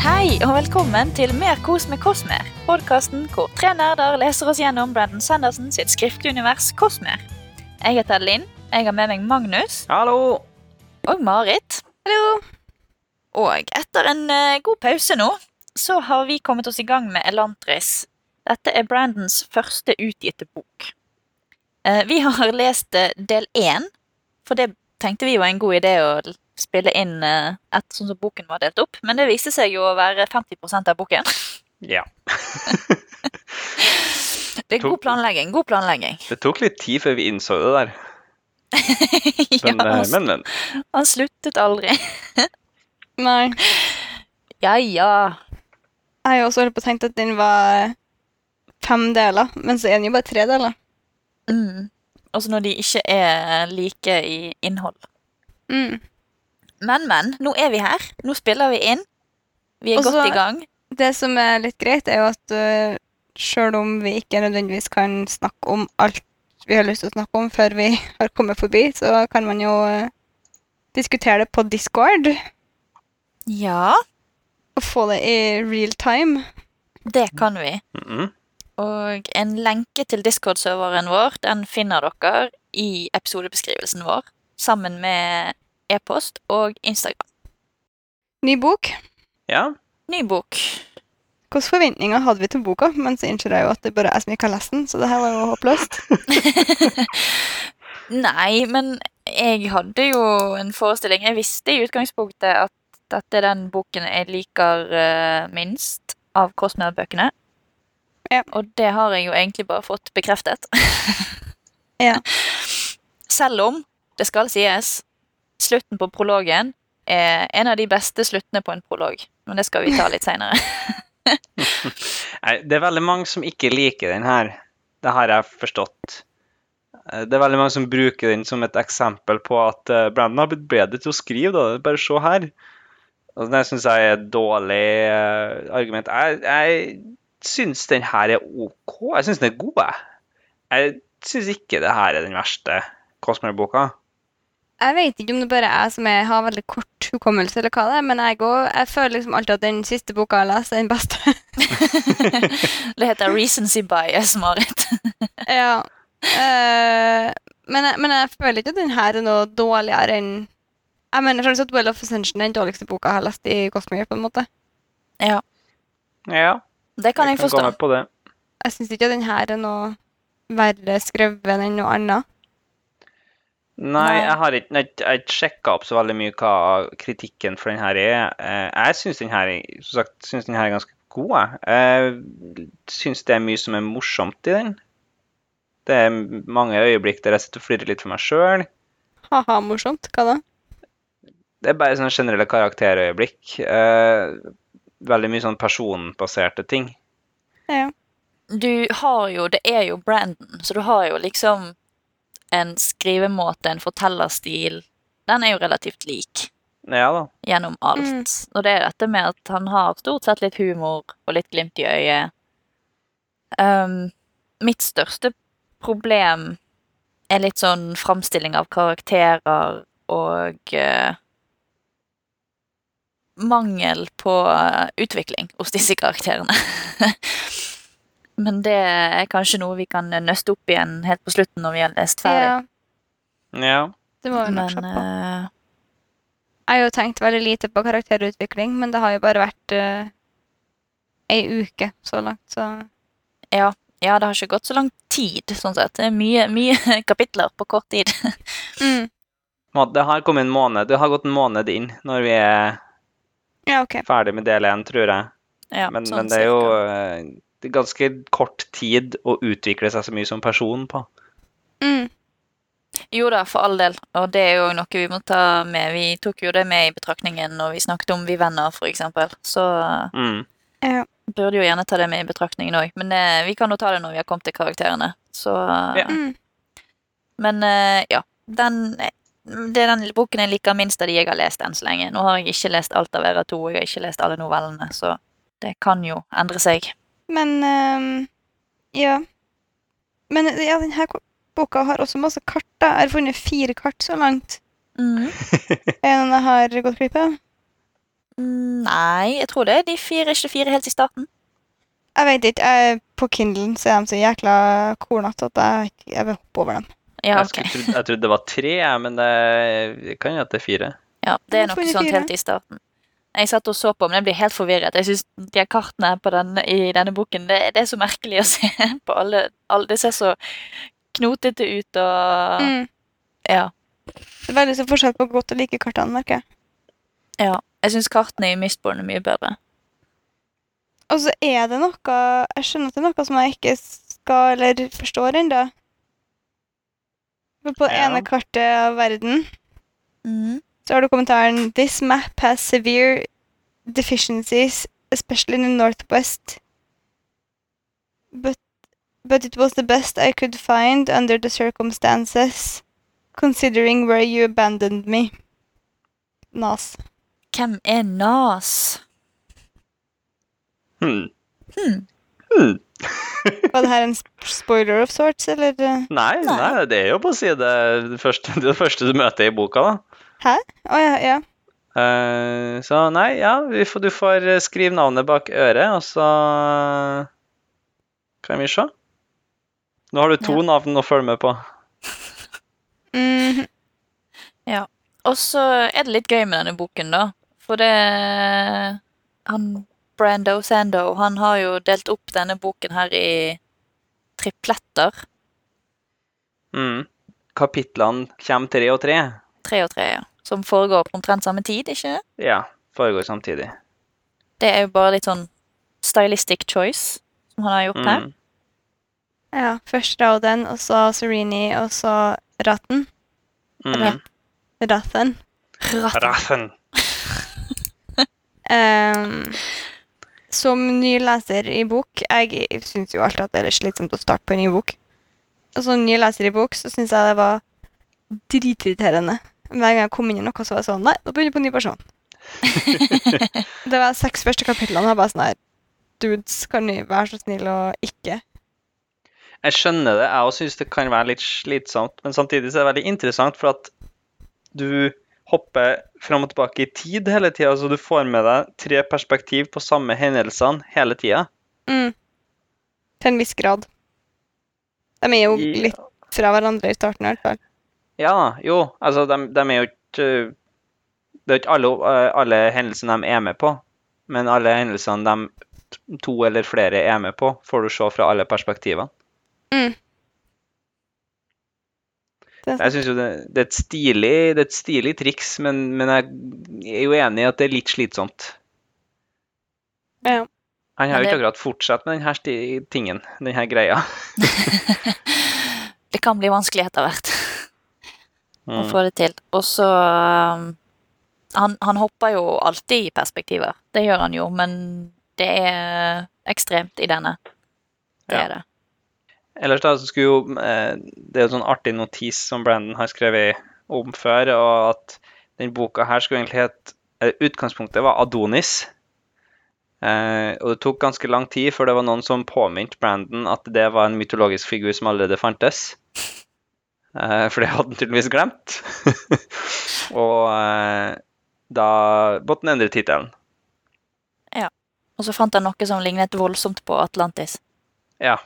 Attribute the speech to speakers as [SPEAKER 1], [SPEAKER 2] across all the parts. [SPEAKER 1] Hei og velkommen til Mer kos med Kosmer, podkasten hvor tre nerder leser oss gjennom Brandon Sanderson sitt skriftlige univers Kosmer. Jeg heter Linn, jeg har med meg Magnus
[SPEAKER 2] Hallo!
[SPEAKER 1] og Marit. Hallo! Og etter en eh, god pause nå, så har vi kommet oss i gang med Elantris. Dette er Brandons første utgitte bok. Eh, vi har lest eh, del én, for det tenkte vi var en god idé å l- spille inn eh, etter sånn som boken var delt opp, men det viste seg jo å være 50 av boken.
[SPEAKER 2] Ja.
[SPEAKER 1] Det er god planlegging, god planlegging.
[SPEAKER 2] Det tok litt tid før vi innså det der,
[SPEAKER 1] ja, altså.
[SPEAKER 2] men, eh,
[SPEAKER 1] han,
[SPEAKER 2] men, men.
[SPEAKER 1] han sluttet aldri.
[SPEAKER 3] Nei.
[SPEAKER 1] Ja, ja.
[SPEAKER 3] Jeg har jo også holdt på å tenke at den var fem deler, men så er den jo bare tre deler.
[SPEAKER 1] Mm. Også når de ikke er eh, like i innhold.
[SPEAKER 3] Mm.
[SPEAKER 1] Men, men. Nå er vi her. Nå spiller vi inn. Vi er
[SPEAKER 3] Og så-
[SPEAKER 1] godt i gang.
[SPEAKER 3] Det som er litt greit, er jo at øh, selv om vi ikke nødvendigvis kan snakke om alt vi har lyst til å snakke om før vi har kommet forbi, så kan man jo øh, diskutere det på Discord
[SPEAKER 1] Ja,
[SPEAKER 3] og få det i real time.
[SPEAKER 1] det kan vi.
[SPEAKER 2] Mhm.
[SPEAKER 1] Og en lenke til Discord-serveren vår den finner dere i episodebeskrivelsen vår, sammen med e-post og Instagram.
[SPEAKER 3] Ny bok.
[SPEAKER 2] Ja.
[SPEAKER 1] Ny bok.
[SPEAKER 3] Hvilke forventninger hadde vi til boka? Men så innser jeg jo at det bare er jeg som ikke har lest den, så det her var jo håpløst.
[SPEAKER 1] Nei, men jeg hadde jo en forestilling. Jeg visste i utgangspunktet at dette er den boken jeg liker eh, minst av Kostner-bøkene.
[SPEAKER 3] Ja.
[SPEAKER 1] Og det har jeg jo egentlig bare fått bekreftet.
[SPEAKER 3] Ja.
[SPEAKER 1] Selv om, det skal sies, slutten på prologen er en av de beste sluttene på en prolog. Men det skal vi ta litt seinere.
[SPEAKER 2] Nei, det er veldig mange som ikke liker den her. Det har jeg forstått. Eh, Det er veldig mange som bruker den som et eksempel på at eh, Brandon har blitt bedre til å skrive, da. Bare se her. Og det syns jeg er et dårlig eh, argument. Jeg, jeg syns den her er OK. Jeg syns den er god, jeg. Jeg syns ikke det her er den verste Cosmer-boka.
[SPEAKER 3] Jeg vet ikke om det bare er jeg som er, har veldig kort hukommelse, eller hva det er, men jeg, går, jeg føler liksom alltid at den siste boka jeg leser, er den beste.
[SPEAKER 1] Det heter recency bias, Marit.
[SPEAKER 3] ja. Eh, men, jeg, men jeg føler ikke at den her er noe dårligere enn Jeg mener sånn at Well of Ascension er den dårligste boka jeg har lest i Cosmere, på en måte.
[SPEAKER 1] Ja,
[SPEAKER 2] Ja,
[SPEAKER 1] det kan jeg
[SPEAKER 2] gå
[SPEAKER 1] forstå.
[SPEAKER 2] med på det.
[SPEAKER 3] Jeg syns ikke at den her er noe verre skrevet enn noe annet.
[SPEAKER 2] Nei,
[SPEAKER 1] Nei.
[SPEAKER 2] jeg har ikke, nei, jeg har ikke sjekka opp så veldig mye hva kritikken for den her er. Eh, Jeg syns den her, er- som sagt, synes den her er ganske god. Jeg Jeg syns det er mye som er morsomt i den. Det er mange øyeblikk der jeg sitter og flirer litt for meg sjøl.
[SPEAKER 3] Ha-ha, morsomt. Hva da?
[SPEAKER 2] Det er bare sånne generelle karakterøyeblikk. Eh, Veldig mye sånn personbaserte ting.
[SPEAKER 1] du har jo Det er jo Brandon, så du har jo liksom en skrivemåte, en fortellerstil. Den er jo relativt lik
[SPEAKER 2] Ja da.
[SPEAKER 1] gjennom alt.
[SPEAKER 3] Mm.
[SPEAKER 1] Og det er dette med at han har stort sett litt humor og litt glimt i øyet. Ehm, mitt største problem er litt sånn framstilling av karakterer og eh, mangel på eh, utvikling hos disse karakterene. Men det er kanskje noe vi kan nøste opp igjen helt på slutten når vi har lest ferdig.
[SPEAKER 3] Ja,
[SPEAKER 2] Ja.
[SPEAKER 3] det må vi nok
[SPEAKER 1] Men
[SPEAKER 3] se på.
[SPEAKER 1] eh,
[SPEAKER 3] Jeg har jo tenkt veldig lite på karakterutvikling, men det har jo bare vært uh, ei uke så langt, så
[SPEAKER 1] Ja, det har ikke gått så lang tid, sånn sett. Det er mye, mye kapitler på kort tid.
[SPEAKER 3] mm.
[SPEAKER 2] Må- Det har kommet en måned. Det har gått en måned inn når vi er
[SPEAKER 3] Ja, OK.
[SPEAKER 2] ferdig med del én, tror jeg.
[SPEAKER 1] Ja,
[SPEAKER 2] men,
[SPEAKER 1] sånn
[SPEAKER 2] men det er jo
[SPEAKER 1] cirka.
[SPEAKER 2] eh, det er ganske kort tid å utvikle seg så mye som person på.
[SPEAKER 3] Mm.
[SPEAKER 1] Jo da, for all del. Og det er jo noe vi må ta med. Vi tok jo det med i betraktningen når vi snakket om Vi venner, for eksempel. Så eh,
[SPEAKER 2] Mm.
[SPEAKER 3] Ja.
[SPEAKER 1] burde jo gjerne ta det med i betraktningen òg. Men eh, vi kan jo ta det når vi har kommet til karakterene. Så eh,
[SPEAKER 2] Ja.
[SPEAKER 3] Mm.
[SPEAKER 1] Men eh, ja. Den det er den boken jeg liker minst av de jeg har lest enn så lenge. Nå har jeg ikke lest alt av Vera 2, jeg har ikke lest alle novellene, så det kan jo endre seg.
[SPEAKER 3] Men ehm, Ja. Men ja, denne boka har også masse kart. da. Jeg har funnet fire kart så langt.
[SPEAKER 1] Mm.
[SPEAKER 3] Er det noen jeg har gått glipp av?
[SPEAKER 1] Nei, jeg tror det er de fire, ikke fire helt i starten.
[SPEAKER 3] Jeg vet ikke. Jeg, på Kindlen så er de så jækla kornete at jeg, jeg vil hoppe over dem.
[SPEAKER 1] Ja,
[SPEAKER 2] Jeg,
[SPEAKER 1] ok.
[SPEAKER 2] skulle trodd- jeg trodde det var tre, jeg, men det det kan jo at det er fire.
[SPEAKER 1] Ja, det er
[SPEAKER 3] Hvorfor
[SPEAKER 1] noe
[SPEAKER 3] de
[SPEAKER 1] sånt
[SPEAKER 3] fire?
[SPEAKER 1] helt i starten. Jeg satt og så på, men jeg blir helt forvirret. Jeg synes de her kartene på denne, i denne boken, det, det er så merkelig å se på alle. alle det ser så knotete ut og
[SPEAKER 3] Mm.
[SPEAKER 1] Ja.
[SPEAKER 3] Det er veldig så forskjell på godt og like kartene, merker jeg.
[SPEAKER 1] ja. Jeg syns kartene i Mistborn er mye bedre.
[SPEAKER 3] Og så er det noe Jeg skjønner at det er noe som jeg ikke skal eller forstår ennå. På det
[SPEAKER 2] Ja.
[SPEAKER 3] ene kartet av verden
[SPEAKER 1] Mm.
[SPEAKER 3] så har du kommentaren This map has severe deficiencies, especially in the northwest. But, but it was the best I could find under the circumstances, considering where you abandoned me. Nas.
[SPEAKER 1] Hvem er Nas?
[SPEAKER 2] Hmm.
[SPEAKER 1] Hmm.
[SPEAKER 2] Hmm.
[SPEAKER 3] Var det her en sp- spoiler of sorts, eller? eh?
[SPEAKER 2] Nei,
[SPEAKER 1] Nei.
[SPEAKER 2] nei, det er jo på side det første, det første du møter i boka, da.
[SPEAKER 3] Å ja, ja.
[SPEAKER 2] Eh, så nei, ja, vi får, du får eh, skrive navnet bak øret, og så kan vi se. Nå har du to
[SPEAKER 1] Ja.
[SPEAKER 2] navn å følge med på.
[SPEAKER 3] Mhm.
[SPEAKER 1] Og så er det litt gøy med denne boken, da. For det Han Brando Sando, han har jo delt opp denne boken her i tripletter.
[SPEAKER 2] Mm. Kapitlene kommer tre og tre.
[SPEAKER 1] Tre og tre, ja. Som foregår på omtrent samme tid, ikke det?
[SPEAKER 2] Ja, foregår samtidig.
[SPEAKER 1] Det er jo bare litt sånn stylistic choice som han har gjort her.
[SPEAKER 2] Mm.
[SPEAKER 3] Ja, først Rauden, og så Sereni, og så Ratten.
[SPEAKER 2] Mm.
[SPEAKER 3] Rathen.
[SPEAKER 1] Ratt.
[SPEAKER 2] Raffen.
[SPEAKER 3] Ehm, som ny leser i bok Jeg syns jo alltid at det er slitsomt å starte på en ny bok. Og som ny leser i bok så syns jeg det var dritirriterende. Hver gang jeg kom inn i noe, så var jeg sånn Nei, nå begynner vi på en ny person. det var seks første kapitlene. og Jeg bare sånn her Dudes, kan dere være så snill å ikke
[SPEAKER 2] Jeg skjønner det. Jeg òg syns det kan være litt slitsomt, men samtidig så er det veldig interessant, for at du hopper fram og tilbake i tid hele tida, så du får med deg tre perspektiv på samme hendelsene hele tida.
[SPEAKER 3] mm. Til en viss grad. De er jo
[SPEAKER 2] Ja.
[SPEAKER 3] litt fra hverandre i starten, i hvert fall.
[SPEAKER 2] Ja da, jo. Altså, de, er jo ikke øh, Det er jo ikke alle, øh, alle hendelsene de er med på, men alle hendelsene de to eller flere er med på, får du se fra alle perspektivene.
[SPEAKER 3] Mm. Det er
[SPEAKER 2] Jeg syns jo det, det, er et stilig, det er et stilig triks, men, men jeg er jo enig i at det er litt slitsomt.
[SPEAKER 3] Ja.
[SPEAKER 2] Han har
[SPEAKER 1] Men
[SPEAKER 2] jo ikke
[SPEAKER 1] det-
[SPEAKER 2] akkurat fortsatt med denne sti tingen, denne greia.
[SPEAKER 1] Det kan bli vanskelig etter hvert å
[SPEAKER 2] Mm.
[SPEAKER 1] få det til. Og så um, han, han hopper jo alltid i perspektiver. Det gjør han jo, men det er ekstremt i denne. Det
[SPEAKER 2] Ja.
[SPEAKER 1] er det.
[SPEAKER 2] Ellers da, så skulle jo eh, Det er jo sånn artig notis som Brandon har skrevet om før, og at den boka her skulle egentlig hett eh, Utgangspunktet var Adonis. Eh, og det tok ganske lang tid før det var noen som påminte Brandon at det var en mytologisk figur som allerede fantes. Eh, for det hadde han tydeligvis glemt. og eh, da måtte han endre tittelen.
[SPEAKER 1] Og så fant han noe som lignet voldsomt på Atlantis.
[SPEAKER 2] Ja.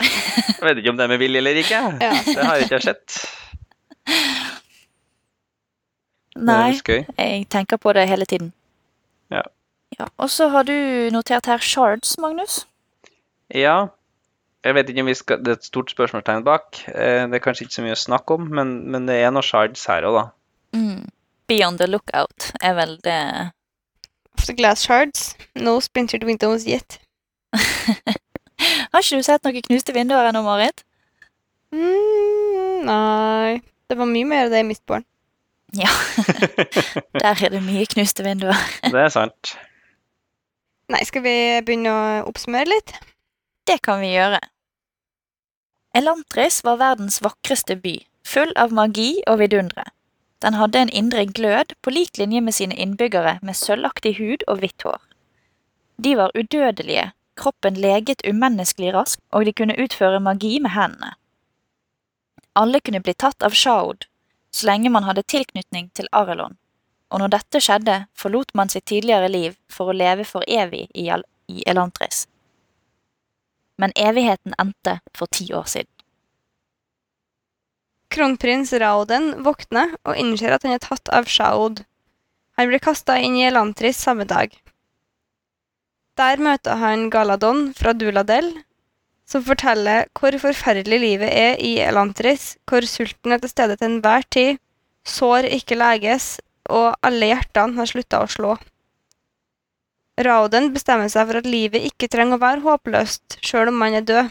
[SPEAKER 2] Jeg vet ikke om det er med vilje eller ikke.
[SPEAKER 3] Ja.
[SPEAKER 2] Det har jeg ikke sett. Det er
[SPEAKER 1] Nei,
[SPEAKER 2] litt gøy.
[SPEAKER 1] jeg tenker på det hele tiden.
[SPEAKER 2] Ja.
[SPEAKER 1] ja. Og så har du notert her shards, Magnus.
[SPEAKER 2] Ja. Jeg vet ikke om vi skal Det er et stort spørsmålstegn bak. Eh, Det er kanskje ikke så mye å snakke om, men, men det er noe shards her òg, da.
[SPEAKER 1] Mm. Be on the lookout er vel det
[SPEAKER 3] Of the glass shards, no splintered windows yet.
[SPEAKER 1] Har ikke du sett noen knuste vinduer ennå, Marit?
[SPEAKER 3] Mm, nei. Det var mye mer av det i mitt barn.
[SPEAKER 1] Der er det mye knuste vinduer.
[SPEAKER 2] Det er sant.
[SPEAKER 3] Nei, skal vi begynne å oppsummere litt?
[SPEAKER 1] Det kan vi gjøre. Elantris var verdens vakreste by, full av magi og vidundere. Den hadde en indre glød på lik linje med sine innbyggere med sølvaktig hud og hvitt hår. De var udødelige, kroppen leget umenneskelig raskt, og de kunne utføre magi med hendene. Alle kunne bli tatt av Shaud, så lenge man hadde tilknytning til Arelon, og når dette skjedde, forlot man sitt tidligere liv for å leve for evig i, Al i Elantris. Men evigheten endte for ti år siden.
[SPEAKER 3] Kronprins Raoden våkner og innser at han er tatt av Shaod. Han blir kasta inn i Elantris samme dag. Der møter han Galadon fra Duladel, som forteller hvor forferdelig livet er i Elantris, hvor sulten er til stede til enhver tid, sår ikke leges, og alle hjertene har slutta å slå. Raoden bestemmer seg for at livet ikke trenger å være håpløst, sjøl om man er død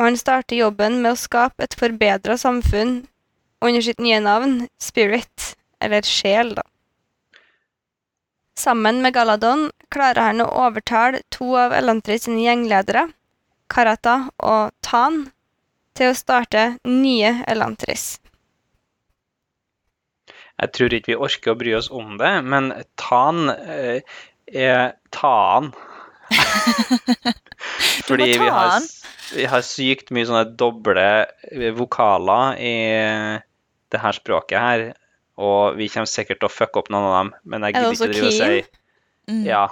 [SPEAKER 3] og han starter jobben med å skape et forbedra samfunn under sitt nye navn, Spirit, eller Sjel, da. Sammen med Galadon klarer han å overtale to av Elantris sine gjengledere, Karata og Tan, til å starte nye Elantris.
[SPEAKER 2] Jeg tror ikke vi orker å bry oss om det, men Tan eh, er Tan. Fordi vi har,
[SPEAKER 1] Tan.
[SPEAKER 2] s- vi har sykt mye sånne doble eh, vokaler i eh, det her språket her, og vi kommer sikkert til å fucke opp noen av dem, men jeg
[SPEAKER 3] Er det
[SPEAKER 2] gidder ikke
[SPEAKER 3] også
[SPEAKER 2] å drive og si
[SPEAKER 3] Keen?
[SPEAKER 1] Mm.
[SPEAKER 2] Ja.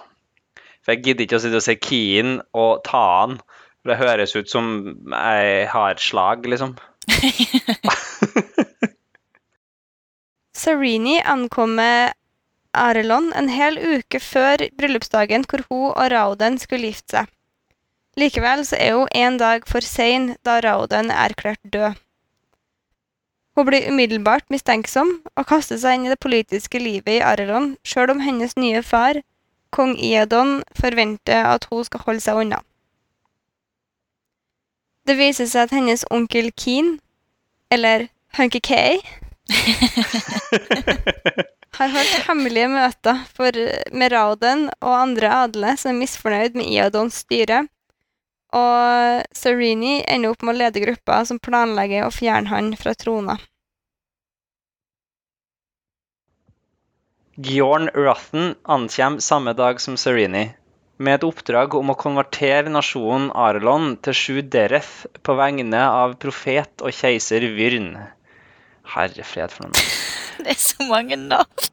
[SPEAKER 2] For jeg gidder ikke å sitte og si Keen og Tan. For det høres ut som jeg har et slag, liksom.
[SPEAKER 3] Sarini ankommer Arelon en hel uke før bryllupsdagen hvor hun og Rauden skulle gifte seg. Likevel så er hun en dag for sein da Rauden er erklært død. Hun blir umiddelbart mistenksom og kaster seg inn i det politiske livet i Arelon, sjøl om hennes nye far, kong Iadon, forventer at hun skal holde seg unna. Det viser seg at hennes onkel Keen, eller Hunky Kay, har holdt hemmelige møter for, med Rauden og andre adle som er misfornøyd med Iadons styre, og Serini ender opp med å lede gruppa som planlegger å fjerne han fra trona.
[SPEAKER 2] Gjorn Rothen ankommer samme dag som Serini, med et oppdrag om å konvertere nasjonen Arlon til sju dereth på vegne av profet og keiser Vyrn. Herre fred for noe.
[SPEAKER 1] Det er så mange navn.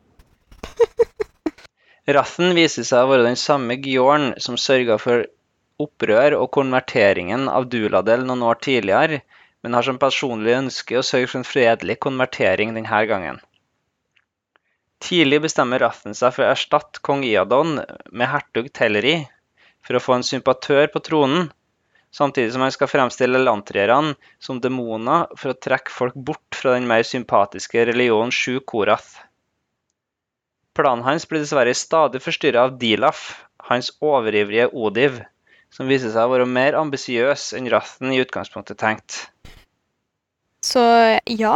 [SPEAKER 2] Rothen viser seg å være den samme Gjorn som sørga for opprør og konverteringen av Duladel noen år tidligere, men har som personlig ønske å sørge for en fredelig konvertering denne gangen. Tidlig bestemmer Raffen seg for å erstatte kong Iadon med hertug Telleri for å få en sympatør på tronen, samtidig som han skal fremstille lantrierne som demoner for å trekke folk bort fra den mer sympatiske religionen Sju Korath. Planen hans blir dessverre stadig forstyrra av Dilaf, hans overivrige Odiv, som viser seg å være mer ambisiøs enn Rathen i utgangspunktet tenkte.
[SPEAKER 3] Så ja,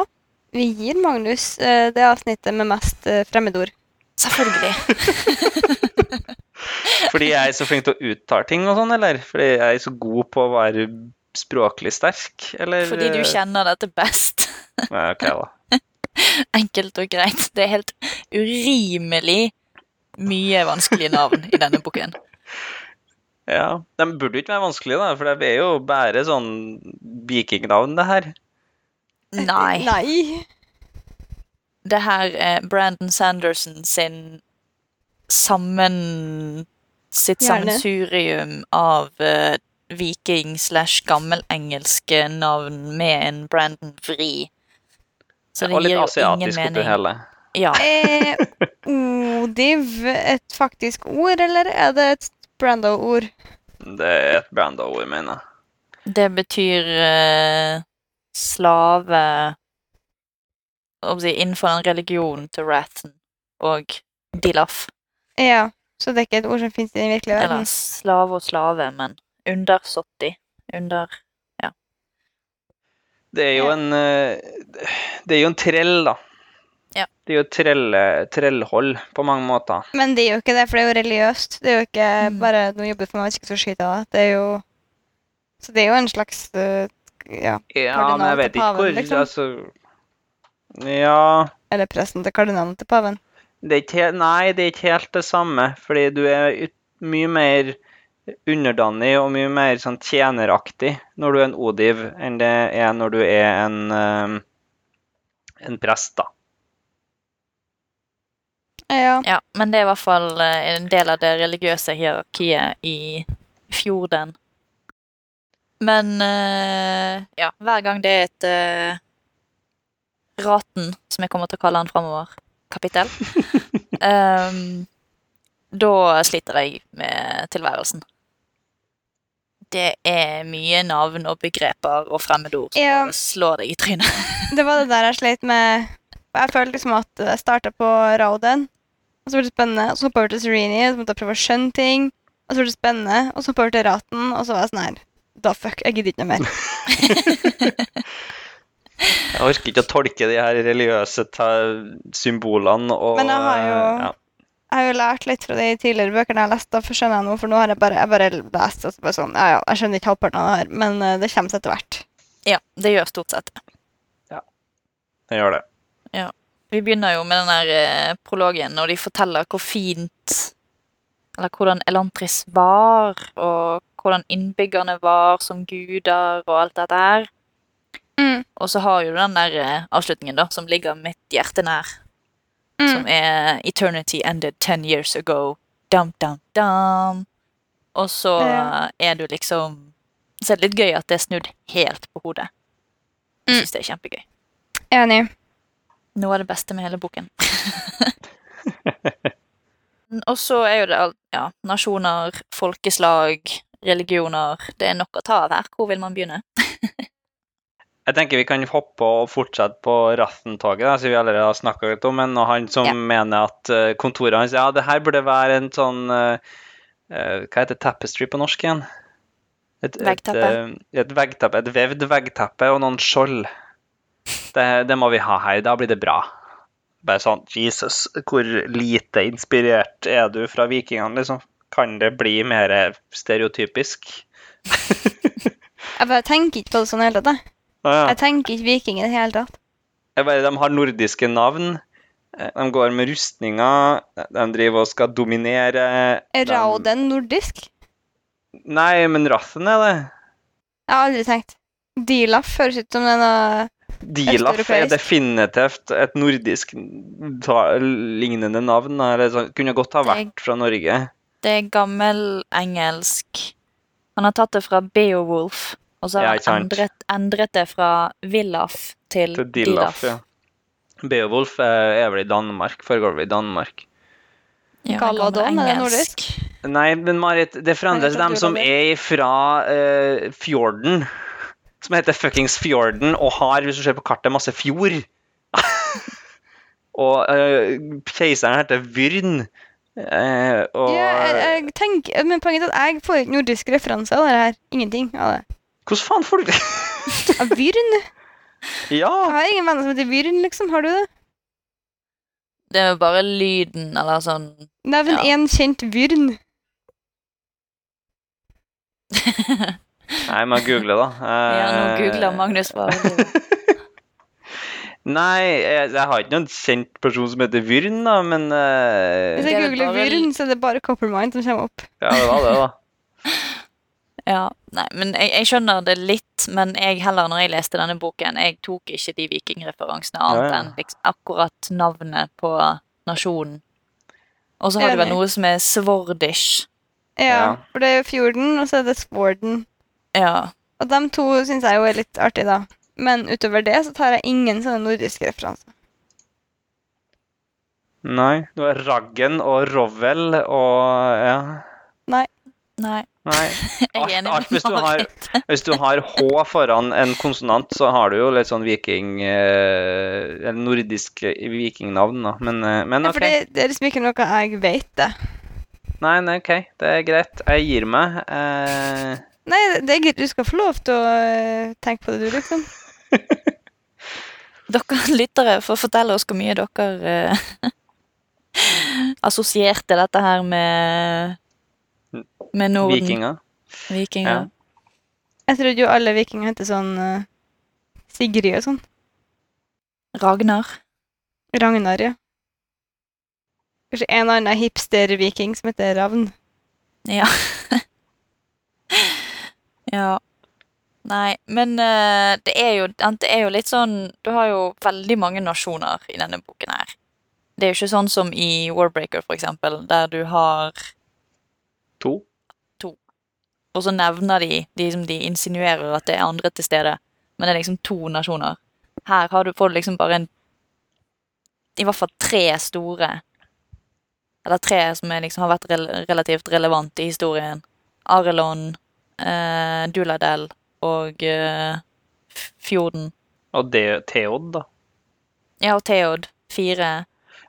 [SPEAKER 3] vi gir Magnus eh, det avsnittet med mest eh, fremmedord.
[SPEAKER 1] Selvfølgelig.
[SPEAKER 2] Fordi jeg er så flink til å uttale ting og sånn, eller? Fordi jeg er så god på å være språklig sterk, eller?
[SPEAKER 1] Fordi du kjenner dette best.
[SPEAKER 2] Nei, ok da.
[SPEAKER 1] Enkelt og greit. Det er helt urimelig mye vanskelige navn i denne boken.
[SPEAKER 2] Ja, de burde jo ikke være vanskelige da, for det er jo bare sånn vikingnavn det her.
[SPEAKER 1] Nei.
[SPEAKER 3] Nei.
[SPEAKER 1] det her er Brandon Sanderson sin sammen sitt
[SPEAKER 3] Gjerne.
[SPEAKER 1] sammensurium av eh, viking slash gammelengelske navn med en Brandon vri. Så det
[SPEAKER 2] og litt
[SPEAKER 1] gir jo ingen
[SPEAKER 2] asiatisk oppi
[SPEAKER 1] mening.
[SPEAKER 2] hele.
[SPEAKER 1] Ja,
[SPEAKER 3] Er Eh, Odiv et faktisk ord, eller er det et Brando-ord?
[SPEAKER 2] Det er et brand-ord, mener jeg.
[SPEAKER 1] det betyr eh, slave hva skal jeg si, innenfor den religionen til Rathen og Dilaf.
[SPEAKER 3] Ja, så det er ikke et ord som finnes i den virkelige
[SPEAKER 1] Eller
[SPEAKER 3] verden.
[SPEAKER 1] slave og slave, men undersåttig. Under
[SPEAKER 2] Det er jo
[SPEAKER 3] Ja.
[SPEAKER 2] en, eh, det er jo en trell, da.
[SPEAKER 1] Ja.
[SPEAKER 2] Det er jo et trelle, trellhold på mange måter.
[SPEAKER 3] Men det er jo ikke det, for det er jo religiøst. Det er jo ikke
[SPEAKER 1] Mm.
[SPEAKER 3] bare noe jobber for meg, ikke så skyter jeg deg. Det er jo Så det er jo en slags øh, Ja.
[SPEAKER 2] Ja,
[SPEAKER 3] Kardinal
[SPEAKER 2] men jeg
[SPEAKER 3] til
[SPEAKER 2] vet ikke hvor,
[SPEAKER 3] paven, liksom.
[SPEAKER 2] altså... Ja...
[SPEAKER 3] Eller presten til kardinalen til paven.
[SPEAKER 2] Det er ikke, he- nei, det er ikke helt det samme, fordi du er ut, mye mer underdanig og mye mer sånn tjeneraktig når du er en odiv, enn det er når du er en, eh, en prest, da.
[SPEAKER 3] Ja.
[SPEAKER 1] Ja, men det er i hvert fall eh, en del av det religiøse hierarkiet i fjorden. Men eh, ja, hver gang det er et eh, Raten, som jeg kommer til å kalle han framover, kapittel ehm, Da sliter jeg med tilværelsen. Det er mye navn og begreper og fremmedord som
[SPEAKER 3] Ja.
[SPEAKER 1] bare slår deg i trynet.
[SPEAKER 3] Det var det der jeg slet med. Jeg følte liksom at jeg starta på Rauden, og så ble det spennende. Og så hoppa jeg over til Serenie, og så måtte jeg prøve å skjønne ting. Og så ble det spennende, og så hoppa jeg over til Raten, og så var jeg sånn her Da fuck, jeg gidder ikke noe mer.
[SPEAKER 2] Jeg orker ikke å tolke de her religiøse ta- symbolene og
[SPEAKER 3] Men jeg har jo-
[SPEAKER 2] ja.
[SPEAKER 3] Jeg har jo lært litt fra de tidligere bøkene jeg har lest, da for skjønner jeg nå, for nå har jeg bare, jeg bare lest og så bare sånn Ja, ja, jeg skjønner ikke halvparten av det her, men eh, det kommer seg etter hvert.
[SPEAKER 1] Ja, det gjør stort sett.
[SPEAKER 2] Jeg gjør det.
[SPEAKER 1] Vi begynner jo med den der eh, prologen, og de forteller hvor fint Eller hvordan Elantris var, og hvordan innbyggerne var som guder, og alt dette her.
[SPEAKER 3] Mm.
[SPEAKER 1] Og så har jo den der eh, avslutningen, da, som ligger mitt hjerte nær, som
[SPEAKER 3] Mm.
[SPEAKER 1] er 'Eternity ended ten years ago'. Dum, dum, dum. Og så
[SPEAKER 3] Ja.
[SPEAKER 1] eh, er du liksom Så er det litt gøy at det er snudd helt på hodet. Jeg
[SPEAKER 3] Mm.
[SPEAKER 1] syns det er kjempegøy.
[SPEAKER 3] Enig.
[SPEAKER 1] Noe av det beste med hele boken. Og så er jo det alt ja, nasjoner, folkeslag, religioner Det er nok å ta av her. Hvor vil man begynne?
[SPEAKER 2] Jeg tenker vi kan hoppe og fortsette på Rathen-toget, da, som vi allerede har snakka litt om. Men og han som
[SPEAKER 1] Ja.
[SPEAKER 2] mener at eh, kontoret hans Ja, det her burde være en sånn eh, eh, Hva heter tapestry på norsk igjen? Et, Et,
[SPEAKER 1] Veggteppe.
[SPEAKER 2] eh, et veggteppe. Et vevd veggteppe og noen skjold. Det, det må vi ha her. Da blir det bra. Bare sånn Jesus, hvor lite inspirert er du fra vikingene, liksom? Kan det bli mer stereotypisk?
[SPEAKER 3] Jeg bare tenker ikke på det sånn i det hele tatt. jeg.
[SPEAKER 2] Ah, ja.
[SPEAKER 3] Jeg tenker ikke viking i det hele tatt.
[SPEAKER 2] Jeg bare, de har nordiske navn. Eh, De går med rustninger. De driver og skal dominere.
[SPEAKER 3] Er
[SPEAKER 2] De-
[SPEAKER 3] Rauden nordisk?
[SPEAKER 2] Nei, men Rathen er det.
[SPEAKER 3] Jeg har aldri tenkt. Dilaf høres ut som det er noe
[SPEAKER 2] Dilaf er
[SPEAKER 3] Østeuropeisk.
[SPEAKER 2] definitivt et nordisk n- ta- lignende navn. da, Eller sånn. Kunne godt ha vært fra Norge.
[SPEAKER 1] Det er gammel engelsk. Han har tatt det fra Beowulf, og så
[SPEAKER 2] Ja,
[SPEAKER 1] har
[SPEAKER 2] ikke
[SPEAKER 1] han
[SPEAKER 2] sant.
[SPEAKER 1] endret, endret det fra Villaf til,
[SPEAKER 2] Til
[SPEAKER 1] Dilaf.
[SPEAKER 2] Dilaf, ja. Beowulf eh, er vel i Danmark. Foregår vel i Danmark.
[SPEAKER 1] Ja,
[SPEAKER 3] Galadon,
[SPEAKER 1] gammel
[SPEAKER 3] er det
[SPEAKER 1] engelsk.
[SPEAKER 2] Nei, men Marit, det er fremdeles
[SPEAKER 3] Nei, jeg tror
[SPEAKER 2] dem som
[SPEAKER 3] det
[SPEAKER 2] er fra fjorden. Som heter fuckings Fjorden, og har, hvis du ser på kartet, masse fjord. og eh, keiseren heter Vyrn. eh, og
[SPEAKER 3] Ja, jeg, jeg tenker, men poenget er at jeg får ikke nordiske referanser av det her. Ingenting av det.
[SPEAKER 2] Hvordan faen får du det?
[SPEAKER 3] Av Vyrn? Jeg
[SPEAKER 2] ja!
[SPEAKER 3] har ingen venner som heter Vyrn, liksom. Har du det?
[SPEAKER 1] Det er jo bare lyden, eller sånn
[SPEAKER 3] Nevn
[SPEAKER 1] Ja.
[SPEAKER 3] én kjent Vyrn.
[SPEAKER 2] Nei, men google, da.
[SPEAKER 1] Ja, nå
[SPEAKER 2] Eh,
[SPEAKER 1] googler Magnus bare. det.
[SPEAKER 2] Nei, jeg, jeg har ikke noen kjent person som heter Vyrn, da, men eh,
[SPEAKER 3] Hvis
[SPEAKER 1] Det er
[SPEAKER 3] jeg
[SPEAKER 1] vel
[SPEAKER 3] googler
[SPEAKER 1] bare-
[SPEAKER 3] Vyrn, så er det bare Coppermind som kommer opp.
[SPEAKER 2] Ja, det var det, da.
[SPEAKER 1] Ja, nei, men jeg, jeg skjønner det litt, men jeg heller, når jeg leste denne boken, jeg tok ikke de vikingreferansene annet
[SPEAKER 2] Ja, ja.
[SPEAKER 1] enn liksom, akkurat navnet på nasjonen. Og så har du vel
[SPEAKER 3] Enig.
[SPEAKER 1] noe som er svordish.
[SPEAKER 3] Ja,
[SPEAKER 2] Ja.
[SPEAKER 3] For det er jo Fjorden, og så er det Sworden.
[SPEAKER 1] Ja.
[SPEAKER 3] Og de to syns jeg jo er litt artige, da. Men utover det så tar jeg ingen sånne nordiske referanser.
[SPEAKER 2] Nei. Det var Raggen og Rovel og Ja.
[SPEAKER 1] Nei,
[SPEAKER 2] Nei.
[SPEAKER 1] jeg
[SPEAKER 2] Alt-
[SPEAKER 1] er enig
[SPEAKER 2] alt hvis
[SPEAKER 1] med
[SPEAKER 2] du har-
[SPEAKER 1] Marit.
[SPEAKER 2] Hvis du har H foran en konsonant, så har du jo litt sånn viking... eh, Eller nordisk vikingnavn, da. Men, eh, men
[SPEAKER 3] Ja,
[SPEAKER 2] OK.
[SPEAKER 3] for det, det er liksom ikke noe jeg vet, det.
[SPEAKER 2] Nei, nei, OK. Det er greit. Jeg gir meg. Eh,
[SPEAKER 3] Nei, det- det er greit. Du skal få lov til å øh, tenke på det, du, liksom.
[SPEAKER 1] Dere lyttere får fortelle oss hvor mye dere eh, assosierte dette her med med Norden.
[SPEAKER 2] vikinger.
[SPEAKER 1] Vikinger.
[SPEAKER 3] Jeg trodde jo alle vikinger het sånn eh, Sigrid og sånn.
[SPEAKER 1] Ragnar.
[SPEAKER 3] Ragnar, ja. Kanskje en annen hipster-viking som heter Ravn.
[SPEAKER 1] Ja. ja. Nei, men eh, det, er jo, det er jo litt sånn Du har jo veldig mange nasjoner i denne boken her. Det er jo ikke sånn som i Warbreaker, for eksempel, der du har
[SPEAKER 2] To.
[SPEAKER 1] Og så nevner de De, liksom, de insinuerer at det er andre til stede, men det er liksom to nasjoner. Her har du, får du liksom bare en I hvert fall tre store Eller tre som er, liksom, har vært rel relativt relevante i historien. Arelon, eh, Duladel og eh, F- Fjorden.
[SPEAKER 2] Og det Theod, da.
[SPEAKER 1] Ja, og Theod. Fire.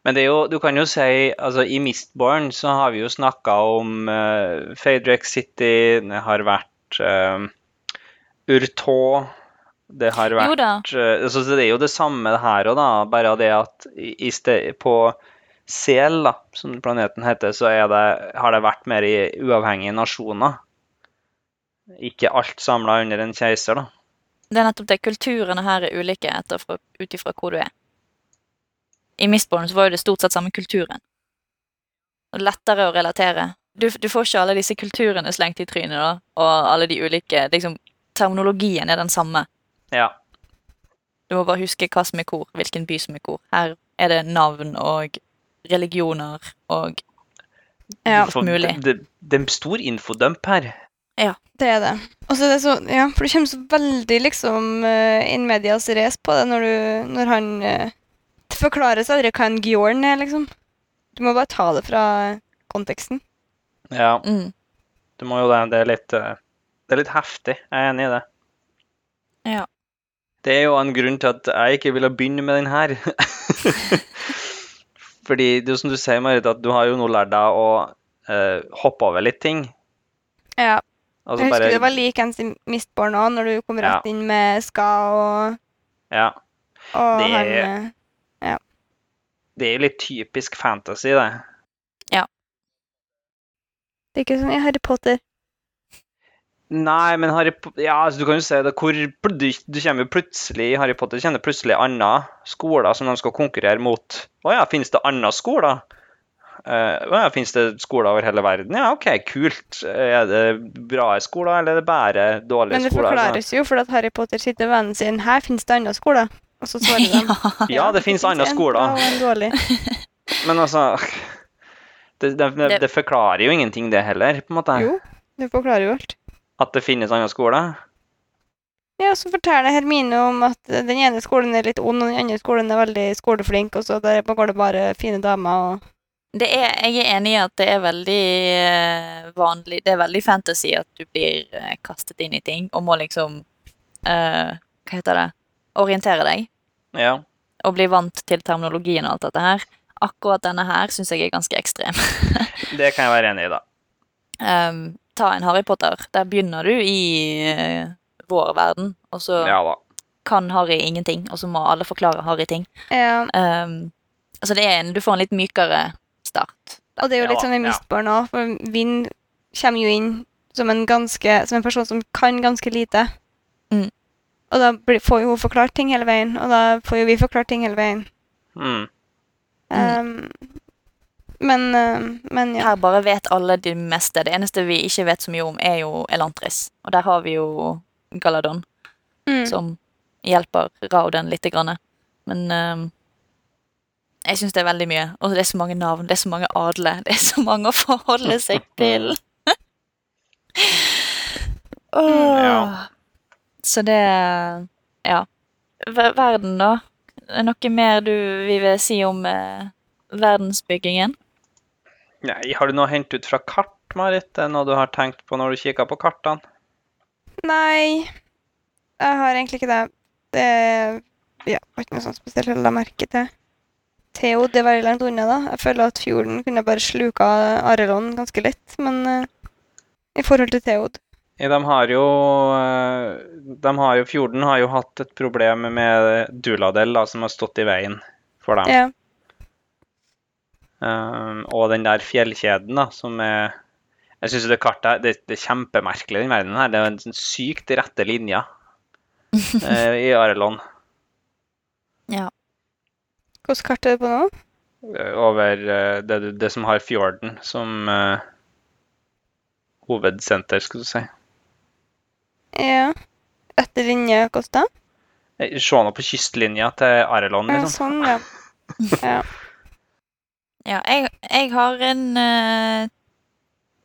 [SPEAKER 2] Men det er jo, du kan jo si altså I Mistborn så har vi jo snakka om uh, Fadrek City, det har vært uh, Urtå Det har
[SPEAKER 1] Jo
[SPEAKER 2] vært
[SPEAKER 1] da.
[SPEAKER 2] eh, altså, Så det er jo det samme her òg, da. Bare det at i, i ste- på Sel, da, som planeten heter, så er det, har det vært mer i uavhengige nasjoner. Ikke alt samla under en keiser, da.
[SPEAKER 1] Det er nettopp det. Kulturene her er ulike etter fra- ut ifra hvor du er. I Mistborn så var jo det stort sett samme kulturen. Og lettere å relatere. Du, du får ikke alle disse kulturene slengt i trynet, da, og alle de ulike liksom, Terminologien er den samme.
[SPEAKER 2] Ja.
[SPEAKER 1] Du må bare huske hva som er hvor, hvilken by som er hvor. Her er det navn og religioner og
[SPEAKER 3] Ja,
[SPEAKER 2] Du får-
[SPEAKER 1] mulig.
[SPEAKER 2] Det, det, det er en stor infodump her.
[SPEAKER 3] det er det. Og så er det så, ja, for du kommer så veldig liksom eh, in medias race på det når, du, når han eh, Det forklares aldri hva en Gjorn er, liksom. Du må bare ta det fra konteksten.
[SPEAKER 2] Ja.
[SPEAKER 1] mm.
[SPEAKER 2] Du må jo det. Det er litt, eh, det er litt heftig. Jeg er enig i det.
[SPEAKER 1] Ja.
[SPEAKER 2] Det er jo en grunn til at jeg ikke ville begynne med den her. Fordi det er jo som du sier, Marit, at du har jo nå lært deg å eh, hoppe over litt ting.
[SPEAKER 3] Ja,
[SPEAKER 2] Altså
[SPEAKER 3] jeg husker
[SPEAKER 2] bare-
[SPEAKER 3] det var likeens i Mistborn òg, når du kom rett inn med Ska og,
[SPEAKER 2] Ja.
[SPEAKER 3] og
[SPEAKER 2] Det-
[SPEAKER 3] han eh,
[SPEAKER 2] Det er jo litt typisk fantasy, det.
[SPEAKER 3] Det er ikke sånn i Harry Potter.
[SPEAKER 2] Nei, men Harry Po- Ja, altså, du kan jo si det. Hvor pl- du, du kommer jo plutselig i Harry Potter kjenner plutselig andre skoler som de skal konkurrere mot. Å ja, finnes det andre skoler? Eh, Å ja, finnes det skoler over hele verden? Ja, OK, kult. Er det bra skoler, eller er altså. det bare dårlige
[SPEAKER 3] Men det
[SPEAKER 2] skoler? Sånn.
[SPEAKER 3] forklares jo fordi at Harry Potter sitter ved vennen sin. Her finnes det andre skoler. Og så svarer de.
[SPEAKER 1] ja.
[SPEAKER 2] Ja, det finnes andre
[SPEAKER 3] en
[SPEAKER 2] skoler.
[SPEAKER 3] bra og en dårlig.
[SPEAKER 2] Men altså det, det, det,
[SPEAKER 1] Det-
[SPEAKER 2] det forklarer jo ingenting, det heller, på en måte.
[SPEAKER 3] Jo, det forklarer jo alt.
[SPEAKER 2] At det finnes andre skoler.
[SPEAKER 3] Ja, så forteller Hermine om at den ene skolen er litt ond, og den andre skolen er veldig skoleflink, og så der går det bare fine damer og
[SPEAKER 1] Det er, jeg er enig i at det er veldig eh, vanlig Det er veldig fantasy at du blir eh, kastet inn i ting og må liksom eh, Hva heter det? Orientere deg
[SPEAKER 2] Ja.
[SPEAKER 1] og bli vant til terminologien og alt dette her. Akkurat denne her syns jeg er ganske ekstrem.
[SPEAKER 2] Det kan jeg være enig i, da.
[SPEAKER 1] Em, ta en Harry Potter. Der begynner du i eh, vår verden, og så
[SPEAKER 2] Ja da.
[SPEAKER 1] kan Harry ingenting, og så må alle forklare Harry ting.
[SPEAKER 3] Ja,
[SPEAKER 1] Em, så det er en, du får en litt mykere start.
[SPEAKER 3] og det er jo litt
[SPEAKER 2] Ja,
[SPEAKER 3] sånn i
[SPEAKER 2] ja.
[SPEAKER 3] Mistborn òg, for Vinn kommer jo inn som en, ganske, som en person som kan ganske lite.
[SPEAKER 1] Mm.
[SPEAKER 3] Og da blir, får jo hun forklart ting hele veien, og da får jo vi forklart ting hele veien.
[SPEAKER 2] Mm.
[SPEAKER 3] Um, men, um, men ja.
[SPEAKER 1] Her bare vet alle det meste. Det eneste vi ikke vet så mye om, er jo Elantris. Og der har vi jo Galadon,
[SPEAKER 3] Mm.
[SPEAKER 1] som hjelper Rauden litt. Grann. Men ehm, jeg syns det er veldig mye. Og det er så mange navn, det er så mange adler, det er så mange å forholde seg til.
[SPEAKER 3] Mm,
[SPEAKER 1] Åh.
[SPEAKER 2] Ja.
[SPEAKER 1] Så det Ja. Ver- Verden, da? Er det noe mer du vi vil si om eh, verdensbyggingen?
[SPEAKER 2] Nei, har du noe å hente ut fra kart, Marit? Er det noe du har tenkt på når du kikker på kartene?
[SPEAKER 3] Nei, jeg har egentlig ikke det. Det ja, var ikke noe sånt spesielt jeg la merke til. Theo, det var veldig langt unna, da. Jeg føler at fjorden kunne bare sluka Arelon ganske lett, men eh, i forhold til Theod
[SPEAKER 2] Ja, de har jo eh, De har jo Fjorden har jo hatt et problem med Duladel, da, som har stått i veien for dem.
[SPEAKER 3] Ja.
[SPEAKER 2] Eh, og den der fjellkjeden, da, som er Jeg syns det kartet her det, det er kjempemerkelig, den verdenen her. Det er en sånn sykt rette linjer eh, i Arelon.
[SPEAKER 3] Hvilket kart er det på nå?
[SPEAKER 2] eh, over eh, det, du- det som har fjorden som eh, hovedsenter, skal du si.
[SPEAKER 3] Ja. Etter linje, hvordan da?
[SPEAKER 2] Eh, Se nå på kystlinja til Arelon,
[SPEAKER 3] Ja,
[SPEAKER 2] liksom.
[SPEAKER 3] sånn, ja.
[SPEAKER 1] Ja, jeg, jeg har en eh,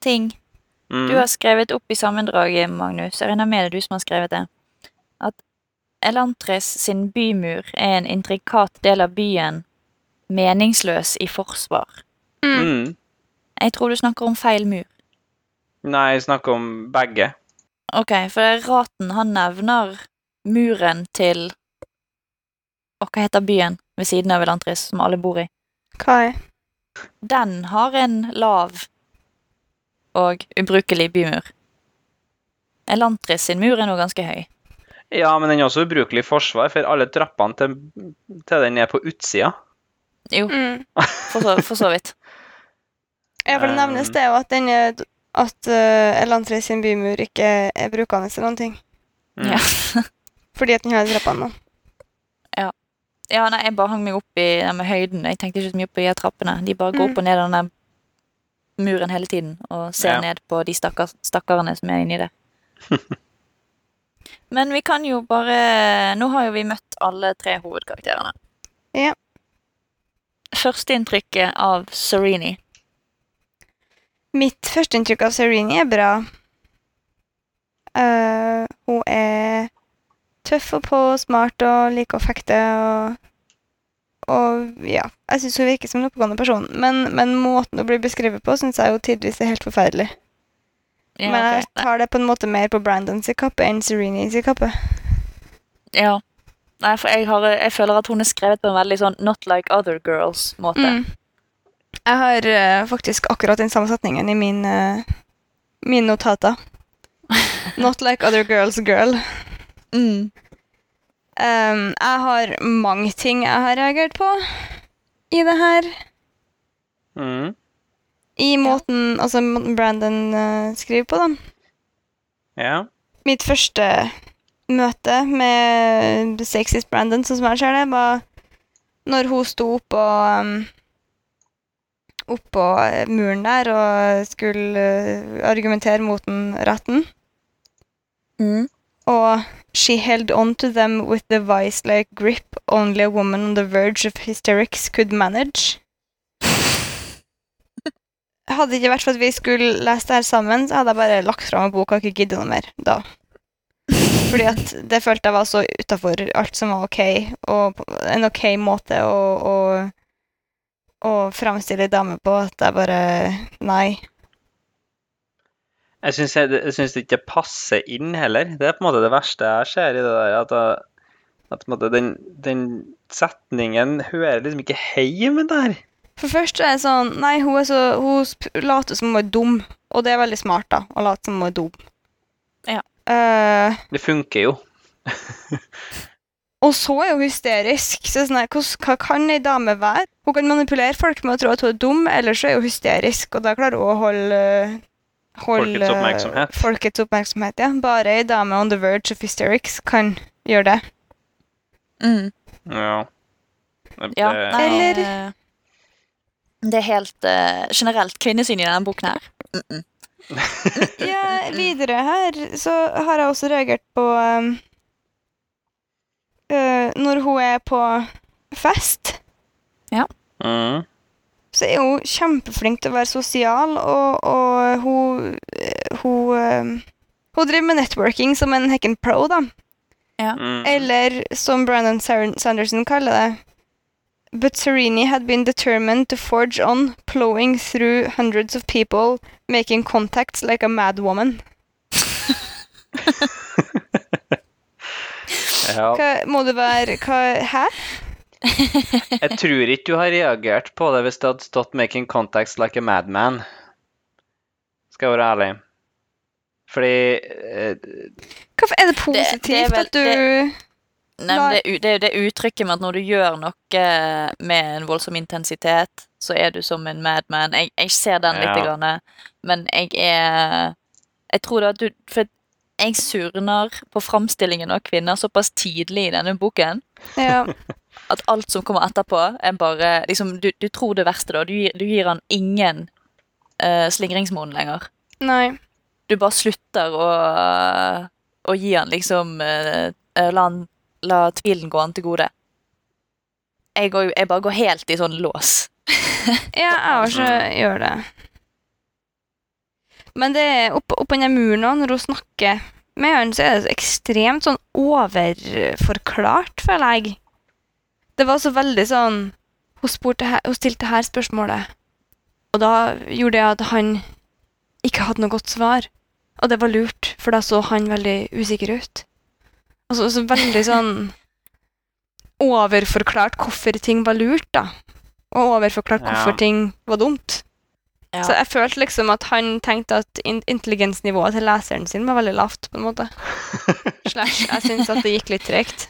[SPEAKER 1] ting
[SPEAKER 2] Mm.
[SPEAKER 1] du har skrevet opp i sammendraget, Magnus. Jeg regner med det er du som har skrevet det. At Elantris sin bymur er en intrikat del av byen, meningsløs i forsvar.
[SPEAKER 2] Mm.
[SPEAKER 1] Jeg tror du snakker om feil mur.
[SPEAKER 2] Nei, jeg snakker om begge.
[SPEAKER 1] Ok, for det er Raten han nevner muren til Og hva heter byen ved siden av Elantris, som alle bor i?
[SPEAKER 3] Hva er
[SPEAKER 1] Den har en lav og ubrukelig bymur. Elantris sin mur er nå ganske høy.
[SPEAKER 2] Ja, men den er også ubrukelig i forsvar, for alle trappene til, til den er på utsida.
[SPEAKER 3] mm.
[SPEAKER 1] For så, for så vidt.
[SPEAKER 3] Ja, for det nevnes
[SPEAKER 2] Um.
[SPEAKER 3] det jo at, den, er- at eh, Elantris sin bymur ikke er brukende til noen ting.
[SPEAKER 2] Mm.
[SPEAKER 1] Ja.
[SPEAKER 3] Fordi at den har trappene nå.
[SPEAKER 1] ja, nei, jeg bare hang meg opp i det med høyden. Jeg tenkte ikke så mye på de her trappene. De bare går
[SPEAKER 3] Mm.
[SPEAKER 1] opp og ned av den der muren hele tiden og ser
[SPEAKER 2] Ja.
[SPEAKER 1] ned på de stakkars, stakkarene som er inni der. Men vi kan jo bare Nå har jo vi møtt alle tre hovedkarakterene.
[SPEAKER 3] Ja.
[SPEAKER 1] Førsteinntrykket av Serini.
[SPEAKER 3] Mitt førsteinntrykk av Serene er bra. Eh, hun er tøff og på, smart og liker å fekte og Og ja, jeg syns hun virker som en oppegående person, men, men måten hun blir beskrevet på, syns jeg jo tidvis er helt forferdelig.
[SPEAKER 1] Ja,
[SPEAKER 3] men jeg
[SPEAKER 1] ok. Nei,
[SPEAKER 3] tar det på en måte mer på Brandon sin kappe enn Serene sin kappe.
[SPEAKER 1] ja. Nei, for jeg, har, jeg føler at hun er skrevet på en veldig sånn not like other girls-måte.
[SPEAKER 3] Mm. Jeg har eh, faktisk akkurat den samme setningen i min, eh, mine notater. Not like other girls, girl.
[SPEAKER 1] Mm.
[SPEAKER 3] Ehm, jeg har mange ting jeg har reagert på i det her.
[SPEAKER 2] Mm.
[SPEAKER 3] I måten, altså måten Brandon eh, skriver på, da.
[SPEAKER 2] ja.
[SPEAKER 3] Mitt første møte med Sexist Brandon, sånn som jeg ser det, var når hun sto oppå um, Oppå eh, muren der og skulle eh, argumentere mot den retten.
[SPEAKER 1] Mm.
[SPEAKER 3] Og she held on to them with the vice-like grip only a woman on the verge of hysterics could manage. Hadde det ikke vært for at vi skulle lese det her sammen, så hadde jeg bare lagt fra meg boka og ikke giddet noe mer da. Fordi at det følte jeg var så utafor alt som var OK, og på- en OK måte å, å, å framstille ei dame på, at jeg bare Nei.
[SPEAKER 2] Jeg syns, jeg, jeg synes det ikke passer inn heller. Det er på en måte det verste jeg ser i det der. At, jeg- at på en måte den, den setningen hører liksom ikke hjemme der.
[SPEAKER 3] For først så er det sånn Nei, hun, er så, hun sp- later som hun er dum. Og det er veldig smart, da, å late som hun er dum.
[SPEAKER 1] Ja.
[SPEAKER 3] Eh,
[SPEAKER 2] Det funker jo.
[SPEAKER 3] og så er hun hysterisk. Så det er sånn, her, hvordan, hva kan ei dame være? Hun kan manipulere folk med å tro at hun er dum, eller så er hun hysterisk, og da klarer hun å holde, eh, holde
[SPEAKER 2] Folkets oppmerksomhet.
[SPEAKER 3] Folkets oppmerksomhet, ja. Bare ei dame on the verge of hysterics kan gjøre det.
[SPEAKER 1] Mm.
[SPEAKER 2] Ja. Det-
[SPEAKER 1] Ja,
[SPEAKER 2] det-
[SPEAKER 1] nei,
[SPEAKER 3] Eller-
[SPEAKER 1] eh, Det er helt eh, generelt kvinnesyn i denne boken her. Mm -mm.
[SPEAKER 3] Ja, videre her så har jeg også reagert på um, øh, Når hun er på fest
[SPEAKER 2] Mm.
[SPEAKER 3] så er hun kjempeflink til å være sosial, og, og hun, eh, hun eh, Hun driver med networking som en hekken pro, da.
[SPEAKER 2] Mm.
[SPEAKER 3] Eller som Brandon Sar- Sanderson kaller det But Serini had been determined to forge on, plowing through hundreds of people, making contacts like a mad woman.
[SPEAKER 2] ja.
[SPEAKER 3] Hva, må det være hva, Hæ?
[SPEAKER 2] Jeg tror ikke du har reagert på det hvis det hadde stått 'making contacts like a madman'. Skal jeg være ærlig. Fordi eh,
[SPEAKER 3] Hvorfor er det
[SPEAKER 1] det
[SPEAKER 3] positivt
[SPEAKER 1] er vel-
[SPEAKER 3] at du
[SPEAKER 1] Nei, men det, er u- det er jo det uttrykket med at når du gjør noe eh, med en voldsom intensitet, så er du som en madman. Jeg, jeg ser den litt,
[SPEAKER 2] Ja.
[SPEAKER 1] grann, men jeg er Jeg tror da at du For jeg surner på framstillingen av kvinner såpass tidlig i denne boken
[SPEAKER 3] ja.
[SPEAKER 1] at alt som kommer etterpå, er bare liksom, du, du tror det verste, da. Du, gir- du gir han ingen uh, slingringsmonn lenger.
[SPEAKER 3] Nei.
[SPEAKER 1] du bare slutter å, å gi han liksom eh, eh, la, han, la tvilen gå han til gode. Jeg, går, jo- jeg bare går helt i sånn lås.
[SPEAKER 3] Ja, jeg også gjør det. Men det er opp- oppå den muren nå, når hun snakker med han, så er det så ekstremt sånn overforklart, føler jeg. Det var så veldig sånn Hun, spurte, her- hun stilte her spørsmålet, og da gjorde det at han ikke hadde noe godt svar. Og det var lurt, for da så han veldig usikker ut. Og så, så veldig sånn overforklart hvorfor ting var lurt, da. Og overforklart
[SPEAKER 2] Ja.
[SPEAKER 3] hvorfor ting var dumt.
[SPEAKER 1] Ja.
[SPEAKER 3] Så jeg følte liksom at han tenkte at in intelligensnivået til leseren sin var veldig lavt, på en måte. Slash, jeg syns at det gikk litt tregt.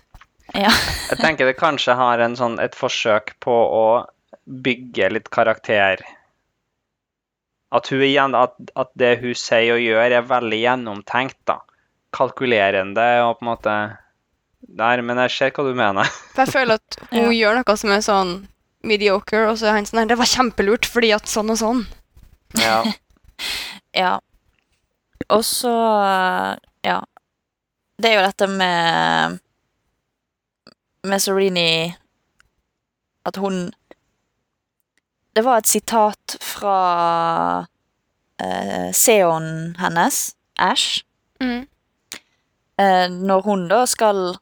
[SPEAKER 2] Jeg tenker det kanskje har en sånn, et forsøk på å bygge litt karakter. At, hun igjen, at, at det hun sier og gjør, er veldig gjennomtenkt, da. Kalkulerende og på en måte Der, men jeg ser hva du mener.
[SPEAKER 3] For jeg føler at hun gjør noe som er sånn mediocre, og så er han sånn her Det var kjempelurt, fordi at sånn og sånn.
[SPEAKER 2] Ja.
[SPEAKER 1] Ja. Og så eh, Ja. Det er jo dette med Med Serini At hun Det var et sitat fra eh, Seon hennes, Ash, eh, når hun da skal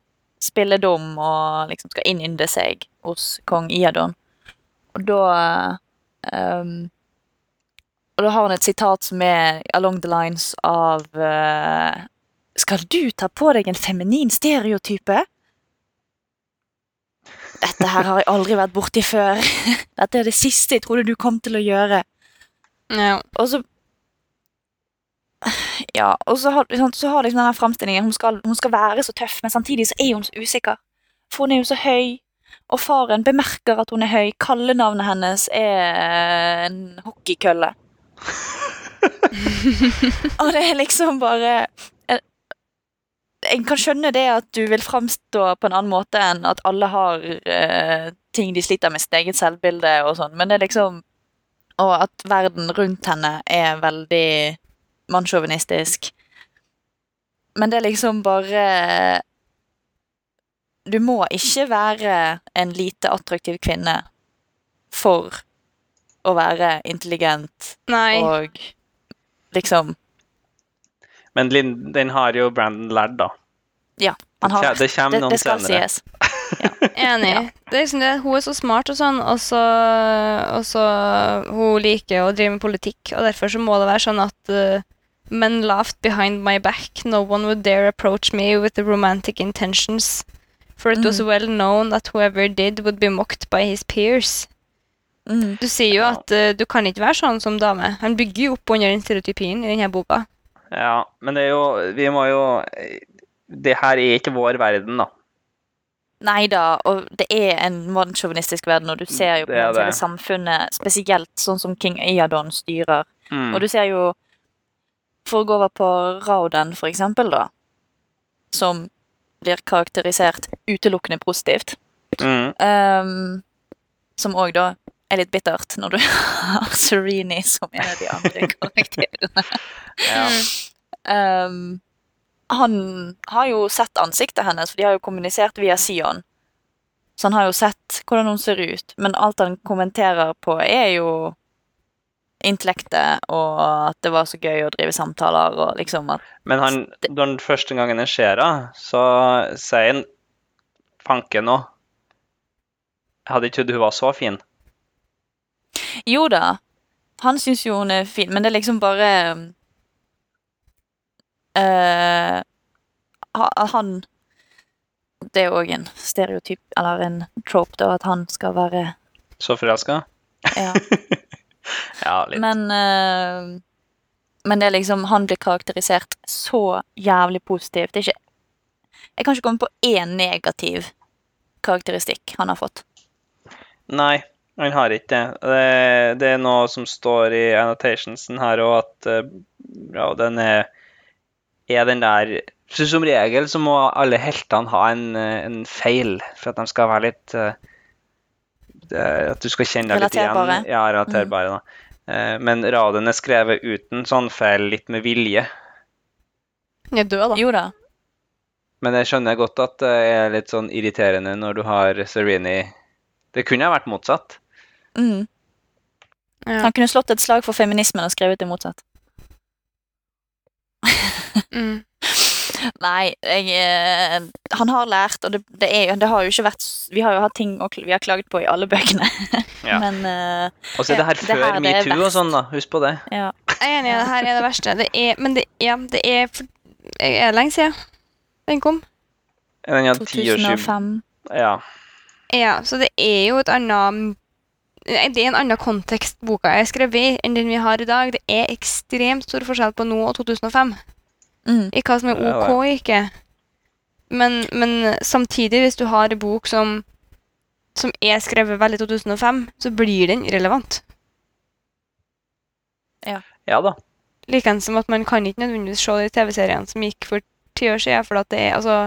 [SPEAKER 1] spille dum og liksom skal innynde seg hos kong Iadon. Og da eh, um, Og da har han et sitat som er along the lines av eh, Skal du ta på deg en feminin stereotype? Dette her har jeg aldri vært borti før. Dette er det siste jeg trodde du kom til å gjøre.
[SPEAKER 3] Ja.
[SPEAKER 1] Og så Altså, Ja, og så har, sånn, så har liksom denne fremstillingen hun skal, hun skal være så tøff, men samtidig så er hun så usikker. For hun er jo så høy, og faren bemerker at hun er høy. Kallenavnet hennes er en hockeykølle. og det er liksom bare en- En kan skjønne det at du vil fremstå på en annen måte enn at alle har eh, ting de sliter med sitt eget selvbilde og sånn, men det er liksom og at verden rundt henne er veldig mannssjåvinistisk. Men det er liksom bare Du må ikke være en lite attraktiv kvinne for å være intelligent
[SPEAKER 3] Nei.
[SPEAKER 1] og liksom
[SPEAKER 2] Men Lin- den har jo Brandon lært, da.
[SPEAKER 1] han har,
[SPEAKER 2] Det kommer
[SPEAKER 1] det,
[SPEAKER 2] noen
[SPEAKER 1] det skal
[SPEAKER 2] senere.
[SPEAKER 1] sies.
[SPEAKER 3] Enig.
[SPEAKER 1] Ja.
[SPEAKER 3] Det er liksom det, hun er så smart og sånn, og så, og så Hun liker å drive med politikk, og derfor så må det være sånn at eh, Men laughed behind my back. No one would dare approach me with romantic intentions. For it was
[SPEAKER 1] Mhm.
[SPEAKER 3] well known that whoever did would be mocked by his peers.
[SPEAKER 1] Mm.
[SPEAKER 3] Du sier jo
[SPEAKER 2] Ja.
[SPEAKER 3] at eh, du kan ikke være sånn som dame. Han bygger jo opp under den stereotypien i denne boka.
[SPEAKER 2] Ja, men det er jo Vi må jo Det her er ikke vår verden, da.
[SPEAKER 1] Nei da, og det er en mannssjåvinistisk verden, og du ser jo på
[SPEAKER 2] Mm, Det er
[SPEAKER 1] det,
[SPEAKER 2] det.
[SPEAKER 1] samfunnet, spesielt sånn som King Iadon styrer
[SPEAKER 2] Mm.
[SPEAKER 1] Og du ser jo For å gå over på Rauden, for eksempel, da, som blir karakterisert utelukkende positivt,
[SPEAKER 2] Mm.
[SPEAKER 1] ehm, som òg da er litt bittert når du har Sereni som en av de andre karakterene.
[SPEAKER 2] Ja.
[SPEAKER 1] Ehm, han har jo sett ansiktet hennes, for de har jo kommunisert via Sion. Så han har jo sett hvordan hun ser ut, men alt han kommenterer på, er jo intellektet og at det var så gøy å drive samtaler og liksom at
[SPEAKER 2] Men han, når han første gangen jeg ser henne, så sier han Fanken òg. Jeg hadde ikke trodd hun var så fin.
[SPEAKER 1] Jo da, han syns jo hun er fin, men det er liksom bare eh, ha- Han Det er òg en stereotyp, eller en trope, da, at han skal være
[SPEAKER 2] Så forelska.
[SPEAKER 1] ja.
[SPEAKER 2] Ja, litt.
[SPEAKER 1] Men eh, Men det er liksom Han blir karakterisert så jævlig positivt. Det er ikke Jeg kan ikke komme på én negativ karakteristikk han har fått.
[SPEAKER 2] Nei, han har ikke det. det. Det er noe som står i annotationsen her òg, at eh, ja, den er, er den der så Som regel så må alle heltene ha en, eh, en feil for at de skal være litt eh, det, At du skal kjenne deg litt
[SPEAKER 1] Relaterbare.
[SPEAKER 2] igjen. Ja, relaterbare. Da. Eh, Men radioen er skrevet uten sånn feil, litt med vilje.
[SPEAKER 3] Han er død, da.
[SPEAKER 1] Jo da.
[SPEAKER 2] Men jeg skjønner godt at det er litt sånn irriterende når du har Sereni Det kunne ha vært motsatt.
[SPEAKER 1] Mm.
[SPEAKER 3] Ja.
[SPEAKER 1] Han kunne slått et slag for feminismen og skrevet det motsatt.
[SPEAKER 3] Mm.
[SPEAKER 1] Nei, jeg, eh, han har lært, og det, det, er, jo- det har jo ikke vært s- Vi har jo hatt ting å kl- vi har klaget på i alle bøkene,
[SPEAKER 2] Ja.
[SPEAKER 1] men eh,
[SPEAKER 2] Og så er Altså, det her
[SPEAKER 1] Det her,
[SPEAKER 2] før
[SPEAKER 1] det er
[SPEAKER 2] metoo og
[SPEAKER 1] verst.
[SPEAKER 2] sånn, da. Husk på det.
[SPEAKER 3] Jeg er enig, i det her er det verste. Det er, men det, ja, det er, for, er det lenge siden den kom.
[SPEAKER 2] Den hadde tiårsjubileum.
[SPEAKER 1] 2005
[SPEAKER 2] Ja.
[SPEAKER 3] Ja, så det er jo et annet Nei, Det er en annen kontekst boka er skrevet i, enn den vi har i dag. Det er ekstremt stor forskjell på nå og 2005.
[SPEAKER 1] mm.
[SPEAKER 3] I hva som er
[SPEAKER 2] Ja,
[SPEAKER 3] OK og ikke. Men, men samtidig, hvis du har en bok som, som er skrevet veldig i 2005, så blir den relevant.
[SPEAKER 2] ja da.
[SPEAKER 3] Likeens som at man kan ikke nødvendigvis se de TV-seriene som gikk for ti år siden. For at det er, altså,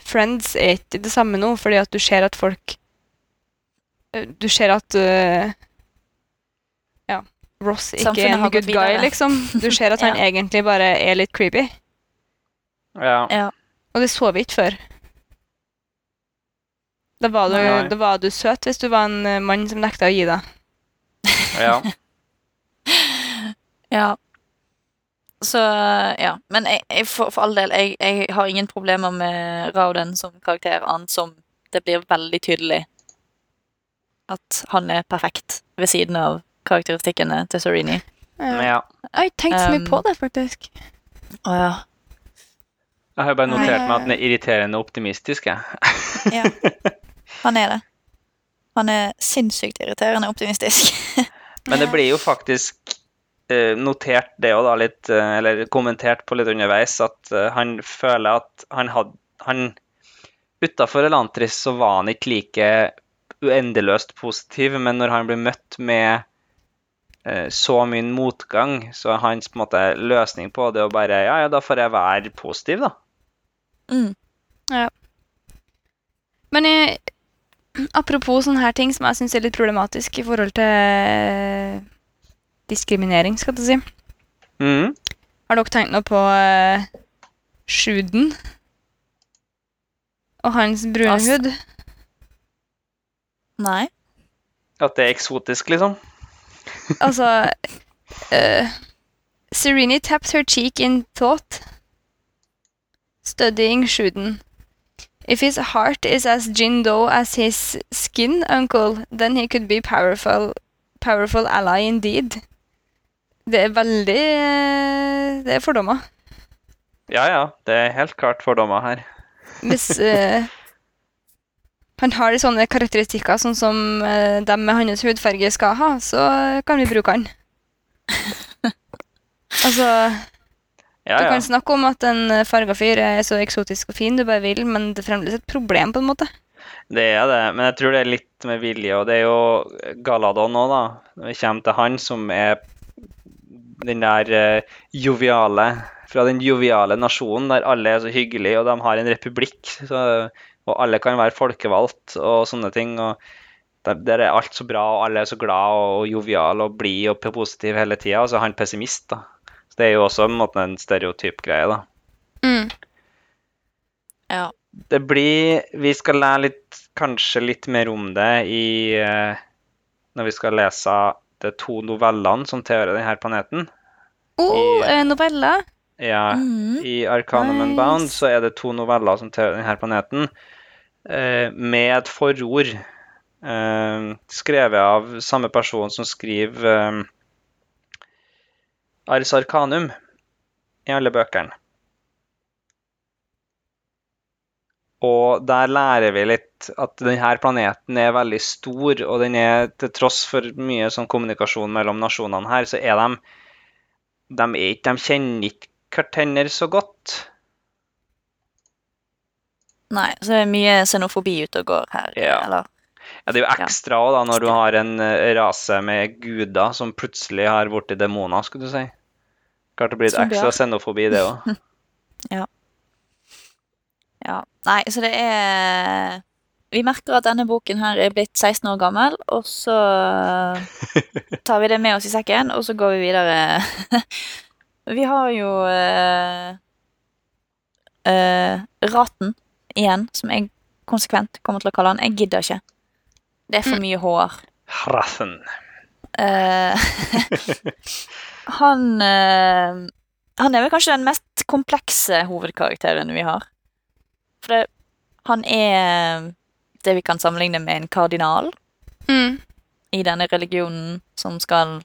[SPEAKER 3] Friends er ikke det samme nå, fordi at du ser at folk øh, Du ser at øh, Ja, Ross ikke
[SPEAKER 1] Samfunnet
[SPEAKER 3] er
[SPEAKER 1] har
[SPEAKER 3] en
[SPEAKER 1] gått
[SPEAKER 3] good guy,
[SPEAKER 1] videre.
[SPEAKER 3] liksom. Du ser at han
[SPEAKER 1] Ja.
[SPEAKER 3] egentlig bare er litt creepy.
[SPEAKER 2] Ja.
[SPEAKER 3] Og det så vi ikke før. Da var, du,
[SPEAKER 2] Nei.
[SPEAKER 3] da var du søt hvis du var en øh, mann som nekta å gi deg.
[SPEAKER 2] ja.
[SPEAKER 1] Ja. Så eh, ja. Men jeg, jeg, for, for all del, jeg, jeg har ingen problemer med Rauden som karakter, annet som det blir veldig tydelig at han er perfekt ved siden av karakteristikkene til Serini.
[SPEAKER 2] Men ja.
[SPEAKER 3] Jeg har ikke tenkt så mye
[SPEAKER 1] Um,
[SPEAKER 3] på det, faktisk.
[SPEAKER 1] Å ja.
[SPEAKER 2] Jeg har bare
[SPEAKER 3] Nei,
[SPEAKER 2] notert
[SPEAKER 3] ja,
[SPEAKER 2] meg
[SPEAKER 3] ja.
[SPEAKER 2] at den er irriterende optimistisk, jeg.
[SPEAKER 1] Ja. Han er det. Han er sinnssykt irriterende optimistisk.
[SPEAKER 2] Men det blir jo faktisk eh, notert det òg, da, litt eh, Eller kommentert på litt underveis, at eh, han føler at han hadde Han Utafor Elantris så var han ikke like uendeløst positiv, men når han blir møtt med eh, så mye motgang, så er hans på en måte løsning på det å bare Ja, ja, da får jeg være positiv, da.
[SPEAKER 1] Mm.
[SPEAKER 3] Men eh, apropos sånne her ting som jeg syns er litt problematisk i forhold til eh, diskriminering, skal du si.
[SPEAKER 2] Mhm.
[SPEAKER 3] Har dere tenkt noe på eh, Sjuden? Og hans brune
[SPEAKER 1] Altså-
[SPEAKER 3] hud?
[SPEAKER 1] Nei.
[SPEAKER 2] At det er eksotisk, liksom.
[SPEAKER 3] Altså eh, Serene tapped her cheek in thought, studying Shuden. If his heart is as Jin Do as his skin uncle, then he could be powerful, powerful ally indeed. Det er veldig eh, Det er fordommer.
[SPEAKER 2] Ja, ja. Det er helt klart fordommer her.
[SPEAKER 3] Hvis eh, han har de sånne karakteristikker sånn som eh, dem med hans hudfarge skal ha, så kan vi bruke han. altså
[SPEAKER 2] Ja,
[SPEAKER 3] Du
[SPEAKER 2] ja.
[SPEAKER 3] kan snakke om at en eh, farga fyr er så eksotisk og fin du bare vil, men det er fremdeles et problem, på en måte.
[SPEAKER 2] Det er det, men jeg tror det er litt med vilje. Og det er jo Galadon òg, da. Når vi kommer til han som er den der eh, joviale Fra den joviale nasjonen der alle er så hyggelige, og de har en republikk. Så, og alle kan være folkevalgt og sånne ting. og der, der er alt så bra, og alle er så glad og, og jovial og blid og positiv hele tida. Og så er han pessimist, da. Så det er jo også på en måte en stereotyp greie, da.
[SPEAKER 3] Mm.
[SPEAKER 1] Ja.
[SPEAKER 2] det blir Vi skal lære litt, kanskje litt mer om det i eh, Når vi skal lese de to novellene som tilhører denne planeten.
[SPEAKER 3] Oh,
[SPEAKER 2] I-
[SPEAKER 3] eh, noveller.
[SPEAKER 2] Ja,
[SPEAKER 1] Mm.
[SPEAKER 2] I Arcanum and Bound
[SPEAKER 3] Nice.
[SPEAKER 2] så er det to noveller som tilhører denne planeten, eh, med et forord eh, skrevet av samme person som skriver eh, Ars Arcanum i alle bøkene. Og der lærer vi litt at denne planeten er veldig stor, og den er til tross for mye sånn kommunikasjon mellom nasjonene her, så er de de, er ikke, de kjenner ikke hverandre så godt.
[SPEAKER 1] Nei, så det er mye xenofobi ute og går her.
[SPEAKER 2] Ja.
[SPEAKER 1] Eller
[SPEAKER 2] Ja, det er jo
[SPEAKER 1] Ja.
[SPEAKER 2] ekstra også, da, når du har en eh, rase med guder som plutselig har blitt demoner, skulle du si. Klart det blir litt
[SPEAKER 1] Zombier.
[SPEAKER 2] ekstra xenofobi, det òg.
[SPEAKER 1] Ja. Nei, så det er Vi merker at denne boken her er blitt 16 år gammel, og så tar vi det med oss i sekken, og så går vi videre. Vi har jo eh, eh, Raten igjen, som jeg konsekvent kommer til å kalle han. Jeg gidder ikke. Det er for mye hår.
[SPEAKER 2] Hraffen.
[SPEAKER 1] Eh, han eh, Han er vel kanskje den mest komplekse hovedkarakteren vi har. For det, han er det vi kan sammenligne med en kardinal
[SPEAKER 3] Mm.
[SPEAKER 1] i denne religionen som skal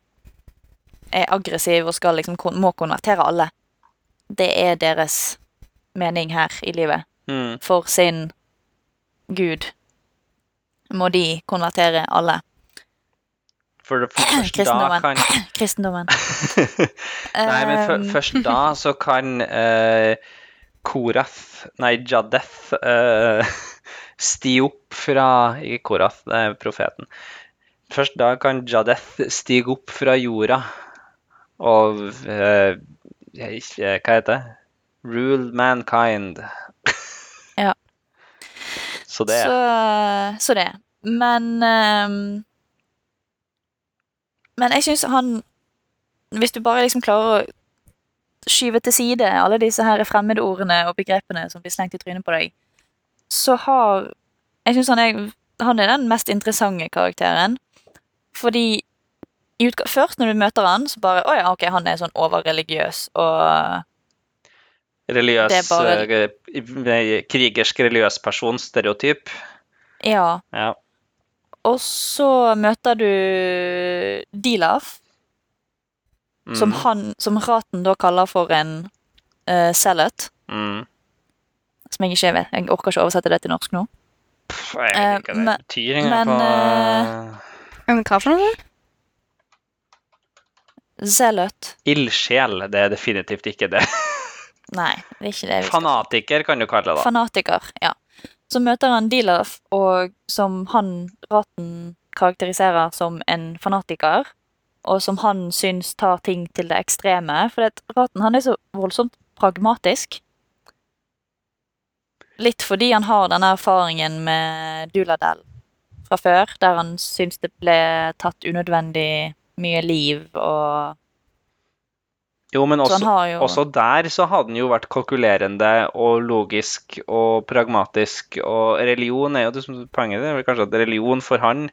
[SPEAKER 1] er aggressiv og skal liksom kon- må konvertere alle. Det er deres mening her i livet.
[SPEAKER 2] Mm.
[SPEAKER 1] For sin gud må de konvertere alle.
[SPEAKER 2] For det for først da
[SPEAKER 1] Kristendommen.
[SPEAKER 2] kan
[SPEAKER 1] Kristendommen.
[SPEAKER 2] Nei, men fø-
[SPEAKER 1] Um,
[SPEAKER 2] først da så kan eh, Koraf Nei, Jadeth eh, stige opp fra Ikke Koraf, det er profeten. Først da kan Jadeth stige opp fra jorda og eh, jeg- jeg- Hva heter det? Rule mankind.
[SPEAKER 1] Ja.
[SPEAKER 2] Så det er
[SPEAKER 1] Så, så det. Men ehm, Men jeg syns han Hvis du bare liksom klarer å skyve til side alle disse her fremmede ordene og begrepene som blir slengt i trynet på deg, så har Jeg syns han, er- han er den mest interessante karakteren. Fordi i utga først når du møter han, så bare Å ja, ok, han er sånn overreligiøs og
[SPEAKER 2] religiøs
[SPEAKER 1] det er bare-
[SPEAKER 2] eh, Krigersk religiøs person, stereotyp.
[SPEAKER 1] Ja.
[SPEAKER 2] Ja.
[SPEAKER 1] Og så møter du Dilaf.
[SPEAKER 2] Mm,
[SPEAKER 1] som, han, som Raten da kaller for en uh, sellout.
[SPEAKER 2] mm.
[SPEAKER 1] Som jeg ikke vet. Jeg orker ikke oversette det til norsk nå.
[SPEAKER 2] Pff, Jeg vet ikke
[SPEAKER 1] Eh,
[SPEAKER 2] hva det
[SPEAKER 1] men-
[SPEAKER 2] betyr engang
[SPEAKER 1] men, eh,
[SPEAKER 2] på
[SPEAKER 3] Ja, Men hva for noe?
[SPEAKER 1] Zeløt.
[SPEAKER 2] Ildsjel, det er definitivt ikke det.
[SPEAKER 1] Nei, det er ikke det. vi skal-
[SPEAKER 2] Fanatiker kan du kalle det, da.
[SPEAKER 1] Fanatiker, ja. Så møter han Dilaf, og som han, Raten, karakteriserer som en fanatiker. Og som han syns tar ting til det ekstreme. For det, at Raten han er så voldsomt pragmatisk. Litt fordi han har denne erfaringen med Duladel fra før, der han syns det ble tatt unødvendig mye liv og
[SPEAKER 2] Jo, men
[SPEAKER 1] Så han
[SPEAKER 2] også,
[SPEAKER 1] har jo
[SPEAKER 2] også der så hadde den jo vært kalkulerende og logisk og pragmatisk, og religion er jo det som poenget det er vel kanskje at religion for han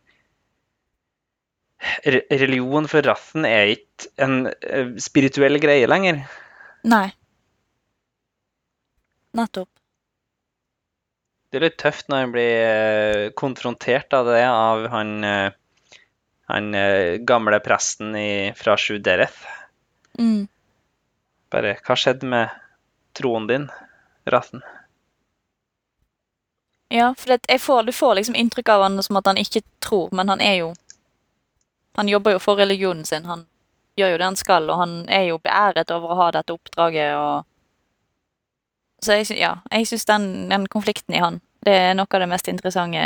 [SPEAKER 2] Re- Religion for Raffen er ikke en eh, spirituell greie lenger.
[SPEAKER 1] Nei. Nettopp.
[SPEAKER 2] Det er litt tøft når en blir eh, konfrontert av det av han, eh, han eh, gamle presten i, fra Sju Dereth.
[SPEAKER 1] Mm.
[SPEAKER 2] Bare Hva skjedde med troen din, Raffen?
[SPEAKER 1] Ja, for det, jeg får, du får liksom inntrykk av han som at han ikke tror, men han er jo Han jobber jo for religionen sin. Han gjør jo det han skal, og han er jo beæret over å ha dette oppdraget og Så jeg, sy- ja, jeg syns den, den konflikten i han, det er noe av det mest interessante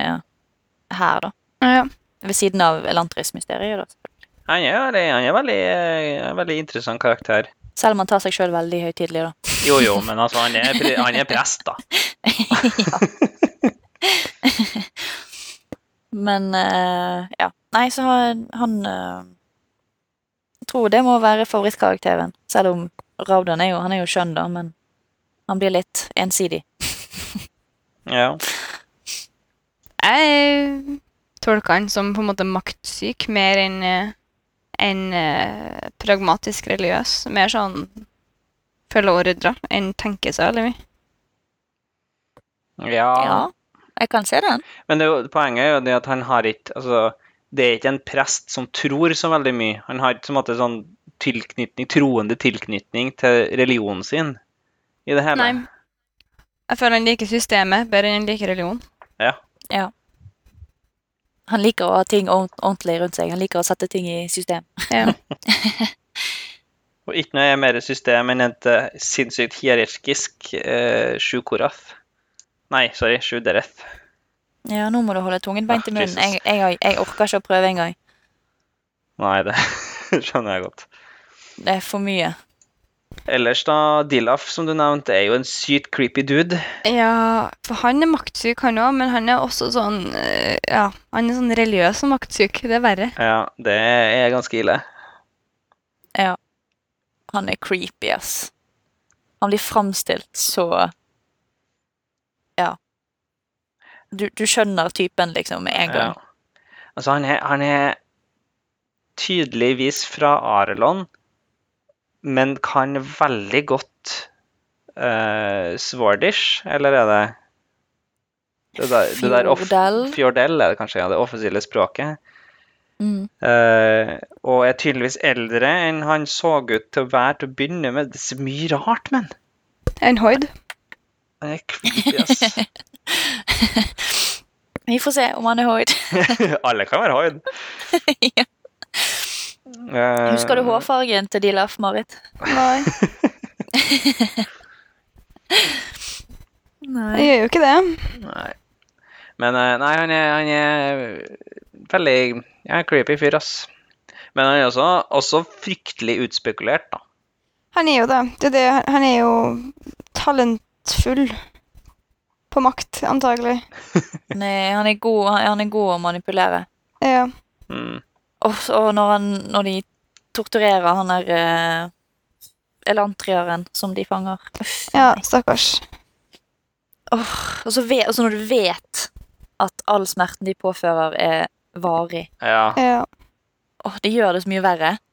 [SPEAKER 1] her, da.
[SPEAKER 3] Ja.
[SPEAKER 1] Ved siden av Elantris-mysteriet, da.
[SPEAKER 2] Han er, veldig- han er veldig, eh, en veldig interessant karakter.
[SPEAKER 1] Selv om han tar seg sjøl veldig høytidelig, da.
[SPEAKER 2] Jo, jo, men altså, han er, pre- han er prest, da.
[SPEAKER 1] Men eh, ja. Nei, så han, han eh, Jeg tror det må være favorittkarakteren. Selv om Ravdan er jo, han er jo skjønn, da, men han blir litt ensidig.
[SPEAKER 2] Ja.
[SPEAKER 3] Jeg tolker han som på en måte maktsyk, mer enn eh, enn, eh, pragmatisk religiøs. Mer sånn følge ordre enn tenke seg veldig mye.
[SPEAKER 2] ja.
[SPEAKER 1] jeg kan se den.
[SPEAKER 2] Men det, er jo- poenget er jo det at han har ikke altså, Det er ikke en prest som tror så veldig mye. Han har ikke på en måte sånn tilknytning, troende tilknytning til religionen sin i det hele.
[SPEAKER 3] Nei. Jeg føler han liker systemet bedre enn han liker religion.
[SPEAKER 1] Han liker å ha ting ordent- ordentlig rundt seg. Han liker å sette ting i system.
[SPEAKER 3] Ja.
[SPEAKER 2] Og ikke noe er mer system enn et eh, sinnssykt hierarkisk eh, sju koraf. Nei, sorry, sju dereth.
[SPEAKER 1] Ja, nå må du holde tungen beint i
[SPEAKER 2] Ah,
[SPEAKER 1] munnen.
[SPEAKER 2] Jesus.
[SPEAKER 1] Jeg, jeg, har- jeg orker ikke å prøve engang.
[SPEAKER 2] Nei, det skjønner jeg godt.
[SPEAKER 1] Det er for mye.
[SPEAKER 2] Ellers, da, Dilaf, som du nevnte, er jo en sykt creepy dude.
[SPEAKER 3] Ja, for han er maktsyk, han òg, men han er også sånn eh, Ja, han er sånn religiøs og maktsyk. Det er verre.
[SPEAKER 2] Ja, det er ganske ille.
[SPEAKER 1] Han er creepy, ass. Han blir framstilt så Ja. Du, du skjønner typen, liksom, med en gang.
[SPEAKER 2] Ja. Altså, han er, han er tydeligvis fra Arelon, men kan veldig godt eh, Swordish, eller er det det der, det der off-
[SPEAKER 1] Fjordel.
[SPEAKER 2] Fjordel er det kanskje, ja, det offisielle språket.
[SPEAKER 1] Mm.
[SPEAKER 2] Eh, og er tydeligvis eldre enn han så ut til å være til å begynne med. Det er så mye rart, men.
[SPEAKER 3] En hoid.
[SPEAKER 2] Han er creepy, ass.
[SPEAKER 1] Vi får se om han er hoid.
[SPEAKER 2] Alle kan være hoid.
[SPEAKER 1] Ja.
[SPEAKER 2] Eh,
[SPEAKER 1] Husker du hårfargen til de Laf-Marit?
[SPEAKER 3] Nei, jeg
[SPEAKER 1] Nei.
[SPEAKER 3] gjør jo ikke det.
[SPEAKER 2] Nei. Men eh, nei, han er, han er veldig ja, creepy fyr, ass. Men han er også, også fryktelig utspekulert, da.
[SPEAKER 3] Han er jo det. det, er det han er jo talentfull på makt, antagelig.
[SPEAKER 1] Nei, han er god, han er god å manipulere.
[SPEAKER 3] Ja.
[SPEAKER 2] Mm.
[SPEAKER 1] Og, og når, han, når de torturerer han der eh, elantrieren som de fanger. Uff,
[SPEAKER 3] ja,
[SPEAKER 1] nei.
[SPEAKER 3] stakkars.
[SPEAKER 1] Og, så vet, og så når du vet at all smerten de påfører, er varig.
[SPEAKER 2] Ja,
[SPEAKER 3] Ja.
[SPEAKER 1] Åh, det gjør det så mye verre.
[SPEAKER 2] det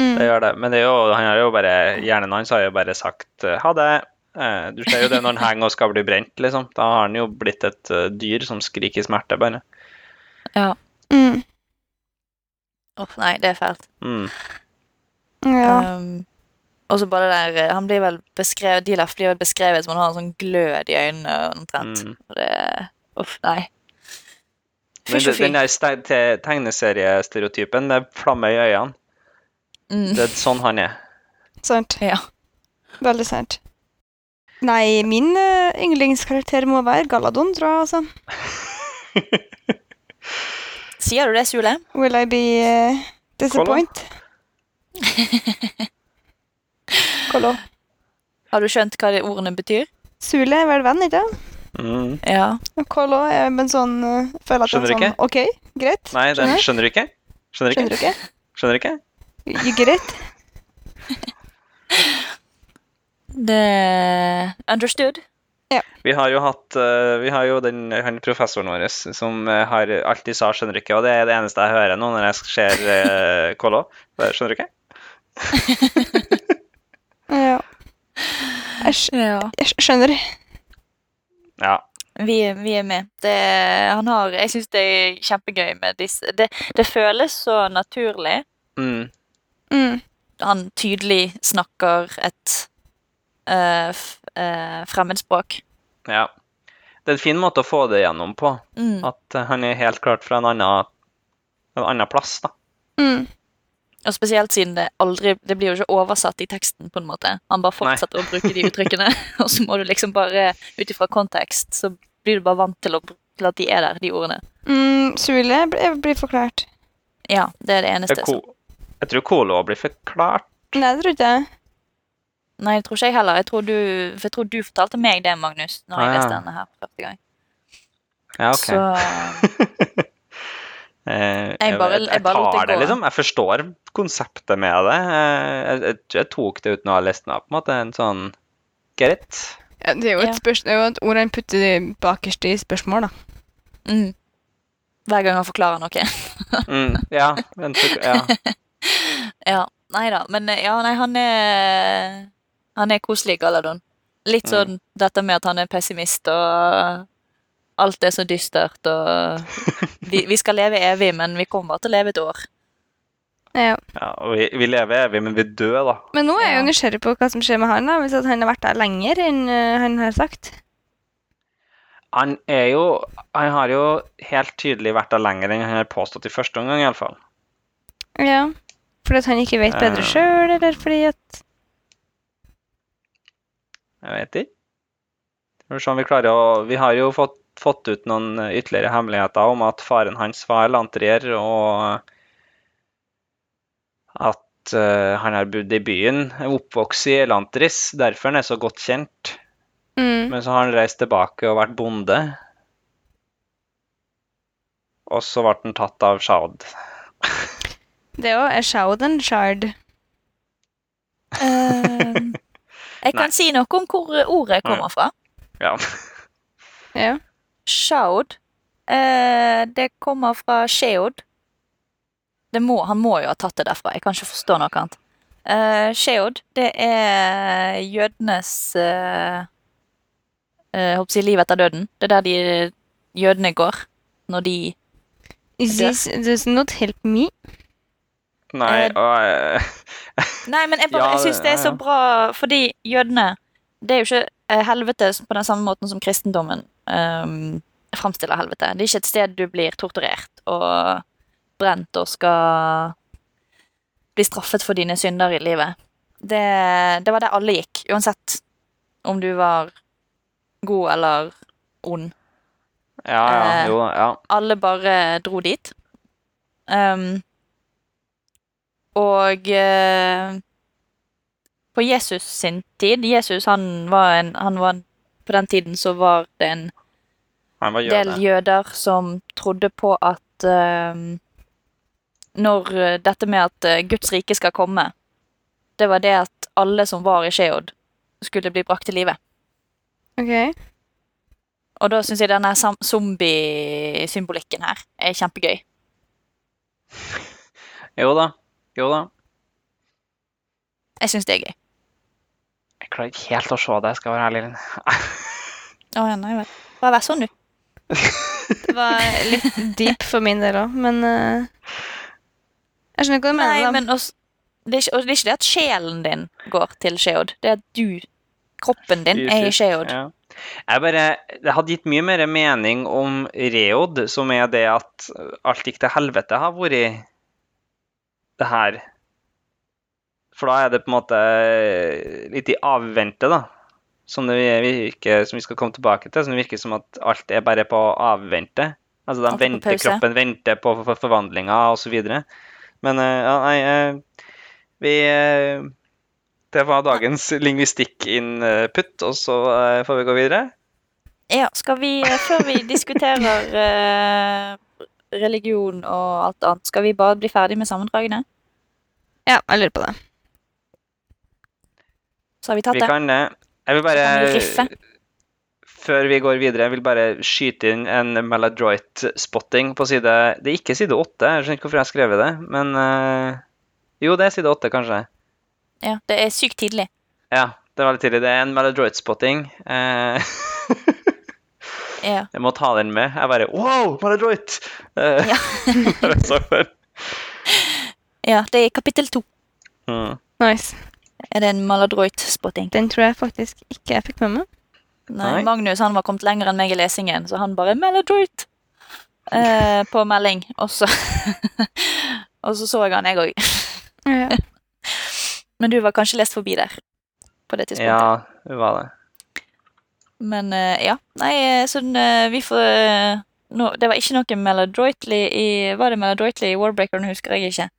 [SPEAKER 3] Mm.
[SPEAKER 2] gjør det. Men det er jo, han har jo bare, hjernen hans har jo bare sagt eh, ha det. Eh, Du ser jo det når han henger og skal bli brent, liksom. Da har han jo blitt et eh, dyr som skriker smerte, bare.
[SPEAKER 3] Mm.
[SPEAKER 1] Åh, nei, det er fælt.
[SPEAKER 2] Mm.
[SPEAKER 3] Ja.
[SPEAKER 1] Um, og så bare det der eh, Han blir vel beskrevet Dilaf blir vel beskrevet som han har en sånn glød i øynene omtrent.
[SPEAKER 2] Mm.
[SPEAKER 1] Og det Uff, nei.
[SPEAKER 2] Men
[SPEAKER 1] Fysj og
[SPEAKER 2] det- den
[SPEAKER 1] fy.
[SPEAKER 2] der ste- te- tegneseriestereotypen, det er flamme i øynene.
[SPEAKER 1] Mm.
[SPEAKER 2] Det er sånn han er.
[SPEAKER 3] Sant.
[SPEAKER 1] Ja.
[SPEAKER 3] Veldig sant. Nei, min eh, yndlingskarakter må være Galadon, tror jeg, altså.
[SPEAKER 1] Sier du det, Sule?
[SPEAKER 3] Will I be uh, disappoint? Kollo.
[SPEAKER 1] Har du skjønt hva de ordene betyr?
[SPEAKER 3] Sule er vel venn, ikke sant?
[SPEAKER 2] Mm.
[SPEAKER 1] Ja.
[SPEAKER 3] Og Kollo er men sånn eh, Føler at
[SPEAKER 2] Skjønner
[SPEAKER 3] han
[SPEAKER 2] ikke.
[SPEAKER 3] sånn OK, greit.
[SPEAKER 2] Nei, den
[SPEAKER 3] Skjønner.
[SPEAKER 2] skjønner du ikke? Skjønner du
[SPEAKER 3] Skjønner
[SPEAKER 2] ikke?
[SPEAKER 3] du ikke?
[SPEAKER 2] Skjønner du ikke?
[SPEAKER 3] You get it?
[SPEAKER 1] Det Understood?
[SPEAKER 2] Vi har jo hatt eh, Vi har jo den han professoren vår som eh, har alltid sa 'skjønner du ikke', og det er det eneste jeg hører nå når jeg ser uh, Kollo. Bare, Skjønner du ikke?
[SPEAKER 3] Ja. Jeg, skj
[SPEAKER 1] Ja.
[SPEAKER 3] jeg skj- skjønner.
[SPEAKER 2] Ja.
[SPEAKER 1] Vi, vi er med. Det, han har, jeg syns det er kjempegøy med disse det, det føles så naturlig.
[SPEAKER 2] Mm.
[SPEAKER 3] Mm.
[SPEAKER 1] Han tydelig snakker et eh, f, eh, fremmedspråk.
[SPEAKER 2] ja. Det er en fin måte å få det gjennom på.
[SPEAKER 1] Mm.
[SPEAKER 2] At eh, han er helt klart fra en annen, en annen plass, da.
[SPEAKER 3] Mm.
[SPEAKER 1] Og spesielt siden det aldri Det blir jo ikke oversatt i teksten, på en måte. Han bare
[SPEAKER 2] Nei.
[SPEAKER 1] fortsetter å bruke de uttrykkene, og så må du liksom bare Ut ifra kontekst så blir du bare vant til, å, br- til at de er der, de ordene.
[SPEAKER 3] Mm. Sule blir, blir forklart.
[SPEAKER 1] Ja, det er det eneste.
[SPEAKER 2] Jeg,
[SPEAKER 1] som-
[SPEAKER 2] ko- jeg tror Kolo blir forklart.
[SPEAKER 3] Nei, det tror ikke jeg.
[SPEAKER 1] Nei, det tror ikke jeg heller. Jeg tror du, for jeg tror du fortalte meg det, Magnus, når jeg
[SPEAKER 2] Ah, ja.
[SPEAKER 1] leste denne her første gang.
[SPEAKER 2] Ja, OK.
[SPEAKER 1] Så
[SPEAKER 2] Eh,
[SPEAKER 1] Jeg bare-
[SPEAKER 2] jeg,
[SPEAKER 1] jeg bare lot
[SPEAKER 2] tar
[SPEAKER 1] det
[SPEAKER 2] det,
[SPEAKER 1] gå.
[SPEAKER 2] liksom. Jeg forstår konseptet med det. Eh, Jeg, jeg, tror jeg tok det uten å ha lest den av, på en måte. En sånn Get it?
[SPEAKER 3] Ja, det er jo
[SPEAKER 1] Ja.
[SPEAKER 3] et, spørs- det er jo et ord han putter bakerst i spørsmål, da.
[SPEAKER 1] mm. Hver gang han forklarer noe.
[SPEAKER 2] Mm, ja, en fork- ja.
[SPEAKER 1] Ja, Nei da. Men eh, ja, nei, han er Han er koselig, Galadon. Litt sånn dette med at han er pessimist og alt er så dystert og vi, vi skal leve evig, men vi kommer bare til å leve et år.
[SPEAKER 3] Ja.
[SPEAKER 2] ja og vi, vi lever evig, men vi dør, da.
[SPEAKER 3] Men nå er jeg
[SPEAKER 1] Ja.
[SPEAKER 3] jo nysgjerrig på hva som skjer med han, da, hvis at han har vært der lenger enn eh, han har sagt.
[SPEAKER 2] Han er jo Han har jo helt tydelig vært der lenger enn han har påstått i første omgang, iallfall.
[SPEAKER 3] Ja. Fordi at han ikke vet
[SPEAKER 2] Eh.
[SPEAKER 3] bedre sjøl, eller fordi at
[SPEAKER 2] Jeg vet ikke. Skal vi se om vi klarer å Vi har jo fått, fått ut noen eh, ytterligere hemmeligheter om at faren hans var lantrier, og eh, at eh, han har bodd i byen, er oppvokst i Elantris, derfor han er så godt kjent.
[SPEAKER 3] mm.
[SPEAKER 2] Men så har han reist tilbake og vært bonde. Og så ble han tatt av Shaud.
[SPEAKER 3] Det er jo er Shaud and Shard.
[SPEAKER 1] Eh, jeg
[SPEAKER 2] Nei.
[SPEAKER 1] kan si noe om hvor ordet kommer fra.
[SPEAKER 2] Ja.
[SPEAKER 3] Ja.
[SPEAKER 1] Shaud. Eh, det kommer fra Sheod, Det må, han må jo ha tatt det derfra. Jeg kan ikke forstå noe annet. Eh, Sheod, det er jødenes eh, eh, håper jeg, liv etter døden. Det er der de jødene går når de
[SPEAKER 3] This does not help me.
[SPEAKER 2] Nei,
[SPEAKER 1] Eh,
[SPEAKER 2] og eh,
[SPEAKER 1] Nei, men jeg, bare,
[SPEAKER 2] Ja,
[SPEAKER 1] jeg syns
[SPEAKER 2] det-
[SPEAKER 1] det er så
[SPEAKER 2] ja, ja.
[SPEAKER 1] bra, fordi jødene Det er jo ikke eh, helvete på den samme måten som kristendommen ehm, framstiller helvete. Det er ikke et sted du blir torturert og brent og skal bli straffet for dine synder i livet. Det, det var der alle gikk, uansett om du var god eller ond
[SPEAKER 2] Ja, ja,
[SPEAKER 1] eh,
[SPEAKER 2] jo, ja.
[SPEAKER 1] alle bare dro dit. Ehm, og eh, på Jesus sin tid Jesus han var en, han var en På den tiden så var det en
[SPEAKER 2] Han var
[SPEAKER 1] del
[SPEAKER 2] jøde.
[SPEAKER 1] jøder som trodde på at ehm, når eh, dette med at eh, Guds rike skal komme, det var det at alle som var i Sheod, skulle bli brakt til live.
[SPEAKER 3] Ok.
[SPEAKER 1] Og da syns jeg denne sam- zombiesymbolikken her er kjempegøy.
[SPEAKER 2] Jo da. Jo da.
[SPEAKER 1] Jeg syns det er gøy.
[SPEAKER 2] Jeg klarer ikke helt å se det, skal jeg være ærlig.
[SPEAKER 1] Å ja, nei vel. Bare vær sånn, du.
[SPEAKER 3] Det var litt deep for min del òg, men eh, Jeg skjønner ikke hva du mener.
[SPEAKER 1] Nei,
[SPEAKER 3] da.
[SPEAKER 1] men også, det, er ikke, og det er ikke det at sjelen din går til Sheod. Det er at du, kroppen din, er i
[SPEAKER 2] Jesus,
[SPEAKER 1] Sheod.
[SPEAKER 2] Ja. Jeg bare, det hadde gitt mye mer mening om Reod, som er det at alt gikk til helvete, har vært det her. For da er det på en måte eh, litt i avvente, da. Som, det virker, som vi skal komme tilbake til. Som det virker som at alt er bare på avvente. Altså, de
[SPEAKER 1] Alt er på
[SPEAKER 2] venter,
[SPEAKER 1] pause.
[SPEAKER 2] kroppen venter på for- for forvandlinger osv. Men eh, ja, nei eh, Vi eh, det var dagens lingvistikk-input, og så eh, får vi gå videre.
[SPEAKER 1] Ja, skal vi, eh, før vi diskuterer eh, religion og alt annet, skal vi bare bli ferdig med sammendragene?
[SPEAKER 3] Ja, jeg lurer på det.
[SPEAKER 1] Så har vi eh, tatt
[SPEAKER 2] Vi
[SPEAKER 1] det.
[SPEAKER 2] kan det. Jeg vil bare
[SPEAKER 1] Så kan vi riffe.
[SPEAKER 2] Før vi går videre, jeg vil bare skyte inn en maladroit-spotting på side Det er ikke side åtte, jeg skjønner ikke hvorfor jeg har skrevet det, men eh, Jo, det er side åtte, kanskje.
[SPEAKER 1] Ja, det er sykt tidlig.
[SPEAKER 2] Ja, det er veldig tidlig. Det er en maladroit-spotting. Eh,
[SPEAKER 1] Ja.
[SPEAKER 2] jeg må ta den med. Jeg bare Wow, maladroit! Eh,
[SPEAKER 1] Ja.
[SPEAKER 2] bare så for.
[SPEAKER 1] ja, det er i kapittel to.
[SPEAKER 2] Mm.
[SPEAKER 3] Nice.
[SPEAKER 1] Er det en maladroit-spotting?
[SPEAKER 3] Den tror jeg faktisk ikke jeg fikk med meg.
[SPEAKER 1] Nei,
[SPEAKER 2] Nei.
[SPEAKER 1] Magnus han var kommet lenger enn meg i lesingen, så han bare 'Maladroit' eh, på melding. Og så, og så så jeg han, jeg òg.
[SPEAKER 3] Ja.
[SPEAKER 1] Men du var kanskje lest forbi der på det tidspunktet.
[SPEAKER 2] Ja, det var det.
[SPEAKER 1] Men eh, ja. Nei, eh, sånn eh, Vi får eh, nå- Det var ikke noe Melodroitly i Var det Melodroitly i Warbreaker? Nå husker jeg ikke.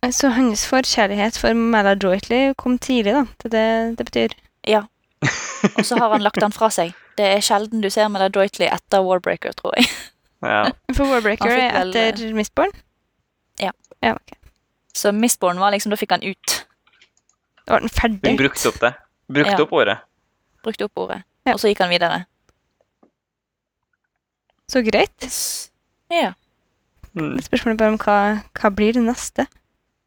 [SPEAKER 3] Eh, Så hans forkjærlighet for Mala Joytley kom tidlig, da. Det, er det, det betyr.
[SPEAKER 1] Og så har han lagt den fra seg. Det er sjelden du ser Melodroitly etter Warbreaker, tror jeg.
[SPEAKER 2] Ja.
[SPEAKER 3] For Warbreaker
[SPEAKER 1] Han fikk
[SPEAKER 3] er
[SPEAKER 1] vel,
[SPEAKER 3] etter Mistborn?
[SPEAKER 1] Ja.
[SPEAKER 3] ja ok.
[SPEAKER 1] Så Mistborn var liksom Da fikk han ut.
[SPEAKER 3] Da var den ferdig.
[SPEAKER 2] Hun brukte opp det. Brukte
[SPEAKER 1] Ja.
[SPEAKER 2] opp året.
[SPEAKER 1] Brukte opp ordet.
[SPEAKER 3] Ja.
[SPEAKER 1] Og så gikk han videre.
[SPEAKER 3] Så greit.
[SPEAKER 1] Ja.
[SPEAKER 2] Mm.
[SPEAKER 3] Spørsmålet er bare om hva, hva blir det neste